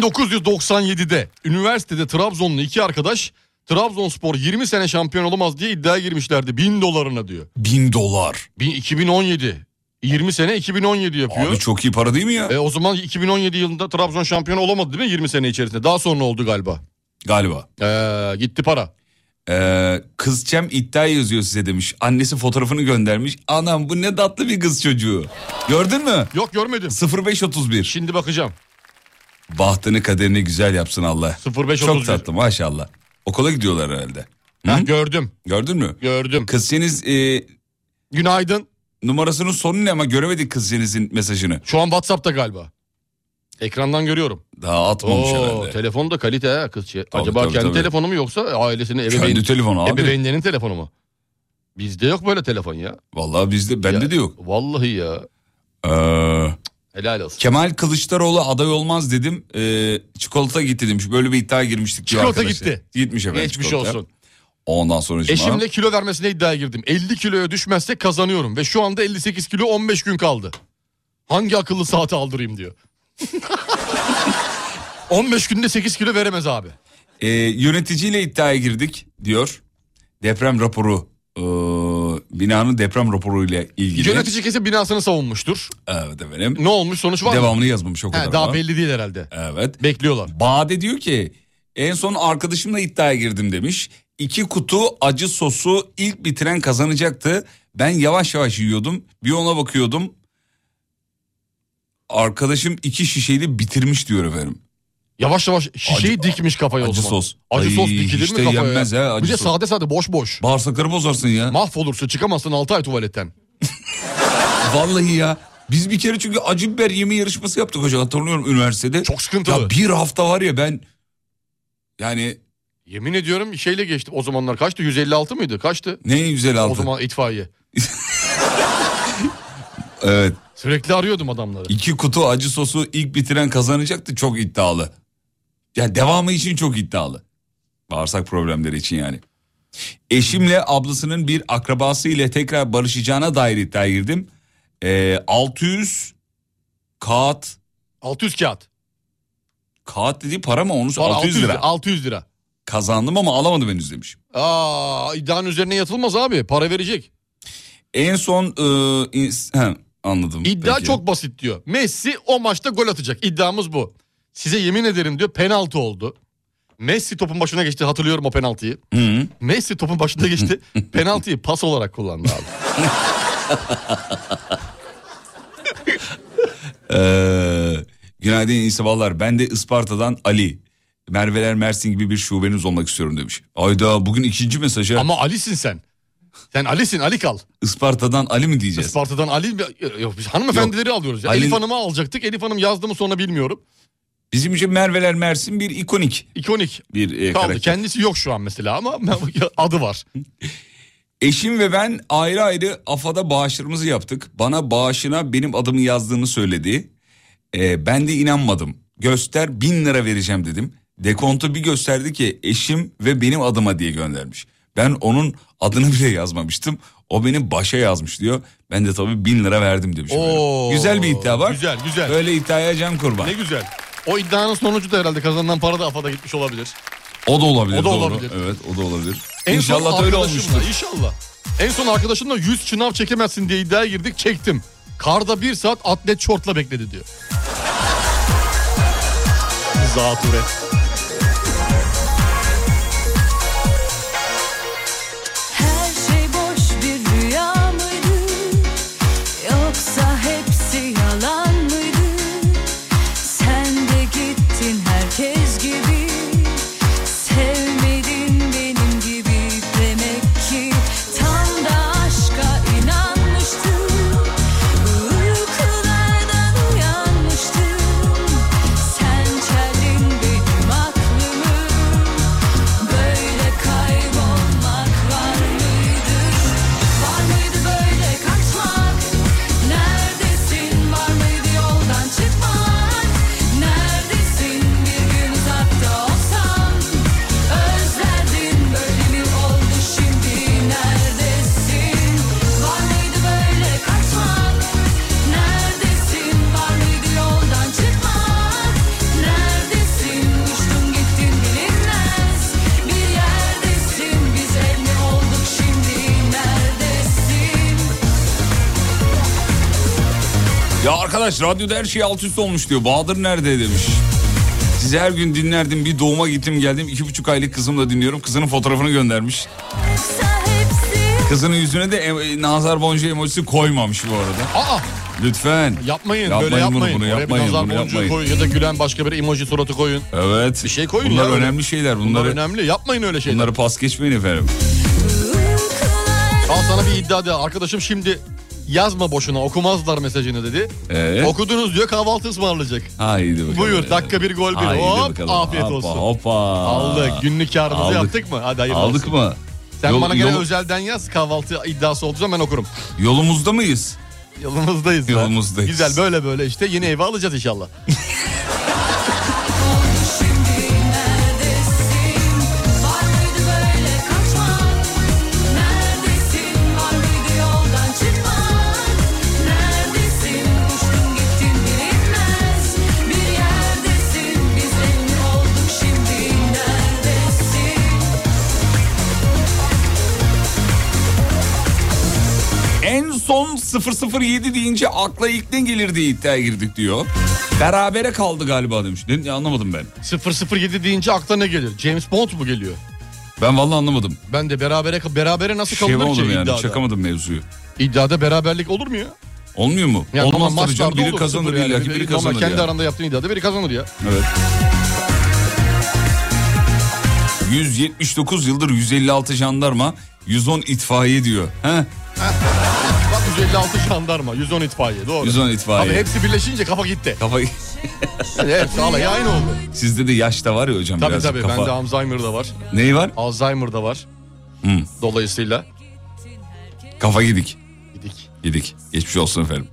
1997'de üniversitede Trabzonlu iki arkadaş Trabzonspor 20 sene şampiyon olamaz diye iddiaya girmişlerdi. 1000 dolarına diyor. Bin dolar. Bin- 2017. 20 sene 2017 yapıyor. Abi çok iyi para değil mi ya? E, o zaman 2017 yılında Trabzon şampiyon olamadı değil mi 20 sene içerisinde? Daha sonra oldu galiba. Galiba. E, gitti para. Ee, kız Cem iddia yazıyor size demiş. Annesi fotoğrafını göndermiş. Anam bu ne tatlı bir kız çocuğu. Gördün mü? Yok görmedim. 0531. Şimdi bakacağım. Bahtını kaderini güzel yapsın Allah. 0531. Çok tatlı maşallah. Okula gidiyorlar herhalde. Hı? Ha, gördüm. Gördün mü? Gördüm. Kız Ceniz, e, Günaydın. numarasının numarasının sonu ne ama göremedik kız Ceniz'in mesajını. Şu an WhatsApp'ta galiba. Ekrandan görüyorum. Daha atmamış Oo, herhalde. telefon da kalite ha kız. şey. Tabii, Acaba tabii, kendi tabii. telefonu mu yoksa ailesinin Kendi ebeveyn, telefonu abi. ebeveynlerinin telefonu mu? Bizde yok böyle telefon ya. Vallahi bizde bende Ya, de yok. Vallahi ya. Ee, Helal olsun. Kemal Kılıçdaroğlu aday olmaz dedim. Ee, çikolata gitti demiş. Böyle bir iddia girmiştik. diyor Çikolata arkadaşlar. gitti. Gitmiş efendim Geçmiş çikolata. olsun. Ondan sonra cuma- Eşimle kilo vermesine iddiaya girdim. 50 kiloya düşmezse kazanıyorum ve şu anda 58 kilo 15 gün kaldı. Hangi akıllı saati aldırayım diyor. 15 günde 8 kilo veremez abi. Ee, yöneticiyle iddiaya girdik diyor. Deprem raporu. ee, binanın deprem raporuyla ilgili. Yönetici kesin binasını savunmuştur. Evet efendim. Ne olmuş sonuç var mı? Devamını yazmamış o kadar. He, daha ama. belli değil herhalde. Evet. Bekliyorlar. Bade diyor ki en son arkadaşımla iddiaya girdim demiş. İki kutu acı sosu ilk bitiren kazanacaktı. Ben yavaş yavaş yiyordum. Bir ona bakıyordum. Arkadaşım iki şişeyle bitirmiş diyor efendim. Yavaş yavaş şişeyi Acı- dikmiş kafaya o acı zaman. sos. Acı Ay, sos dikilir hiç mi de kafaya? yenmez he, acı Bir de sos. sade sade boş boş. Bağırsakları bozarsın ya. Mahvolursun çıkamazsın 6 ay tuvaletten. Vallahi ya. Biz bir kere çünkü acı biber yeme yarışması yaptık hocam hatırlıyorum üniversitede. Çok sıkıntılı. Ya bir hafta var ya ben yani Yemin ediyorum şeyle geçtim. O zamanlar kaçtı? 156 mıydı? Kaçtı? ne güzel O aldı. zaman itfaiye. Evet. Sürekli arıyordum adamları. İki kutu acı sosu ilk bitiren kazanacaktı çok iddialı. Ya devamı için çok iddialı. Bağırsak problemleri için yani. Eşimle ablasının bir akrabası ile tekrar barışacağına dair iddiaya girdim. Ee, 600 kağıt 600 kağıt. kağıt dediği para mı onu Bana 600 lira. 600 lira. Kazandım ama alamadım henüz demiş. Aa, iddianın üzerine yatılmaz abi. Para verecek. En son e, ins- he, anladım. İddia Peki. çok basit diyor. Messi o maçta gol atacak. İddiamız bu. Size yemin ederim diyor penaltı oldu. Messi topun başına geçti. Hatırlıyorum o penaltıyı. Hı. Messi topun [laughs] başında geçti. Penaltıyı pas olarak kullandı abi. Ee, günaydın iyi sabahlar. Ben de Isparta'dan Ali. Merveler Mersin gibi bir şubeniz olmak istiyorum demiş. Ayda bugün ikinci mesajı Ama Ali'sin sen. Sen Ali'sin Ali kal. Isparta'dan Ali mi diyeceğiz? Isparta'dan Ali yok biz hanımefendileri alıyoruz. Ya. Ali- Elif Hanım'ı alacaktık. Elif Hanım yazdı mı sonra bilmiyorum. Bizim için Merveler Mersin bir ikonik İkonik bir e, kaldı. karakter. Kendisi yok şu an mesela ama adı var. [laughs] Eşim ve ben ayrı ayrı AFA'da bağışlarımızı yaptık. Bana bağışına benim adımı yazdığını söyledi. Ee, ben de inanmadım. Göster bin lira vereceğim dedim. Dekontu bir gösterdi ki eşim ve benim adıma diye göndermiş. Ben onun adını bile yazmamıştım. O benim başa yazmış diyor. Ben de tabii bin lira verdim demiş. Oo, güzel bir iddia var. güzel, güzel. Böyle iddiaya can kurban. Ne güzel. O iddianın sonucu da herhalde kazanılan para da AFAD'a gitmiş olabilir. O da olabilir. O da doğru. olabilir. Evet o da olabilir. En son İnşallah da öyle arkadaşımla, olmuştur. İnşallah. En son arkadaşımla 100 çınav çekemezsin diye iddiaya girdik çektim. Karda bir saat atlet şortla bekledi diyor. Zatüre. Her şey boş bir rüya mıydı? Yoksa hepsi yalan mıydı? Sen de gittin herkes gibi. Sevmedin benim gibi demek ki tam da aşka inanmıştım. Uykulardan uyanmıştım. Sen çeldin benim Ya arkadaş radyoda her şey alt üst olmuş diyor. Bahadır nerede demiş. Sizi her gün dinlerdim. Bir doğuma gittim geldim. iki buçuk aylık kızımla dinliyorum. Kızının fotoğrafını göndermiş. Kızının yüzüne de em- nazar boncuğu emojisi koymamış bu arada. Aa Lütfen. yapmayın, Yapmayın böyle bunu, yapmayın. bunu Oraya yapmayın, bir nazar bunu boncuğu yapmayın. koyun ya da gülen başka bir emoji suratı koyun. Evet. Bir şey koyun Bunlar ya. önemli şeyler. Bunlar Bunları, önemli yapmayın öyle şeyler. bunları pas geçmeyin efendim. Al sana bir iddia de arkadaşım şimdi yazma boşuna okumazlar mesajını dedi. Ee? Okudunuz diyor kahvaltı ısmarlayacak. Haydi bakalım. Buyur dakika bir gol bir Haydi hop bakalım. afiyet Hoppa, olsun. Hoppa. Aldık günlük karımızı Aldık. yaptık mı? Hadi hayırlı Aldık olsun. mı? Sen Yol- bana gene yol- özelden yaz kahvaltı iddiası olduğu zaman ben okurum. Yolumuzda mıyız? Yolumuzdayız. ya. Yolumuzdayız. Güzel böyle böyle işte yeni eve alacağız [laughs] inşallah. En son 007 deyince akla ilk ne gelir diye iddiaya girdik diyor. Berabere kaldı galiba demiş. Ne, ne anlamadım ben. Şey 007 deyince akla ne gelir? James Bond mu geliyor? Ben vallahi anlamadım. Ben de berabere berabere nasıl Şey kalınır olmadım ki yani. iddiada? Çakamadım mevzuyu. İddiada beraberlik olur mu ya? Olmuyor mu? Ya Olmaz tamam, tabii canım. maçlarda Biri olur, kazanır sıfır yani. illa ki biri Ama kazanır kendi yani. aranda yaptığın iddiada biri kazanır ya. Evet. 179 yıldır 156 jandarma 110 itfaiye diyor. He? Bak 156 jandarma, 110 itfaiye doğru. 110 Abi itfaiye. hepsi birleşince kafa gitti. Kafa... [laughs] Yani hepsi alay aynı oldu. Sizde de yaş da var ya hocam Tabii birazcık tabii kafa. bende Alzheimer da var. Neyi var? Alzheimer da var. Hmm. Dolayısıyla Kafa gidik. gidik. Gidik. Geçmiş olsun efendim.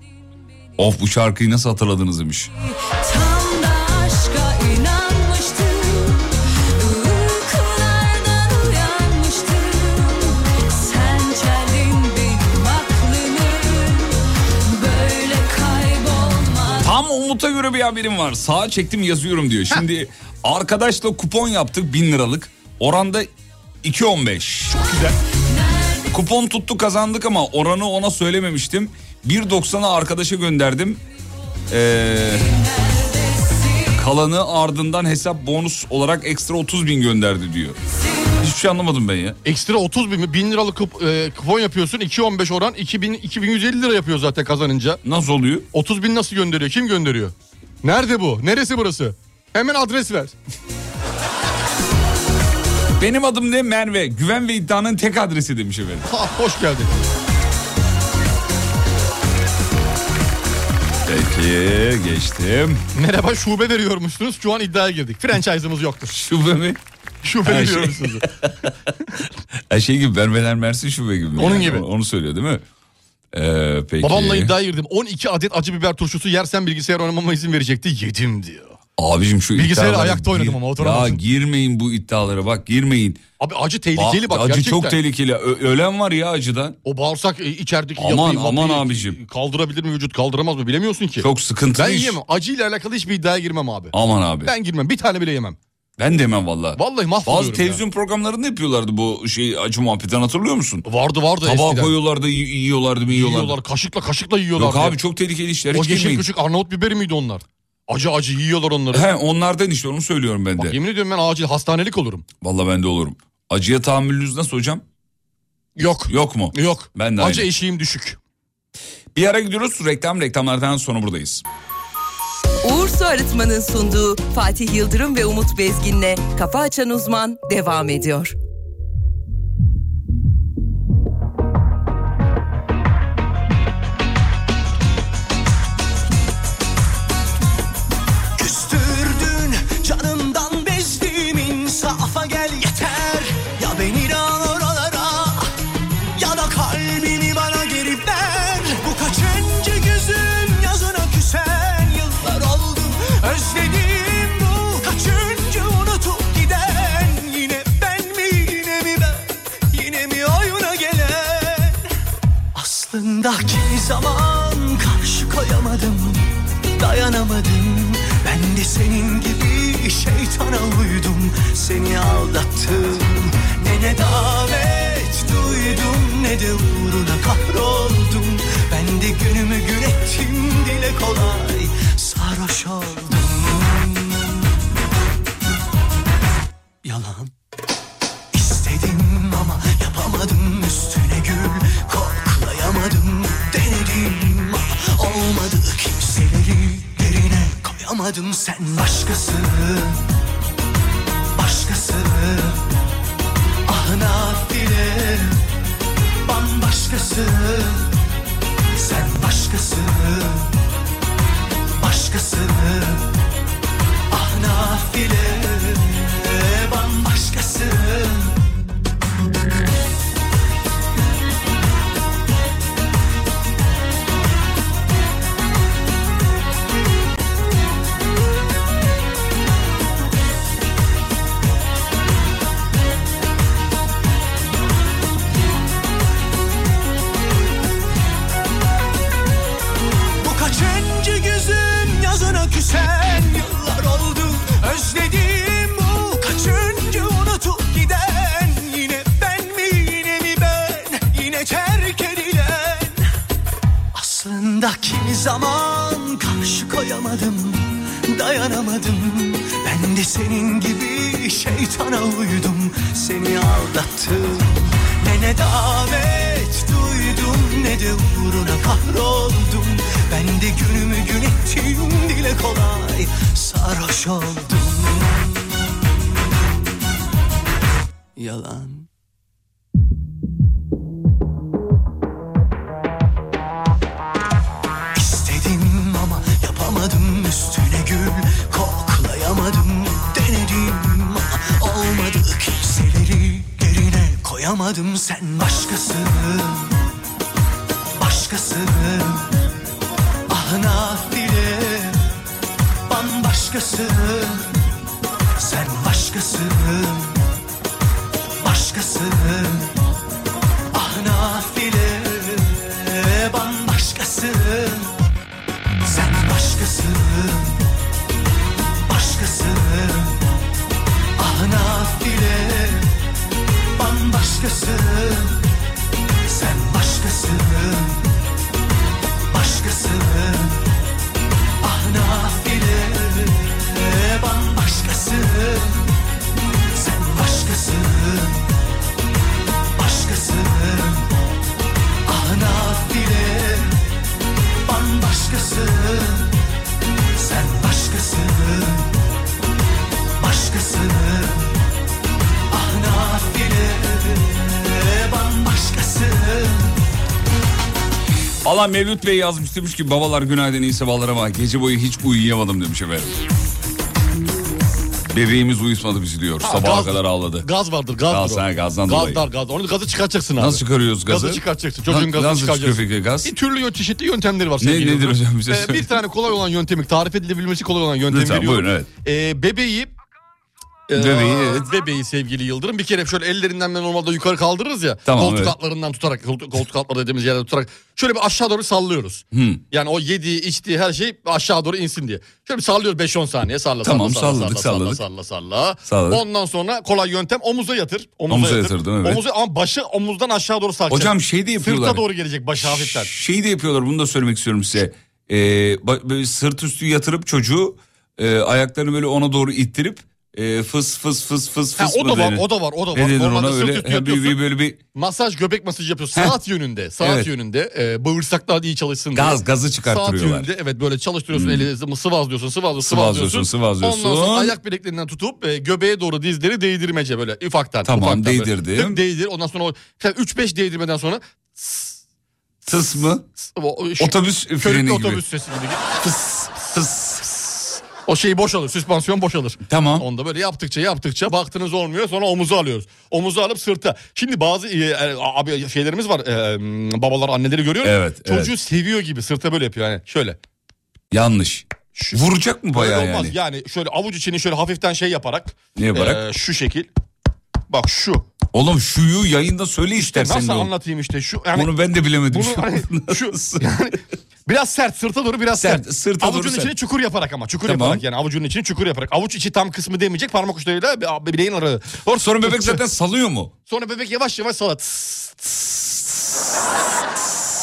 Of bu şarkıyı nasıl hatırladınız demiş. Tam da aşka inanmıştım, uykulardan uyanmıştım. Sen çeldin benim aklımı, böyle kaybolmaz. Tam Umut'a göre bir haberim var. Sağa çektim yazıyorum diyor. Şimdi arkadaşla kupon yaptık 1000 liralık. Oranda 2.15. Kupon tuttu kazandık ama oranı ona söylememiştim. 1.90'a arkadaşa gönderdim. Ee, kalanı ardından hesap bonus olarak ekstra 30 bin gönderdi diyor. Hiçbir şey anlamadım ben ya. Ekstra 30 bin mi? 1000 liralık kup- e, kupon yapıyorsun. 2.15 oran 2000, 2150 lira yapıyor zaten kazanınca. Nasıl oluyor? 30 bin nasıl gönderiyor? Kim gönderiyor? Nerede bu? Neresi burası? Hemen adres ver. Benim adım ne Merve. Güven ve iddianın tek adresi demiş efendim. Ha, hoş geldin. Peki geçtim. Merhaba şube veriyormuşsunuz. Şu an iddiaya girdik. Franchise'ımız yoktur. Şube mi? Şube Her şey. veriyormuşsunuz. Ha, şey gibi Bermeler Mersin şube gibi. mi? Onun gibi. Onu, onu söylüyor değil mi? Ee, [laughs] peki. Babamla iddiaya girdim. 12 adet acı biber turşusu yersen bilgisayar oynamama izin verecekti. Yedim diyor. Abicim şu Bilgisayarı iddialara ayakta oynadım ama Ya oturamadım. girmeyin bu iddialara bak girmeyin. Abi acı Ba- tehlikeli bak acı gerçekten. çok tehlikeli. Ö- ölen var ya acıdan. O bağırsak e, içerideki Aman, yapıyı, aman yapıyı abicim. Kaldırabilir mi vücut kaldıramaz mı bilemiyorsun ki. Çok sıkıntılı ben iş. yiyemem. Acıyla alakalı hiçbir iddiaya girmem abi. Aman abi. Ben, Ben girmem. Bir tane bile yemem. demem valla. Vallahi mahvoluyorum Bazı televizyon programlarında yapıyorlardı bu şey acı muhabbetini hatırlıyor musun? ya. Vardı vardı Tabağa eskiden. koyuyorlardı y- yiyorlardı mı yiyorlardı. Yiyorlar kaşıkla kaşıkla yiyorlar. Yok ya. abi çok tehlikeli işler O hiç yeşil girmeyin. küçük Arnavut biberi miydi onlar? Acı acı yiyorlar onları. He, onlardan işte onu söylüyorum ben de. Bak yemin ediyorum ben acil hastanelik olurum. Valla ben de olurum. Acıya tahammülünüz nasıl hocam? Yok. Yok mu? Yok. Ben de Acı aynı. eşiğim düşük. Bir ara gidiyoruz reklam reklamlardan sonra buradayız. Uğur Su Arıtma'nın sunduğu Fatih Yıldırım ve Umut Bezgin'le Kafa Açan Uzman devam ediyor. Küstürdün canımdan bezdim insafa gel yeter Ya beni inan oralara ya da kalbini bana geri ver Bu kaçıncı gözün yazına küsen yıllar oldu Özledim bu kaçıncı unutup giden Yine ben mi yine mi ben yine mi oyuna gelen Aslında kimi zaman karşı koyamadım Dayanamadım Ben de senin gibi şeytana uydum Seni aldattım Ne nedamet duydum Ne de uğruna kahroldum Ben de günümü güneşim dile kolay sarhoş oldum. Yalan istedim ama yapamadım üstüne gül koklayamadım denedim ama olmadı kimseleri derine koyamadım sen başkası başkası ahına bile bambaşkası sen başkası başkası ah nafile bambaşkası Bu kaçıncı gözün yazına küsen yıllar oldu özledim bu kaçıncı unutup giden yine ben mi yine mi ben yine terk edilen aslında kimi zaman karşı koyamadım dayanamadım ben de senin gibi şeytana uydum seni aldattım ne nedamet duydum ne de uğruna kahroldum ben de günümü gün ettim dile kolay sarhoş oldum yalan İstedim ama yapamadım üstüne gül koklayamadım denedim ama olmadı kimseleri derine koyamadım sen başkası başkası ahına bile bambaşkası sen başkası başkası Ah ahına bile bambaşkası sen başkasın, başkasın Ah nafile, bambaşkasın Sen başkasın, başkasın Ah nafile, bambaşkasın Sen başkasın, başkasın Ah nafile, bambaşkası Sen başkası Başkası Ah nafile Bambaşkası Valla Mevlüt Bey yazmış demiş ki babalar günaydın iyi sabahlar ama gece boyu hiç uyuyamadım demiş efendim. Bebeğimiz uyutmadı bizi diyor. Sabaha gaz- kadar ağladı. Gaz vardır gaz. Gaz, var. ha, gazdan gaz, dolayı. Gaz, gaz. Onu gazı çıkartacaksın abi. Nasıl çıkarıyoruz gazı? Gazı çıkartacaksın. Çocuğun Na- gazını nasıl çıkıyor çıkaracaksın. peki gaz? Bir türlü çeşitli yöntemleri var. Ne- sevgili nedir Yıldırım. hocam? Bize Ee, söyle. bir tane kolay olan yöntemi, tarif edilebilmesi kolay olan yöntemi Lütfen, veriyorum. buyurun, Ee, bebeği ee, Bebeği, evet. bebeği sevgili Yıldırım bir kere şöyle ellerinden ben normalde yukarı kaldırırız ya Tamam, koltuk evet. altlarından tutarak koltuk, koltuk altları dediğimiz yerden tutarak şöyle bir aşağı doğru sallıyoruz. Hmm. Yani o yediği içtiği her şey aşağı doğru insin diye. Şöyle bir sallıyoruz 5-10 saniye salla Tamam, salla, salla, salladık, salla, salladık. salla salla Salladık. Ondan sonra kolay yöntem omuza yatır. Omuza, Omuza yatırdım, evet. Omuza, ama başı omuzdan aşağı doğru sarkacak. Hocam şey de yapıyorlar. Sırta doğru gelecek başı hafiften. Şeyi de yapıyorlar bunu da söylemek istiyorum size. Ee, ba- böyle sırt üstü yatırıp çocuğu e, ayaklarını böyle ona doğru ittirip e, fıs fıs fıs fıs fıs. Ha, o mı da var, denir? o da var, o da var. Ne denir Normalde ona sırt öyle? üstü Ha, bir- bir, yatıyorsun. böyle bir Masaj göbek masajı yapıyorsun. Heh. Saat yönünde. Saat Evet. yönünde. E, bağırsaklar iyi çalışsın diye. gaz gazı Saat çıkartıyorlar. yönünde evet böyle çalıştırıyorsun eli sıvazlıyorsun sıvazlıyorsun sıvazlıyorsun. Sıvazlıyorsun, sıvazlıyorsun. Ondan sonra ayak bileklerinden tutup e, göbeğe doğru dizleri değdirmece böyle ufaktan. Tamam, ufaktan böyle. değdirdim. Tık değdir ondan sonra o 3-5 değdirmeden sonra Tıs mı? o, o- şu- Otobüs freni körüklü gibi. otobüs sesi gibi. Fıs fıs. O şeyi boş alır. Süspansiyon boş alır. Tamam. Onda böyle yaptıkça yaptıkça baktınız olmuyor. Sonra omuzu alıyoruz. Omuzu alıp sırta. Şimdi bazı e, e, abi şeylerimiz var. e, m, babalar anneleri görüyor. ya. Evet, Çocuğu seviyor gibi sırta böyle yapıyor. Yani şöyle. Yanlış. Şu, Vuracak mı Böyle bayağı olmaz. yani? şöyle avuç içini şöyle hafiften şey yaparak. Ne yaparak? e, şu şekil. Bak şu. Oğlum şuyu yayında söyle istersen. Nasıl de oğlum. anlatayım işte şu. Yani Bunu ben de bilemedim. bunu şu an. hani şu [laughs] yani biraz sert sırta doğru biraz Sert, sert. sırta avucun doğru sert. içine çukur yaparak ama çukur Tamam. yaparak yani avucunun içine çukur yaparak. Avuç içi tam kısmı demeyecek parmak uçlarıyla be- bileğin aralığı. Sonra, Sonra bebek zaten salıyor mu? sonra bebek yavaş yavaş salat.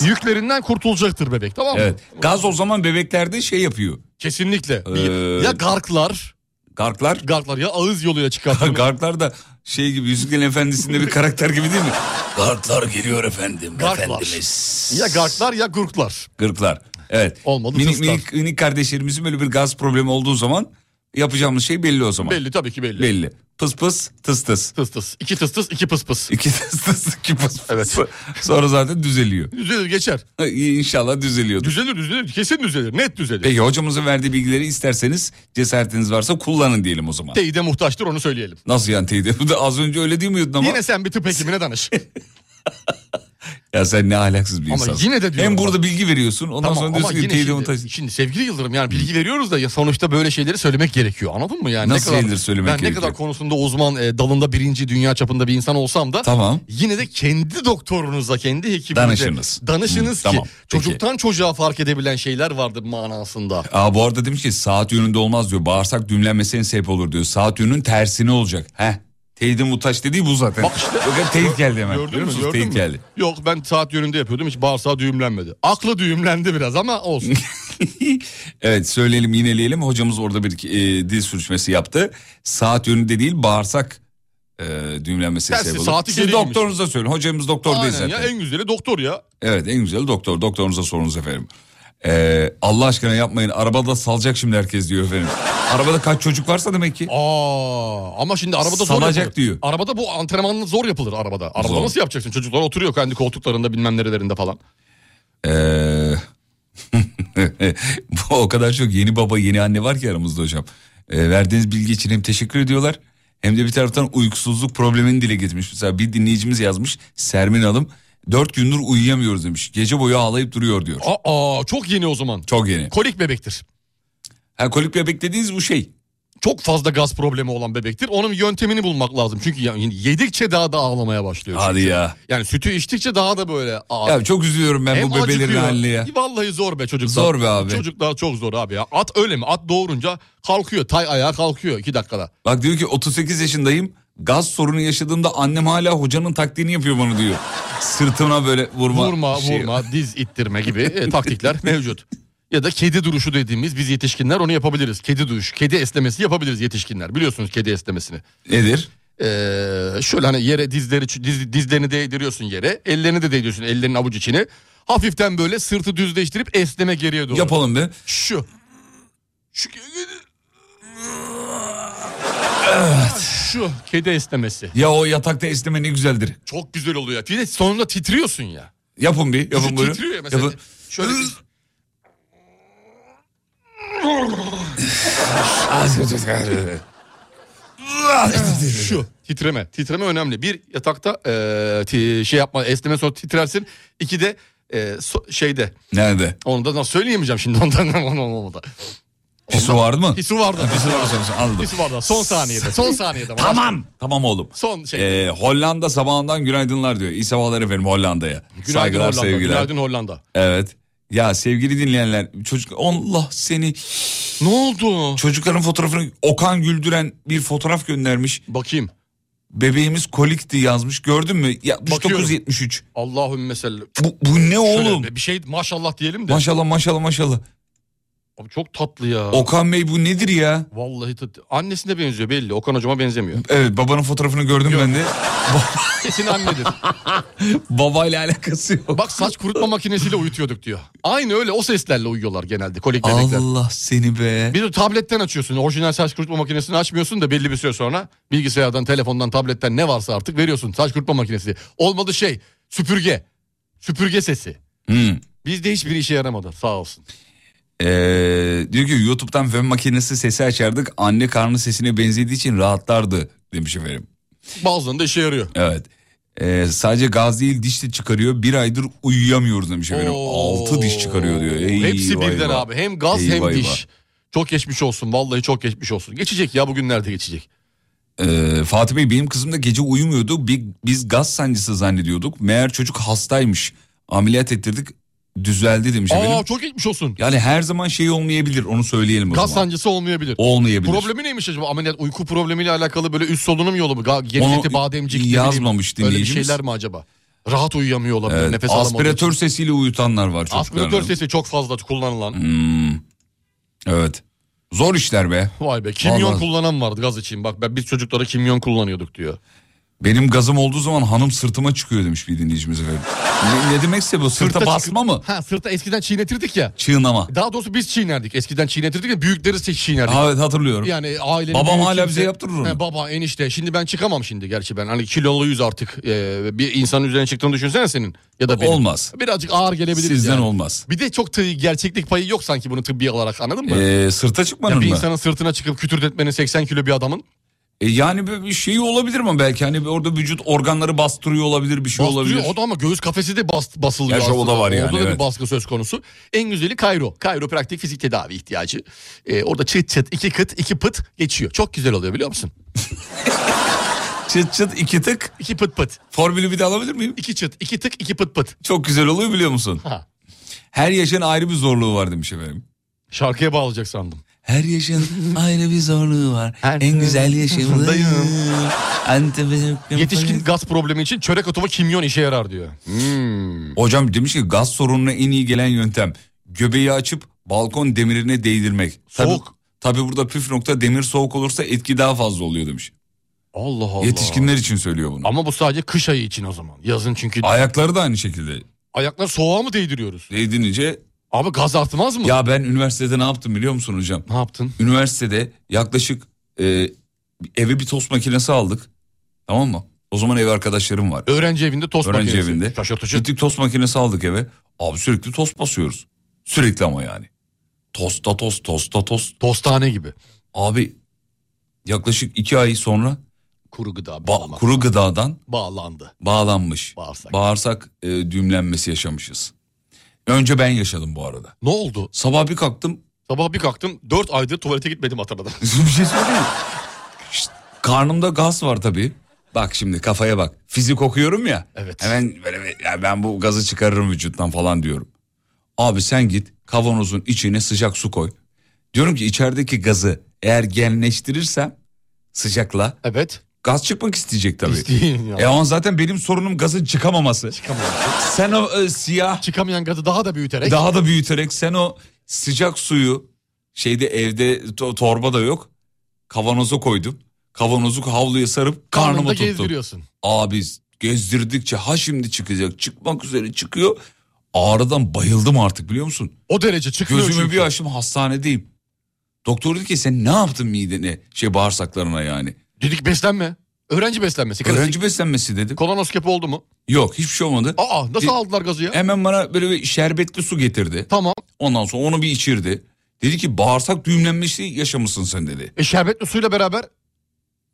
Yüklerinden kurtulacaktır bebek tamam mı? Evet. Gaz o zaman bebeklerde şey yapıyor. Kesinlikle. Ee, Ya garklar, Garklar. garklar ya ağız yoluyla çıkartılır. Garklar da şey gibi Yüzüklerin Efendisi'nde bir karakter gibi değil mi? Garklar geliyor efendim. Garklar. Efendimiz. ya garklar ya gurklar. Gırklar. Evet. Olmadı minik, tıslar. minik, minik kardeşlerimizin böyle bir gaz problemi olduğu zaman yapacağımız şey belli o zaman. Belli tabii ki belli. Belli. Pıs pıs tıs tıs. Tıs tıs. İki tıs tıs, iki pıs pıs. İki tıs tıs iki pıs pıs. Evet. Sonra zaten düzeliyor. Düzelir geçer. İnşallah düzeliyordur. Düzelir düzelir. Kesin düzelir. Net düzelir. Peki hocamızın verdiği bilgileri isterseniz cesaretiniz varsa kullanın diyelim o zaman. Teyide muhtaçtır onu söyleyelim. Nasıl yani teyit? Bu da az önce öyle değil miyordun ama? Yine sen bir [laughs] tıp hekimine danış. Ya sen ne ahlaksız bir Ama insansın. yine de diyorum Hem burada bak. bilgi veriyorsun ondan Tamam, sonra ama diyorsun ki yine teyit şimdi, muhtaç. şimdi sevgili Yıldırım yani bilgi veriyoruz da ya sonuçta böyle şeyleri söylemek gerekiyor. Anladın mı yani? Nasıl şeyleri söylemek ben gerekiyor? ne kadar konusunda uzman e, dalında birinci dünya çapında bir insan olsam da Tamam. yine de kendi doktorunuza, kendi hekiminize Danışınız. Hı, danışınız ki tamam, peki. çocuktan çocuğa fark edebilen şeyler vardır manasında. Aa, bu arada demiş ki saat yönünde olmaz diyor. Bağırsak düğümlenmesine sebep olur diyor. Saat yönünün tersine olacak. Heh. Teyidin mutaç dediği bu zaten. Bak işte. Yok, hep teyit geldi hemen. Gördün Görüyor mü? musunuz? Gördün Teyit mü? geldi. Yok ben saat yönünde yapıyordum hiç bağırsağı düğümlenmedi. Aklı düğümlendi biraz ama olsun. evet söyleyelim yineleyelim. Hocamız orada bir e, dil sürüşmesi yaptı. Saat yönünde değil bağırsak e, düğümlenmesine Tersi, sebep olur. saati Siz geriymiş. doktorunuza söyleyin. Hocamız [laughs] doktor değil Aynen zaten. ya en güzeli doktor ya. Evet en güzel doktor. Doktorunuza sorunuz efendim. Ee, Allah aşkına yapmayın. Arabada salacak şimdi herkes diyor efendim. Arabada kaç çocuk varsa demek ki. Aa ama şimdi arabada zor Salacak yapılır. diyor. Arabada bu antrenmanlı zor yapılır arabada. Arabada Zor. nasıl yapacaksın? Çocuklar oturuyor kendi koltuklarında bilmem nerelerinde falan. Ee, [laughs] bu o kadar çok yeni baba yeni anne var ki aramızda hocam. Ee, verdiğiniz bilgi için hem teşekkür ediyorlar hem de bir taraftan uykusuzluk problemini dile getirmiş. Mesela bir dinleyicimiz yazmış Sermin Hanım. Dört gündür uyuyamıyoruz demiş. Gece boyu ağlayıp duruyor diyor. Aa çok yeni o zaman. Çok yeni. Kolik bebektir. Ha, kolik bebek dediğiniz bu şey. Çok fazla gaz problemi olan bebektir. Onun yöntemini bulmak lazım. Çünkü ya- yedikçe daha da ağlamaya başlıyor. Hadi ya. Yani sütü içtikçe daha da böyle ağır. E, Ya çok üzülüyorum ben bu bebelerin haline ya. Vallahi zor be çocuklar. Zor be abi. Çocuklar çok zor abi ya. At öyle mi? At doğurunca kalkıyor. Tay ayağa kalkıyor iki dakikada. Bak diyor ki 38 yaşındayım. Gaz sorunu yaşadığımda annem hala hocanın taktiğini yapıyor bana diyor. Sırtına böyle vurma. Vurma şey- vurma diz ittirme gibi [laughs] e, taktikler mevcut. Ya da kedi duruşu dediğimiz biz yetişkinler onu yapabiliriz. Kedi duruş, kedi esnemesi yapabiliriz yetişkinler. Biliyorsunuz kedi esnemesini. Nedir? Ee, şöyle hani yere dizleri diz- dizlerini değdiriyorsun yere. Ellerini de değdiriyorsun ellerinin avuç içine. Hafiften böyle sırtı düzleştirip esneme geriye doğru. Yapalım be. Şu. Şu ke- Şu kedi esnemesi. Ya o yatakta esneme ne güzeldir. Çok güzel oluyor. Bir de sonunda titriyorsun ya. Yapın bir. Yapın Şu buyurun. titriyor ya mesela. Yapın. Şöyle bir- [laughs] şu titreme. Titreme önemli. Bir yatakta e, ti- şey yapma esneme sonra titrersin. İki de e, so- şeyde Nerede? onu da nasıl söyleyemeyeceğim şimdi [laughs] ondan onu onu da. Pisu vardı mı? Pisu vardı. Pisu vardı. sanırım. Anladım. Pisi vardı. Son saniyede. Son saniyede. Tamam. Tamam oğlum. Son şey. Ee, Hollanda sabahından günaydınlar diyor. İyi sabahlar efendim Hollanda'ya. Saygılar Hollanda. sevgiler. Günaydın Hollanda. Evet. Ya sevgili dinleyenler çocuk Allah seni Ne oldu? çocukların fotoğrafını Okan Güldüren bir fotoğraf göndermiş. Bakayım. Bebeğimiz kolikti yazmış gördün mü? Bakıyorum. 7973. Allahümme sellem. Bu, bu ne oğlum? Şöyle bir şey maşallah diyelim de. Maşallah maşallah maşallah. Abi çok tatlı ya. Okan Bey bu nedir ya? Vallahi tat- annesine benziyor belli. Okan hocama benzemiyor. Evet babanın fotoğrafını gördüm ben de. [laughs] Kesin annedir. [laughs] Babayla alakası yok. Bak saç kurutma makinesiyle uyutuyorduk diyor. Aynı öyle o seslerle uyuyorlar genelde kolik bebekler. Allah seni be. Bir de tabletten açıyorsun. Orijinal saç kurutma makinesini açmıyorsun da belli bir süre sonra bilgisayardan, telefondan, tabletten ne varsa artık veriyorsun saç kurutma makinesi. Olmadı şey süpürge. Süpürge sesi. Hmm. Bizde hiçbir işe yaramadı sağ olsun. Ee, diyor ki YouTube'dan fön makinesi sesi açardık. Anne karnı sesine benzediği için rahatlardı demiş efendim. Bazen de işe yarıyor. Evet. Ee, sadece gaz değil diş de çıkarıyor. Bir aydır uyuyamıyoruz demiş efendim. Oo. Altı diş çıkarıyor diyor. Ey Hepsi vay birden vay. abi. Hem gaz hem Eyvah, diş. eyvah. Çok geçmiş olsun. Vallahi çok geçmiş olsun. Geçecek ya bugünlerde geçecek. Ee, Fatih Bey benim kızım da gece uyumuyordu. Bi- Biz gaz sancısı zannediyorduk. Meğer çocuk hastaymış. Ameliyat ettirdik. Düzeldi demiş Aa efendim. çok geçmiş olsun. Yani her zaman şey olmayabilir. Onu söyleyelim o Gaz zaman. sancısı olmayabilir. Olmayabilir. Problemi neymiş acaba? Ameliyat uyku problemiyle alakalı böyle üst solunum yolu mu? Ga- Onu Gevşeti, bademcik ne bileyim, yazmamış Öyle bir dinleyicimiz. şeyler mi acaba? Rahat uyuyamıyor olabilir. Evet, nefes alamadığı için. aspiratör sesiyle uyutanlar var çocuklarına. Aspiratör sesi çok fazla kullanılan. Hmm. Evet. Zor işler be. Vay be kimyon Vallahi. kullanan vardı gaz için. Bak ben biz çocuklara kimyon kullanıyorduk diyor. Benim gazım olduğu zaman hanım sırtıma çıkıyor demiş bir dinleyicimiz efendim. Ne, ne demekse bu sırta, çıkıp- basma mı? Ha sırta eskiden çiğnetirdik ya. Çığınama. Daha doğrusu biz çiğnerdik. Eskiden çiğnetirdik de büyükleri se- çiğnerdik. Ha, Evet hatırlıyorum. Yani ailenin Babam büyüğü hala kimse- bize yaptırır onu. He, baba enişte. Şimdi ben çıkamam şimdi gerçi ben. Hani kiloluyuz artık. Ee, bir insanın üzerine çıktığını düşünsene senin. Ya da benim. Olmaz. Birazcık ağır gelebiliriz Sizden yani. olmaz. Bir de çok tı- gerçeklik payı yok sanki bunu tıbbi olarak anladın mı? Ee, sırta Ya çıkmanın bir mı? insanın sırtına çıkıp kütürdetmenin 80 kilo bir adamın E, yani böyle bir şey olabilir mi belki? Hani orada vücut organları bastırıyor olabilir bir şey Bastırıyor. olabilir. O da ama göğüs kafesi de bas, basılıyor Gerçi o da aslında. var yani, Orada da evet. bir baskı söz konusu. En güzeli Kayro. Kayro praktik fizik tedavi ihtiyacı. Ee, orada çıt çıt iki kıt iki pıt geçiyor. Çok güzel oluyor biliyor musun? [laughs] Çıt çıt iki tık. İki pıt pıt. Formülü bir de alabilir miyim? iki çıt iki tık iki pıt pıt. Çok güzel oluyor biliyor musun? Ha. Her yaşın ayrı bir zorluğu var demiş efendim. Şarkıya bağlayacak sandım. Her yaşın ayrı bir zorluğu var. Her- en güzel yaşımdayım. Yetişkin gaz problemi için çörek otu ve kimyon işe yarar diyor. Hmm. Hocam demiş ki gaz sorununa en iyi gelen yöntem göbeği açıp balkon demirine değdirmek. Soğuk. Tabi burada püf nokta demir soğuk olursa etki daha fazla oluyor demiş. Allah Allah. Yetişkinler için söylüyor bunu. Ama bu sadece kış ayı için o zaman. Yazın çünkü Ayakları da aynı şey. şekilde ayaklar soğuğa mı değdiriyoruz? değdirince Abi gaz artmaz mı? ya ben üniversitede ne yaptım biliyor musun hocam? Ne yaptın? Üniversitede yaklaşık e, eve bir tost makinesi aldık tamam mı? O zaman ev arkadaşlarım var. Öğrenci evinde tost Öğrenci makinesi. evinde. Şaşırtıcı. Gittik tost makinesi aldık eve. Abi sürekli tost basıyoruz. Sürekli ama yani. Tosta tost, tosta tost. Tostane gibi. Abi yaklaşık iki ay sonra Kuru gıda ba- bağlama- kuru gıdadan bağlandı. bağlanmış. Bağırsak. Bağırsak e, düğümlenmesi yaşamışız. Önce ben yaşadım bu arada. Ne oldu? Sabah bir kalktım. Sabah bir kalktım 4 aydır tuvalete [laughs] gitmedim hatırladım. bir şey söyleyeyim mi? Şşt, karnımda gaz var tabii. Bak şimdi kafaya bak. Fizik okuyorum ya. Evet. Hemen böyle bir- ya ben bu gazı çıkarırım vücuttan falan diyorum. Abi sen git kavanozun içine sıcak su koy. Diyorum ki içerideki gazı eğer genleştirirsem sıcakla Evet. gaz çıkmak isteyecek tabii. İsteyin ya. E ama zaten benim sorunum gazın çıkamaması. Çıkamayan- Sen o e, siyah Çıkamayan gazı daha da büyüterek. daha da büyüterek sen o sıcak suyu şeyde evde to- torba da yok kavanoza koydum. Kavanozu havluya sarıp karnında karnımı tuttum. gezdiriyorsun. Abi gezdirdikçe ha şimdi çıkacak çıkmak üzere çıkıyor. Ağrıdan bayıldım artık biliyor musun? O derece çıkmıyor Gözümü çünkü. bir açtım hastanedeyim. Doktor dedi ki sen ne yaptın midene şey bağırsaklarına yani. Dedik beslenme. Öğrenci beslenmesi. Klasik. Öğrenci beslenmesi dedim. Kolonoskopi oldu mu? Yok hiçbir şey olmadı. Aa nasıl Bir- aldılar gazı ya? Hemen bana böyle bir şerbetli su getirdi. Tamam. Ondan sonra onu bir içirdi. Dedi ki bağırsak düğümlenmesi yaşamışsın sen dedi. E, şerbetli suyla beraber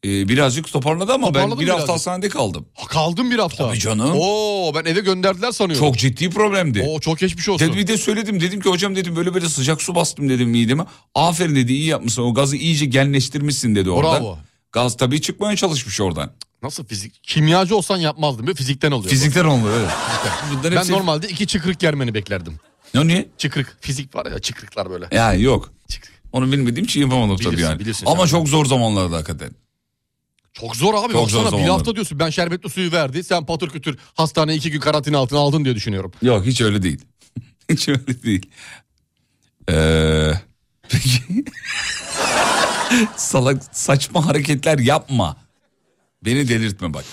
Ee, birazcık toparladı ama ben Toparladı bir mı hafta birazcık? hastanede kaldım. ha, kaldım bir hafta. Tabii canım. Oo ben eve gönderdiler sanıyorum. Çok ciddi problemdi. Oo çok geçmiş olsun. Dedi bir de söyledim dedim ki hocam dedim böyle böyle sıcak su bastım dedim mideme. Aferin dedi iyi yapmışsın o gazı iyice genleştirmişsin dedi oradan. Bravo. Gaz tabii çıkmaya çalışmış oradan. Nasıl fizik? Kimyacı olsan yapmazdım. Böyle fizikten oluyor. Fizikten oldu öyle. Bunlar Ben hepsi- normalde iki çıkrık yermeni beklerdim. Ne niye? Çıkrık. Fizik var ya çıkrıklar böyle. Ya yok. Çıkrık. Onu bilmediğim için yapamadım tabii Bilirsin, yani. bilirsin Ama sen. çok zor zamanlarda hakikaten. Çok zor Çok abi. zor Baksana bir zamanlar. hafta diyorsun ben şerbetli suyu verdi. Sen patır kütür hastaneye iki gün karantina altına aldın diye düşünüyorum. Yok hiç öyle değil. [laughs] hiç öyle değil. Ee, peki. [laughs] Salak saçma hareketler yapma. Beni delirtme bak.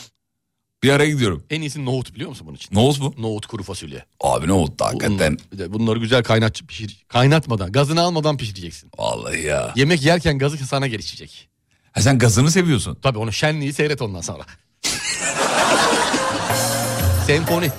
Bir ara gidiyorum. En iyisi nohut biliyor musun bunun için? Nohut mu? Nohut kuru fasulye. Abi nohut da Bunları, hakikaten. bunları güzel kaynat pişir. Kaynatmadan, gazını almadan pişireceksin. Vallahi ya. Yemek yerken gazı sana gelişecek. Ha, sen gazını seviyorsun. Tabii onu şenliği seyret [laughs] ondan sonra. Senfoni.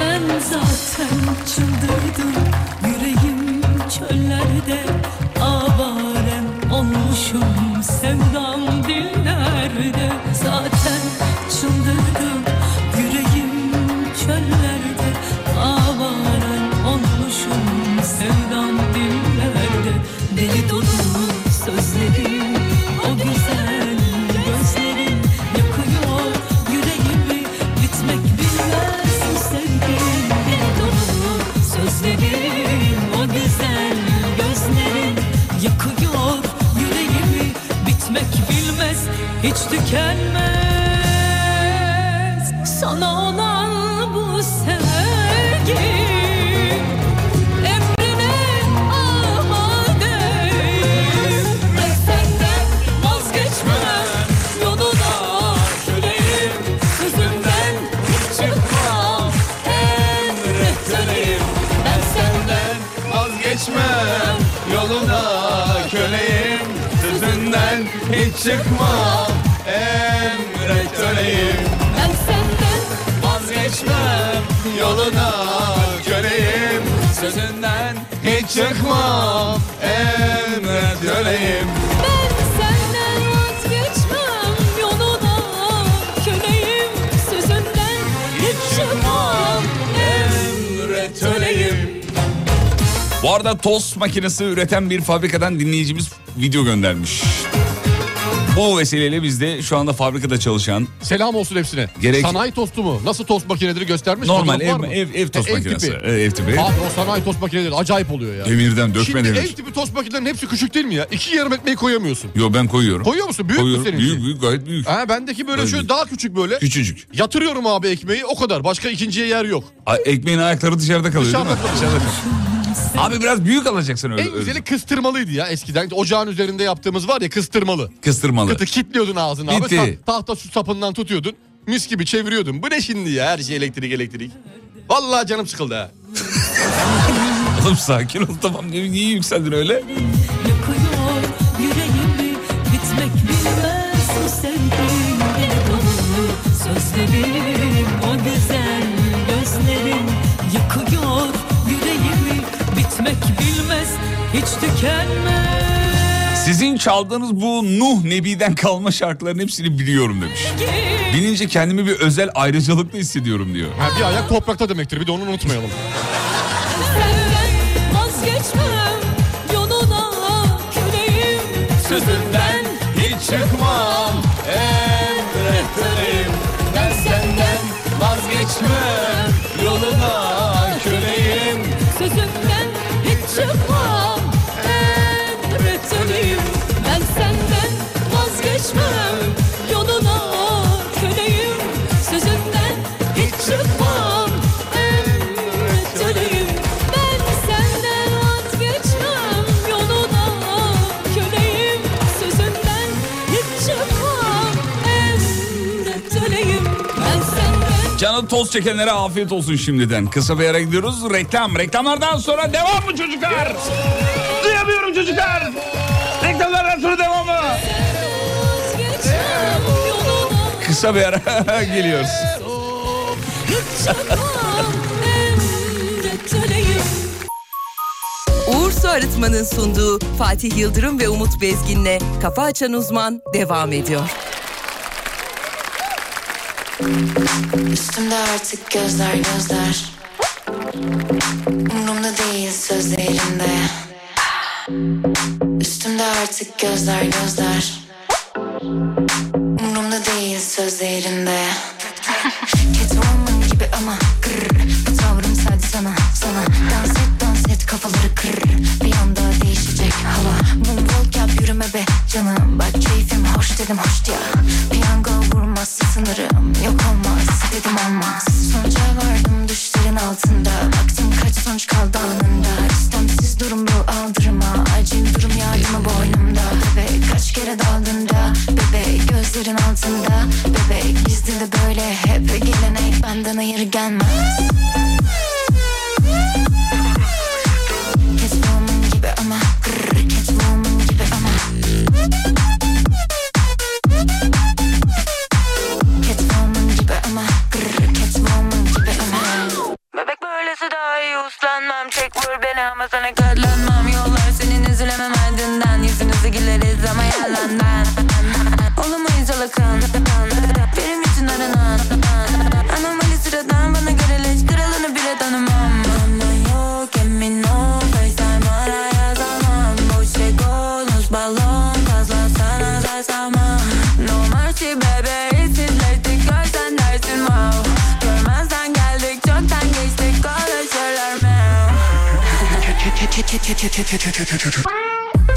Ben zaten çıldırdım Yüreğim çöllerde Avarem olmuşum Sevdam dillerde Zaten çıldırdım Yüreğim tükenmez Sana olan bu sevgi Emrine amadeyim Ben senden vazgeçmem Yoluna köleyim Sözümden hiç çıkmam Emrettireyim Ben senden Vazgeçmem yoluna köleyim Sözünden hiç çıkma emret öleyim Ben senden Vazgeçmem yoluna köleyim Sözünden hiç çıkma emret öleyim Ben senden vazgeçmem yoluna köleyim sözünden hiç çıkmam Emret öleyim Bu arada tost makinesi üreten bir fabrikadan dinleyicimiz video göndermiş. Bu vesileyle biz de şu anda fabrikada çalışan Selam olsun hepsine. Gerek- Sanayi tostu mu? Nasıl tost makineleri göstermiş? normal Fotoğraf ev, var mı? ev, ev tost E, makinesi. Tipi. E, Ev tipi. Abi o sanayi tost makineleri acayip oluyor ya. Demirden dökme Şimdi ev demir. tipi tost makinelerinin hepsi küçük değil mi ya? İki yarım ekmeği koyamıyorsun. Yo ben koyuyorum. Koyuyor musun? Büyük koyuyorum. mü seninki? Büyük büyük gayet büyük. Ha, bendeki böyle Öyle şöyle büyük. daha küçük böyle. Küçücük. Yatırıyorum abi ekmeği o kadar. Başka ikinciye yer yok. A- ekmeğin ayakları dışarıda kalıyor Dışarıda değil mi? Dışarıda kalıyor. Abi biraz büyük alacaksın öyle. En güzeli kıstırmalıydı ya eskiden. Ocağın üzerinde yaptığımız var ya kıstırmalı. Kıstırmalı. Kıtı kitliyordun ağzını abi. Bitti. Ta- tahta su sapından tutuyordun. Mis gibi çeviriyordun. Bu ne şimdi ya her şey elektrik elektrik. Vallahi canım sıkıldı ha. [laughs] Oğlum sakin ol tamam. Niye, niye yükseldin öyle? yakıyor yüreğimi bitmek bilmez bu sevgin deli dolu sözlerim o güzel gözlerin yakıyor yüreğimi bitmek bilmez hiç tükenmez Sizin çaldığınız bu Nuh Nebi'den kalma şarkıların hepsini biliyorum demiş. Bilince kendimi bir özel ayrıcalıklı hissediyorum diyor. Ha, bir ayak toprakta demektir bir de onu unutmayalım. Senden vazgeçmem yoluna köleyim Sözünden hiç çıkmam emretlerim. Ben senden vazgeçmem yoluna köleyim. Sözünden hiç çıkmam Emret öleyim Ben senden vazgeçmem Yoluna köleyim Sözünden hiç çıkmam Emret öleyim Ben senden vazgeçmem Yoluna köleyim Sözünden hiç çıkmam Emret öleyim Ben senden Canı toz çekenlere afiyet olsun şimdiden. Kısa bir ara gidiyoruz. Reklam. Reklamlardan sonra devam mı çocuklar? Duyamıyorum çocuklar. Reklamlardan sonra devam mı? vazgeçmem Yoluna Kısa bir ara [laughs] geliyoruz. Uğur Su Arıtma'nın sunduğu Fatih Yıldırım ve Umut Bezgin'le Kafa Açan Uzman devam ediyor. Üstümde artık gözler gözler Umrumda değil sözlerinde Üstümde artık gözler gözler Umrumda değil sözlerinde Catwoman gibi ama kırr Bu tavrım sadece sana sana Dans et dans et kafaları kırr Bir anda değişecek hava Moonwalk yap yürüme be canım Bak keyfim hoş dedim hoş ya Piyango vurmaz sınırım Yok olmaz dedim olmaz Sonuca vardım düşlerin altında Baktım kaç sonuç kaldı alnında İstemsiz durum bu aldırma Acil durum yardımı boynumda Bebek kaç kere daldın da Bebek gözlerin altında Bebek bizde de böyle hep Gelenek benden hayır gelmez Catwoman gibi ama grrr, Catwoman gibi ama Catwoman gibi ama grrr, Catwoman gibi ama Bebek böylesi daha iyi uslanmam Çek vur beni ama sana katlanmam Yollar senin üzülemem ardından Yüzünüzü güleriz ama yalandan Olamayız alakın Benim için aranan Anomali sıradan bana göre leş Kralını bile tanımam Ama yok emin ol FaceTime araya yazamam Boş egonuz balon Fazla sana zar salmam No mercy baby İçsizleştik görsen dersin wow Görmezden geldik çoktan geçtik Konuşurlar mı?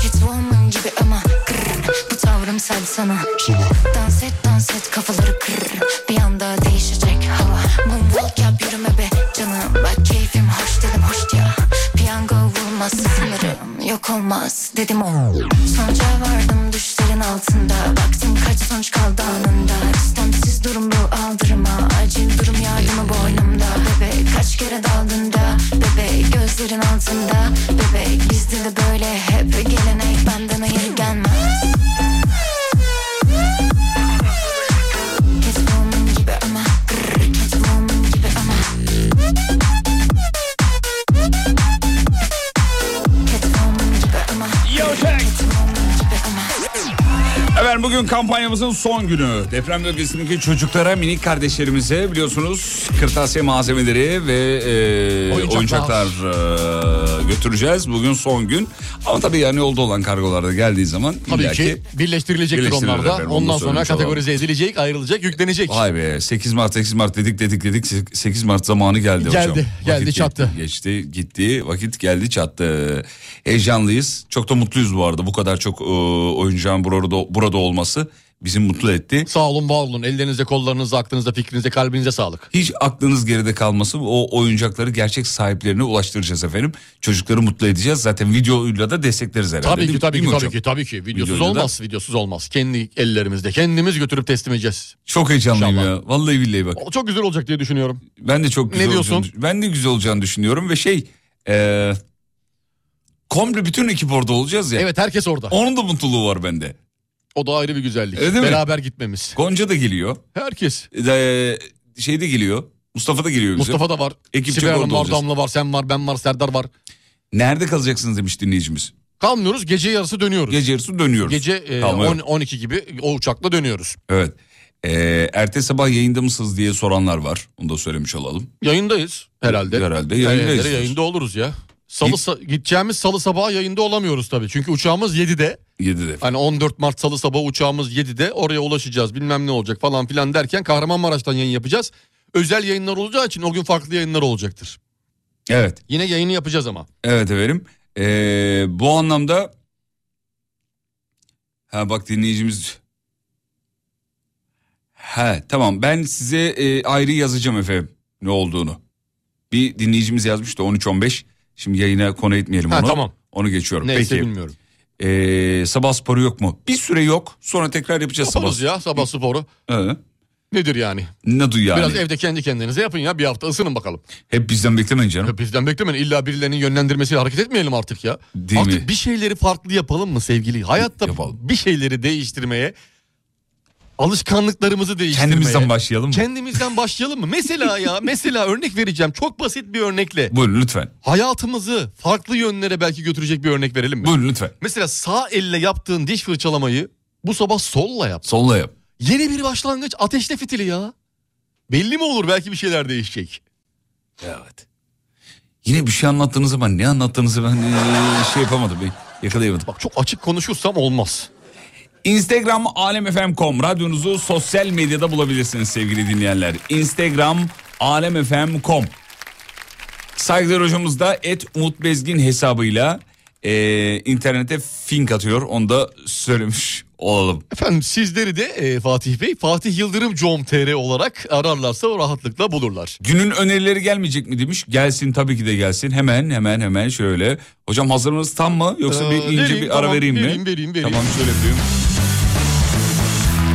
Catwoman gibi ama grrr, Bu tavrım sadece sana Dans et dans et kafaları kır Bir anda değişecek hava Moonwalk yap yürüme be canım Bak keyfim hoş dedim hoş ya Piyango vurmaz sınırım Yok olmaz dedim o Sonuca vardım düşlerin altında Baktım kaç sonuç kaldı anında İstemsiz durum bu aldırma Acil durum yardımı boynumda Bebek kaç kere daldın da Bebek gözlerin altında Bebek bizde de böyle hep Gelenek benden hayır gelmez Catwoman gibi ama grrr, Catwoman gibi ama Catwoman gibi ama Catwoman gibi ama Efendim bugün kampanyamızın son günü. Deprem bölgesindeki çocuklara, minik kardeşlerimize biliyorsunuz kırtasiye malzemeleri ve e, Oyuncaklar. oyuncaklar, e, götüreceğiz. Bugün son gün. Ama tabii yani yolda olan kargolarda geldiği zaman Tabii illaki- ki birleştirilecektir Birleştirilir onlar da. efendim, onu Ondan da sonra söylemiş olalım. kategorize edilecek, ayrılacak, yüklenecek. Vay be 8 Mart 8 Mart dedik dedik dedik 8 Mart zamanı geldi, hocam. Geldi, geldi, Vakit çattı. Geçti gitti vakit geldi çattı. Heyecanlıyız çok da mutluyuz bu arada bu kadar çok e, oyuncağın burada, burada olması bizi mutlu etti. Sağ olun, var olun. Ellerinize, kollarınıza, aklınıza, fikrinize, kalbinize sağlık. Hiç aklınız geride kalmasın. O oyuncakları gerçek sahiplerine ulaştıracağız efendim. Çocukları mutlu edeceğiz. Zaten videoyla da destekleriz herhalde. Tabii değil ki, mi? tabii Değil ki, mi tabii hocam? ki, tabii ki. Videosuz Videoyla da- olmaz, videosuz olmaz. Kendi ellerimizde, kendimiz götürüp teslim edeceğiz. Çok heyecanlıyım İnşallah. ya. Vallahi billahi bak. O çok güzel olacak diye düşünüyorum. Ben de çok güzel Ne diyorsun? olacağını- ben de güzel olacağını düşünüyorum ve şey eee komple bütün ekip orada olacağız ya. Evet, herkes orada. Onun da mutluluğu var bende. O da ayrı bir güzellik. Öyle değil mi? Beraber gitmemiz. Gonca da geliyor. Herkes. Eee, şey de geliyor. Mustafa da geliyor bize. Mustafa da var. Ekip Sibel çok Hanım orada var, olacağız. Damla var, sen var, ben var, Serdar var. Nerede kalacaksınız demiş dinleyicimiz. Kalmıyoruz, gece yarısı dönüyoruz. Gece yarısı dönüyoruz. Gece e, Kalmıyor. 10, 12 gibi o uçakla dönüyoruz. Evet. Ee, ertesi sabah yayında mısınız diye soranlar var. Onu da söylemiş olalım. Yayındayız herhalde. Herhalde yayındayız. Yayınlara Yayında oluruz ya. Salı Git- sa- gideceğimiz salı sabahı yayında olamıyoruz tabii. Çünkü uçağımız 7'de. 7'de. Hani 14 Mart salı sabahı uçağımız 7'de oraya ulaşacağız bilmem ne olacak falan filan derken Kahramanmaraş'tan yayın yapacağız. Özel yayınlar olacağı için o gün farklı yayınlar olacaktır. Evet. Yine yayını yapacağız ama. Evet efendim. Ee, bu anlamda ha bak dinleyicimiz ha tamam ben size e, ayrı yazacağım efendim ne olduğunu. Bir dinleyicimiz yazmıştı 13-15. Şimdi yayına konu etmeyelim Ha, onu. tamam. Onu geçiyorum. Neyse Peki. bilmiyorum. Ee, sabah sporu yok mu? Bir süre yok. Sonra tekrar yapacağız Yaparız sabah. ya sabah sporu. He. Nedir yani? Ne duy yani? Biraz evde kendi kendinize yapın ya bir hafta ısının bakalım. Hep bizden beklemeyin canım. Ya bizden beklemeyin illa birilerinin yönlendirmesiyle hareket etmeyelim artık ya. Değil artık mi? bir şeyleri farklı yapalım mı sevgili? Hayatta Yapalım. bir şeyleri değiştirmeye, alışkanlıklarımızı değiştirmeye. Kendimizden başlayalım mı? Kendimizden başlayalım mı? Mesela ya mesela örnek vereceğim çok basit bir örnekle. Buyurun lütfen. Hayatımızı farklı yönlere belki götürecek bir örnek verelim mi? Buyurun lütfen. Mesela sağ elle yaptığın diş fırçalamayı bu sabah solla yap. Solla yap. Yeni bir başlangıç ateşle fitili ya. Belli mi olur belki bir şeyler değişecek. Evet. Yine bir şey anlattığınız zaman ne anlattığınızı ben eee, şey yapamadım. ben Yakalayamadım. Bak çok açık konuşursam olmaz. Instagram alemfm.com radyonuzu sosyal medyada bulabilirsiniz sevgili dinleyenler. Instagram alemfm.com Saygılar hocamız da et Umut Bezgin hesabıyla eee, internete fink atıyor. Onu da söylemiş olalım. Efendim sizleri de e, Fatih Bey Fatih Yıldırım com.tr olarak ararlarsa o rahatlıkla bulurlar. Günün önerileri gelmeyecek mi demiş. Gelsin tabii ki de gelsin. Hemen hemen hemen şöyle. Hocam hazırlığınız tam mı yoksa bir Ee, ince vereyim, bir ara tamam, vereyim mi? vereyim, vereyim, vereyim. Tamam şöyle yapayım.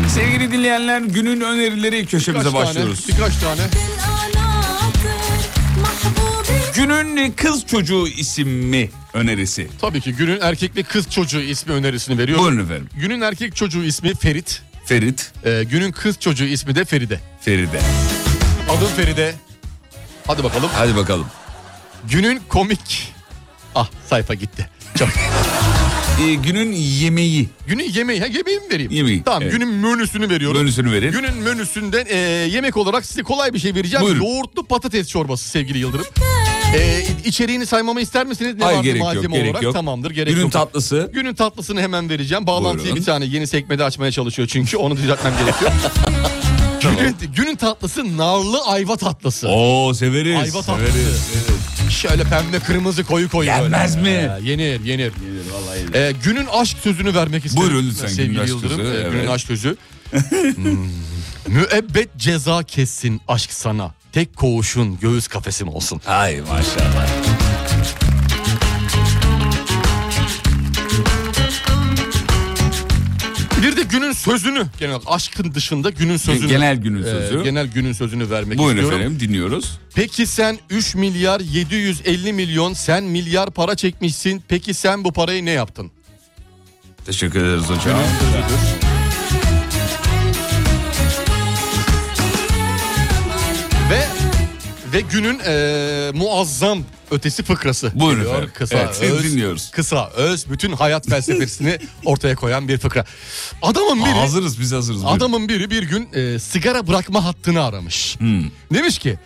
Sevgili dinleyenler günün önerileri köşemize Birkaç başlıyoruz. Tane, birkaç tane. Günün kız çocuğu isimli önerisi. Tabii ki günün erkek ve kız çocuğu ismi önerisini veriyorum. Buyurun efendim. Günün erkek çocuğu ismi Ferit. Ferit, e, günün kız çocuğu ismi de Feride. Feride. Adım Feride. Hadi bakalım. Hadi bakalım. Günün komik. Ah sayfa gitti. Çok. [laughs] Ee, günün yemeği. günün yemeği. Ha, yemeği mi vereyim? Yemeği, Tamam evet. günün menüsünü veriyorum. Menüsünü verin. Günün menüsünden e, yemek olarak size kolay bir şey vereceğim. Buyurun. Yoğurtlu patates çorbası sevgili Yıldırım. E, içeriğini saymamı ister misiniz? Ne Hayır vardı gerek malzeme yok, gerek olarak? yok. Tamamdır gerek günün yok. tatlısı. Günün tatlısını hemen vereceğim. Bağlantıyı Buyurun. bir tane yeni sekmede açmaya çalışıyor çünkü onu düzeltmem [laughs] gerekiyor. günün, günün tatlısı narlı ayva tatlısı. Oo severiz. Ayva tatlısı. severiz. Evet. Şöyle pembe kırmızı koyu koyu. Yenmez böyle. mi? Ee, yenir, yenir. Ee, günün aşk sözünü vermek istedim. Buyurun lütfen, Sevgili günün aşk Yıldırım. sözü, ee, Günün evet. [laughs] aşk sözü. Hmm. Müebbet ceza kessin aşk sana. Tek koğuşun göğüs kafesim olsun. Ay maşallah. Bir de günün sözünü genel olarak aşkın dışında günün sözünü. Genel günün ee, sözü. genel günün sözünü vermek Buyurun istiyorum. efendim dinliyoruz. Peki sen 3 milyar 750 milyon sen milyar para çekmişsin. Peki sen bu parayı ne yaptın? Teşekkür ederiz hocam. Ve ve günün eee, muazzam ötesi fıkrası. Buyurun geliyor. efendim. Kısa Evet, öz, dinliyoruz. kısa öz bütün hayat [laughs] felsefesini ortaya koyan bir fıkra. Adamın biri Hazırız biz hazırız. Buyurun. adamın biri bir gün eee, sigara bırakma hattını aramış. Hmm. Demiş ki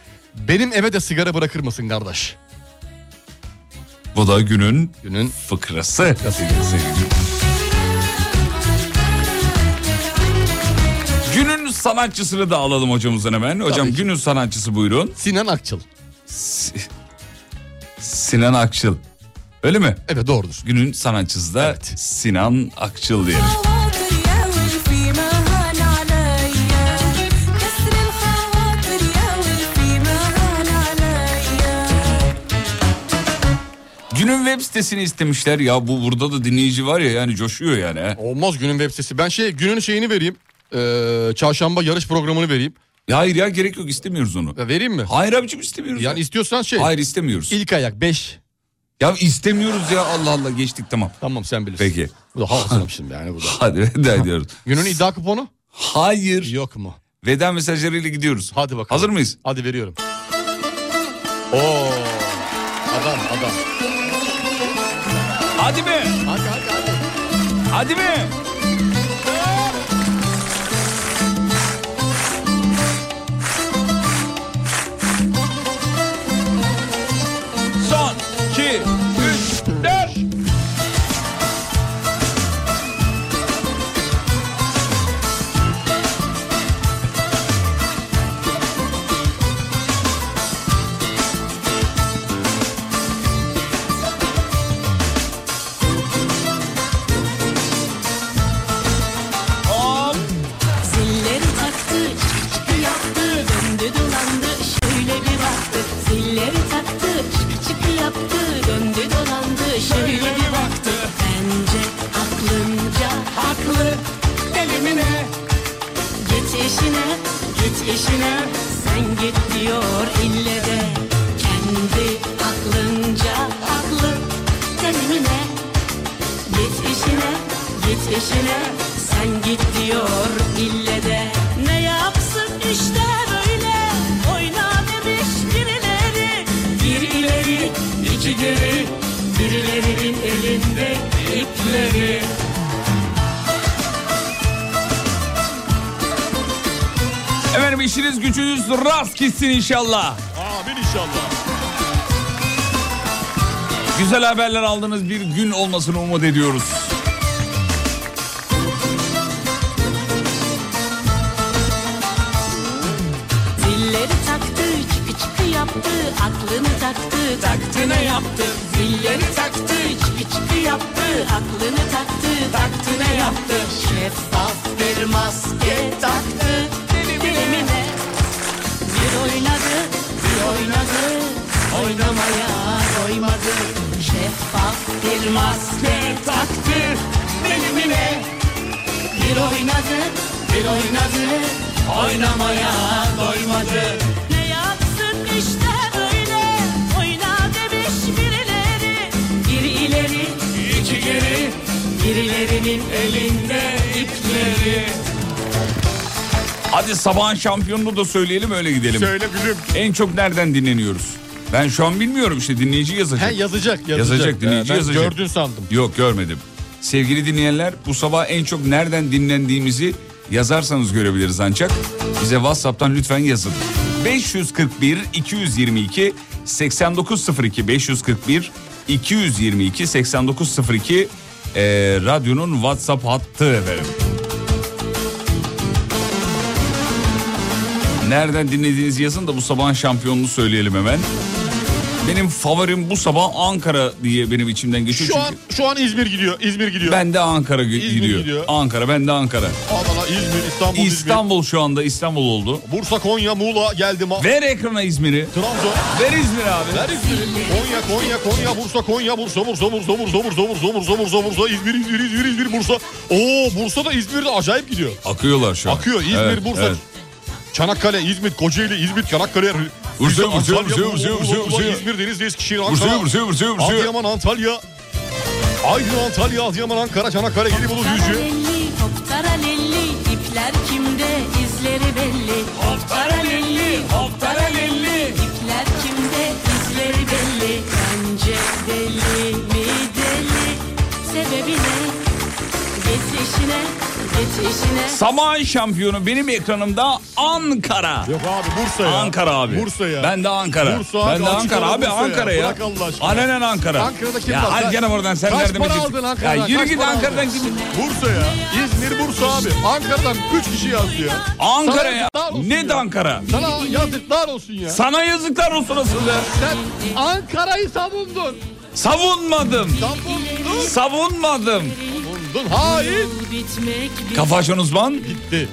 benim eve de sigara bırakır mısın kardeş? Bu da günün Günün fıkrası. Günün sanatçısını da alalım hocamızdan hemen. Hocam Tabii ki. günün sanatçısı buyurun. Sinan Akçıl. Sinan Akçıl. Öyle mi? Evet doğrudur. Günün sanatçısı da Sinan Akçıl diyelim. Günün web sitesini istemişler. Ya bu burada da dinleyici var ya yani coşuyor yani. he. Olmaz günün web sitesi. Ben şey günün şeyini vereyim. Eee, çarşamba yarış programını vereyim. Ya hayır ya gerek yok istemiyoruz onu. Ya Vereyim mi? Hayır abicim istemiyoruz. Yani ya. istiyorsan şey. Hayır istemiyoruz. İlk [laughs] ayak 5. Ya istemiyoruz ya Allah Allah geçtik tamam. Tamam sen bilirsin. Peki. Bu da havasınım şimdi yani bu da. Hadi [laughs] veda ediyoruz. Günün iddia kuponu? Hayır. Yok mu? Veda mesajlarıyla gidiyoruz. Hadi bakalım. Hazır mıyız? Hadi veriyorum. Oo. Adam adam. Hadi be. Hadi hadi hadi. Hadi be. Son 2 3 4 Zilleri taktı, çıktı yaptı, döndü dolandı, şöyle bir baktı. Zilleri taktı, çıktı yaptı, döndü dolandı, şöyle bir baktı. Bence aklınca haklı, elimine Git işine, git işine, sen git diyor ille de. Kendi aklınca haklı, elimine Git işine, git işine Sen git diyor ille de Ne yapsın işte böyle Oyna demiş birileri Bir ileri, iki geri Birilerinin elinde ipleri Efendim işiniz gücünüz rast gitsin inşallah. Amin inşallah. Güzel haberler aldığınız bir gün olmasını umut ediyoruz. Zilleri taktı, çıkı çıkı yaptı Aklını taktı, taktına yaptı Zilleri taktı, çıkı çıkı yaptı Aklını taktı, taktına yaptı Şeffaf bir maske taktı Dilimine Bir oynadı, bir oynadı Oynamaya doymadı Şeffaf bir maske taktı Dilimine bir oynadı, bir oynadı Oynamaya doymadı Ne yapsın işte böyle Oyna demiş birileri Bir ileri, iki geri Birilerinin elinde ipleri Hadi sabahın şampiyonunu da söyleyelim öyle gidelim. Söyle gülüm. En çok nereden dinleniyoruz? Ben şu an bilmiyorum işte dinleyici yazacak. He yazacak yazacak. Ee, Yazacak, dinleyici ben yazacak. Gördün sandım. Yok görmedim. Sevgili dinleyenler bu sabah en çok nereden dinlendiğimizi yazarsanız görebiliriz ancak. Bize WhatsApp'tan lütfen yazın. 541 222 8902 541 222 8902 eee, radyonun WhatsApp hattı efendim. Nereden dinlediğinizi yazın da bu sabahın şampiyonunu söyleyelim hemen. Benim favorim bu sabah Ankara diye benim içimden geçiyor. Şu çünkü an şu an İzmir gidiyor. İzmir gidiyor. ben de Ankara gü- gidiyor. gidiyor. Ankara ben de Ankara. Adana, İzmir, İstanbul, İstanbul şu anda İstanbul oldu. İzmir. Bursa, Konya, Muğla geldi. Ma- Ver ekrana İzmir'i. Trabzon. Ver İzmir abi. Ver İzmir'i. Konya, Konya, Konya, Bursa, Konya, Bursa, Bursa, Bursa, Bursa, Bursa, Bursa, Bursa, Bursa, Bursa, İzmir, İzmir, İzmir, İzmir, Bursa. Oo Bursa da İzmir'de acayip gidiyor. Akıyorlar şu an. Akıyor İzmir, Evet, Bursa. evet. Çanakkale, İzmit, Kocaeli, İzmit, Çanakkale, Rize, Bursa, Antalya, Bursa, Muğla, Bursa, Muğla, Bursa, Bursa, Muğla, Bursa. İzmir, Denizli, Eskişehir, Bursa'ya Ankara, Bursa'ya Bursa'ya Bursa'ya. Adıyaman, Antalya, Aydın, Antalya, Adıyaman, Ankara, Çanakkale, Gelibolu, Düzce. Paralelli, hop paralelli, ipler kimde, izleri belli. Hop paralelli, hop paralelli, ipler kimde, izleri belli. Bence deli mi deli, sebebi ne? Git işine, git işine. Sabahın şampiyonu benim ekranımda Ankara. Yok abi Bursa ya. Ankara abi. Bursa ya. Ben de Ankara. Bursa ben abi, de açık Ankara ara abi Bursa ya. Ankara ya. Bırak Allah aşkına. Ananın Ankara. Ankara'da kim ya var? al Kaç- gene buradan sen kaç nereden para bileceksin? aldın Ankara'dan? Ya yürü Kaç git para aldın? Ankara'dan git. Bursa ya. İzmir, Bursa abi. Ankara'dan 3 kişi yazdı ya. Ankara ya. yazıklar olsun Ne de ya. Ankara? Sana yazıklar olsun ya. Sana yazıklar olsun asıl be. Sen Ankara'yı savundun. Savunmadım. Savundun. Savunmadım. Savundun. Hain. Bitmek Kafa açan uzman Gitti.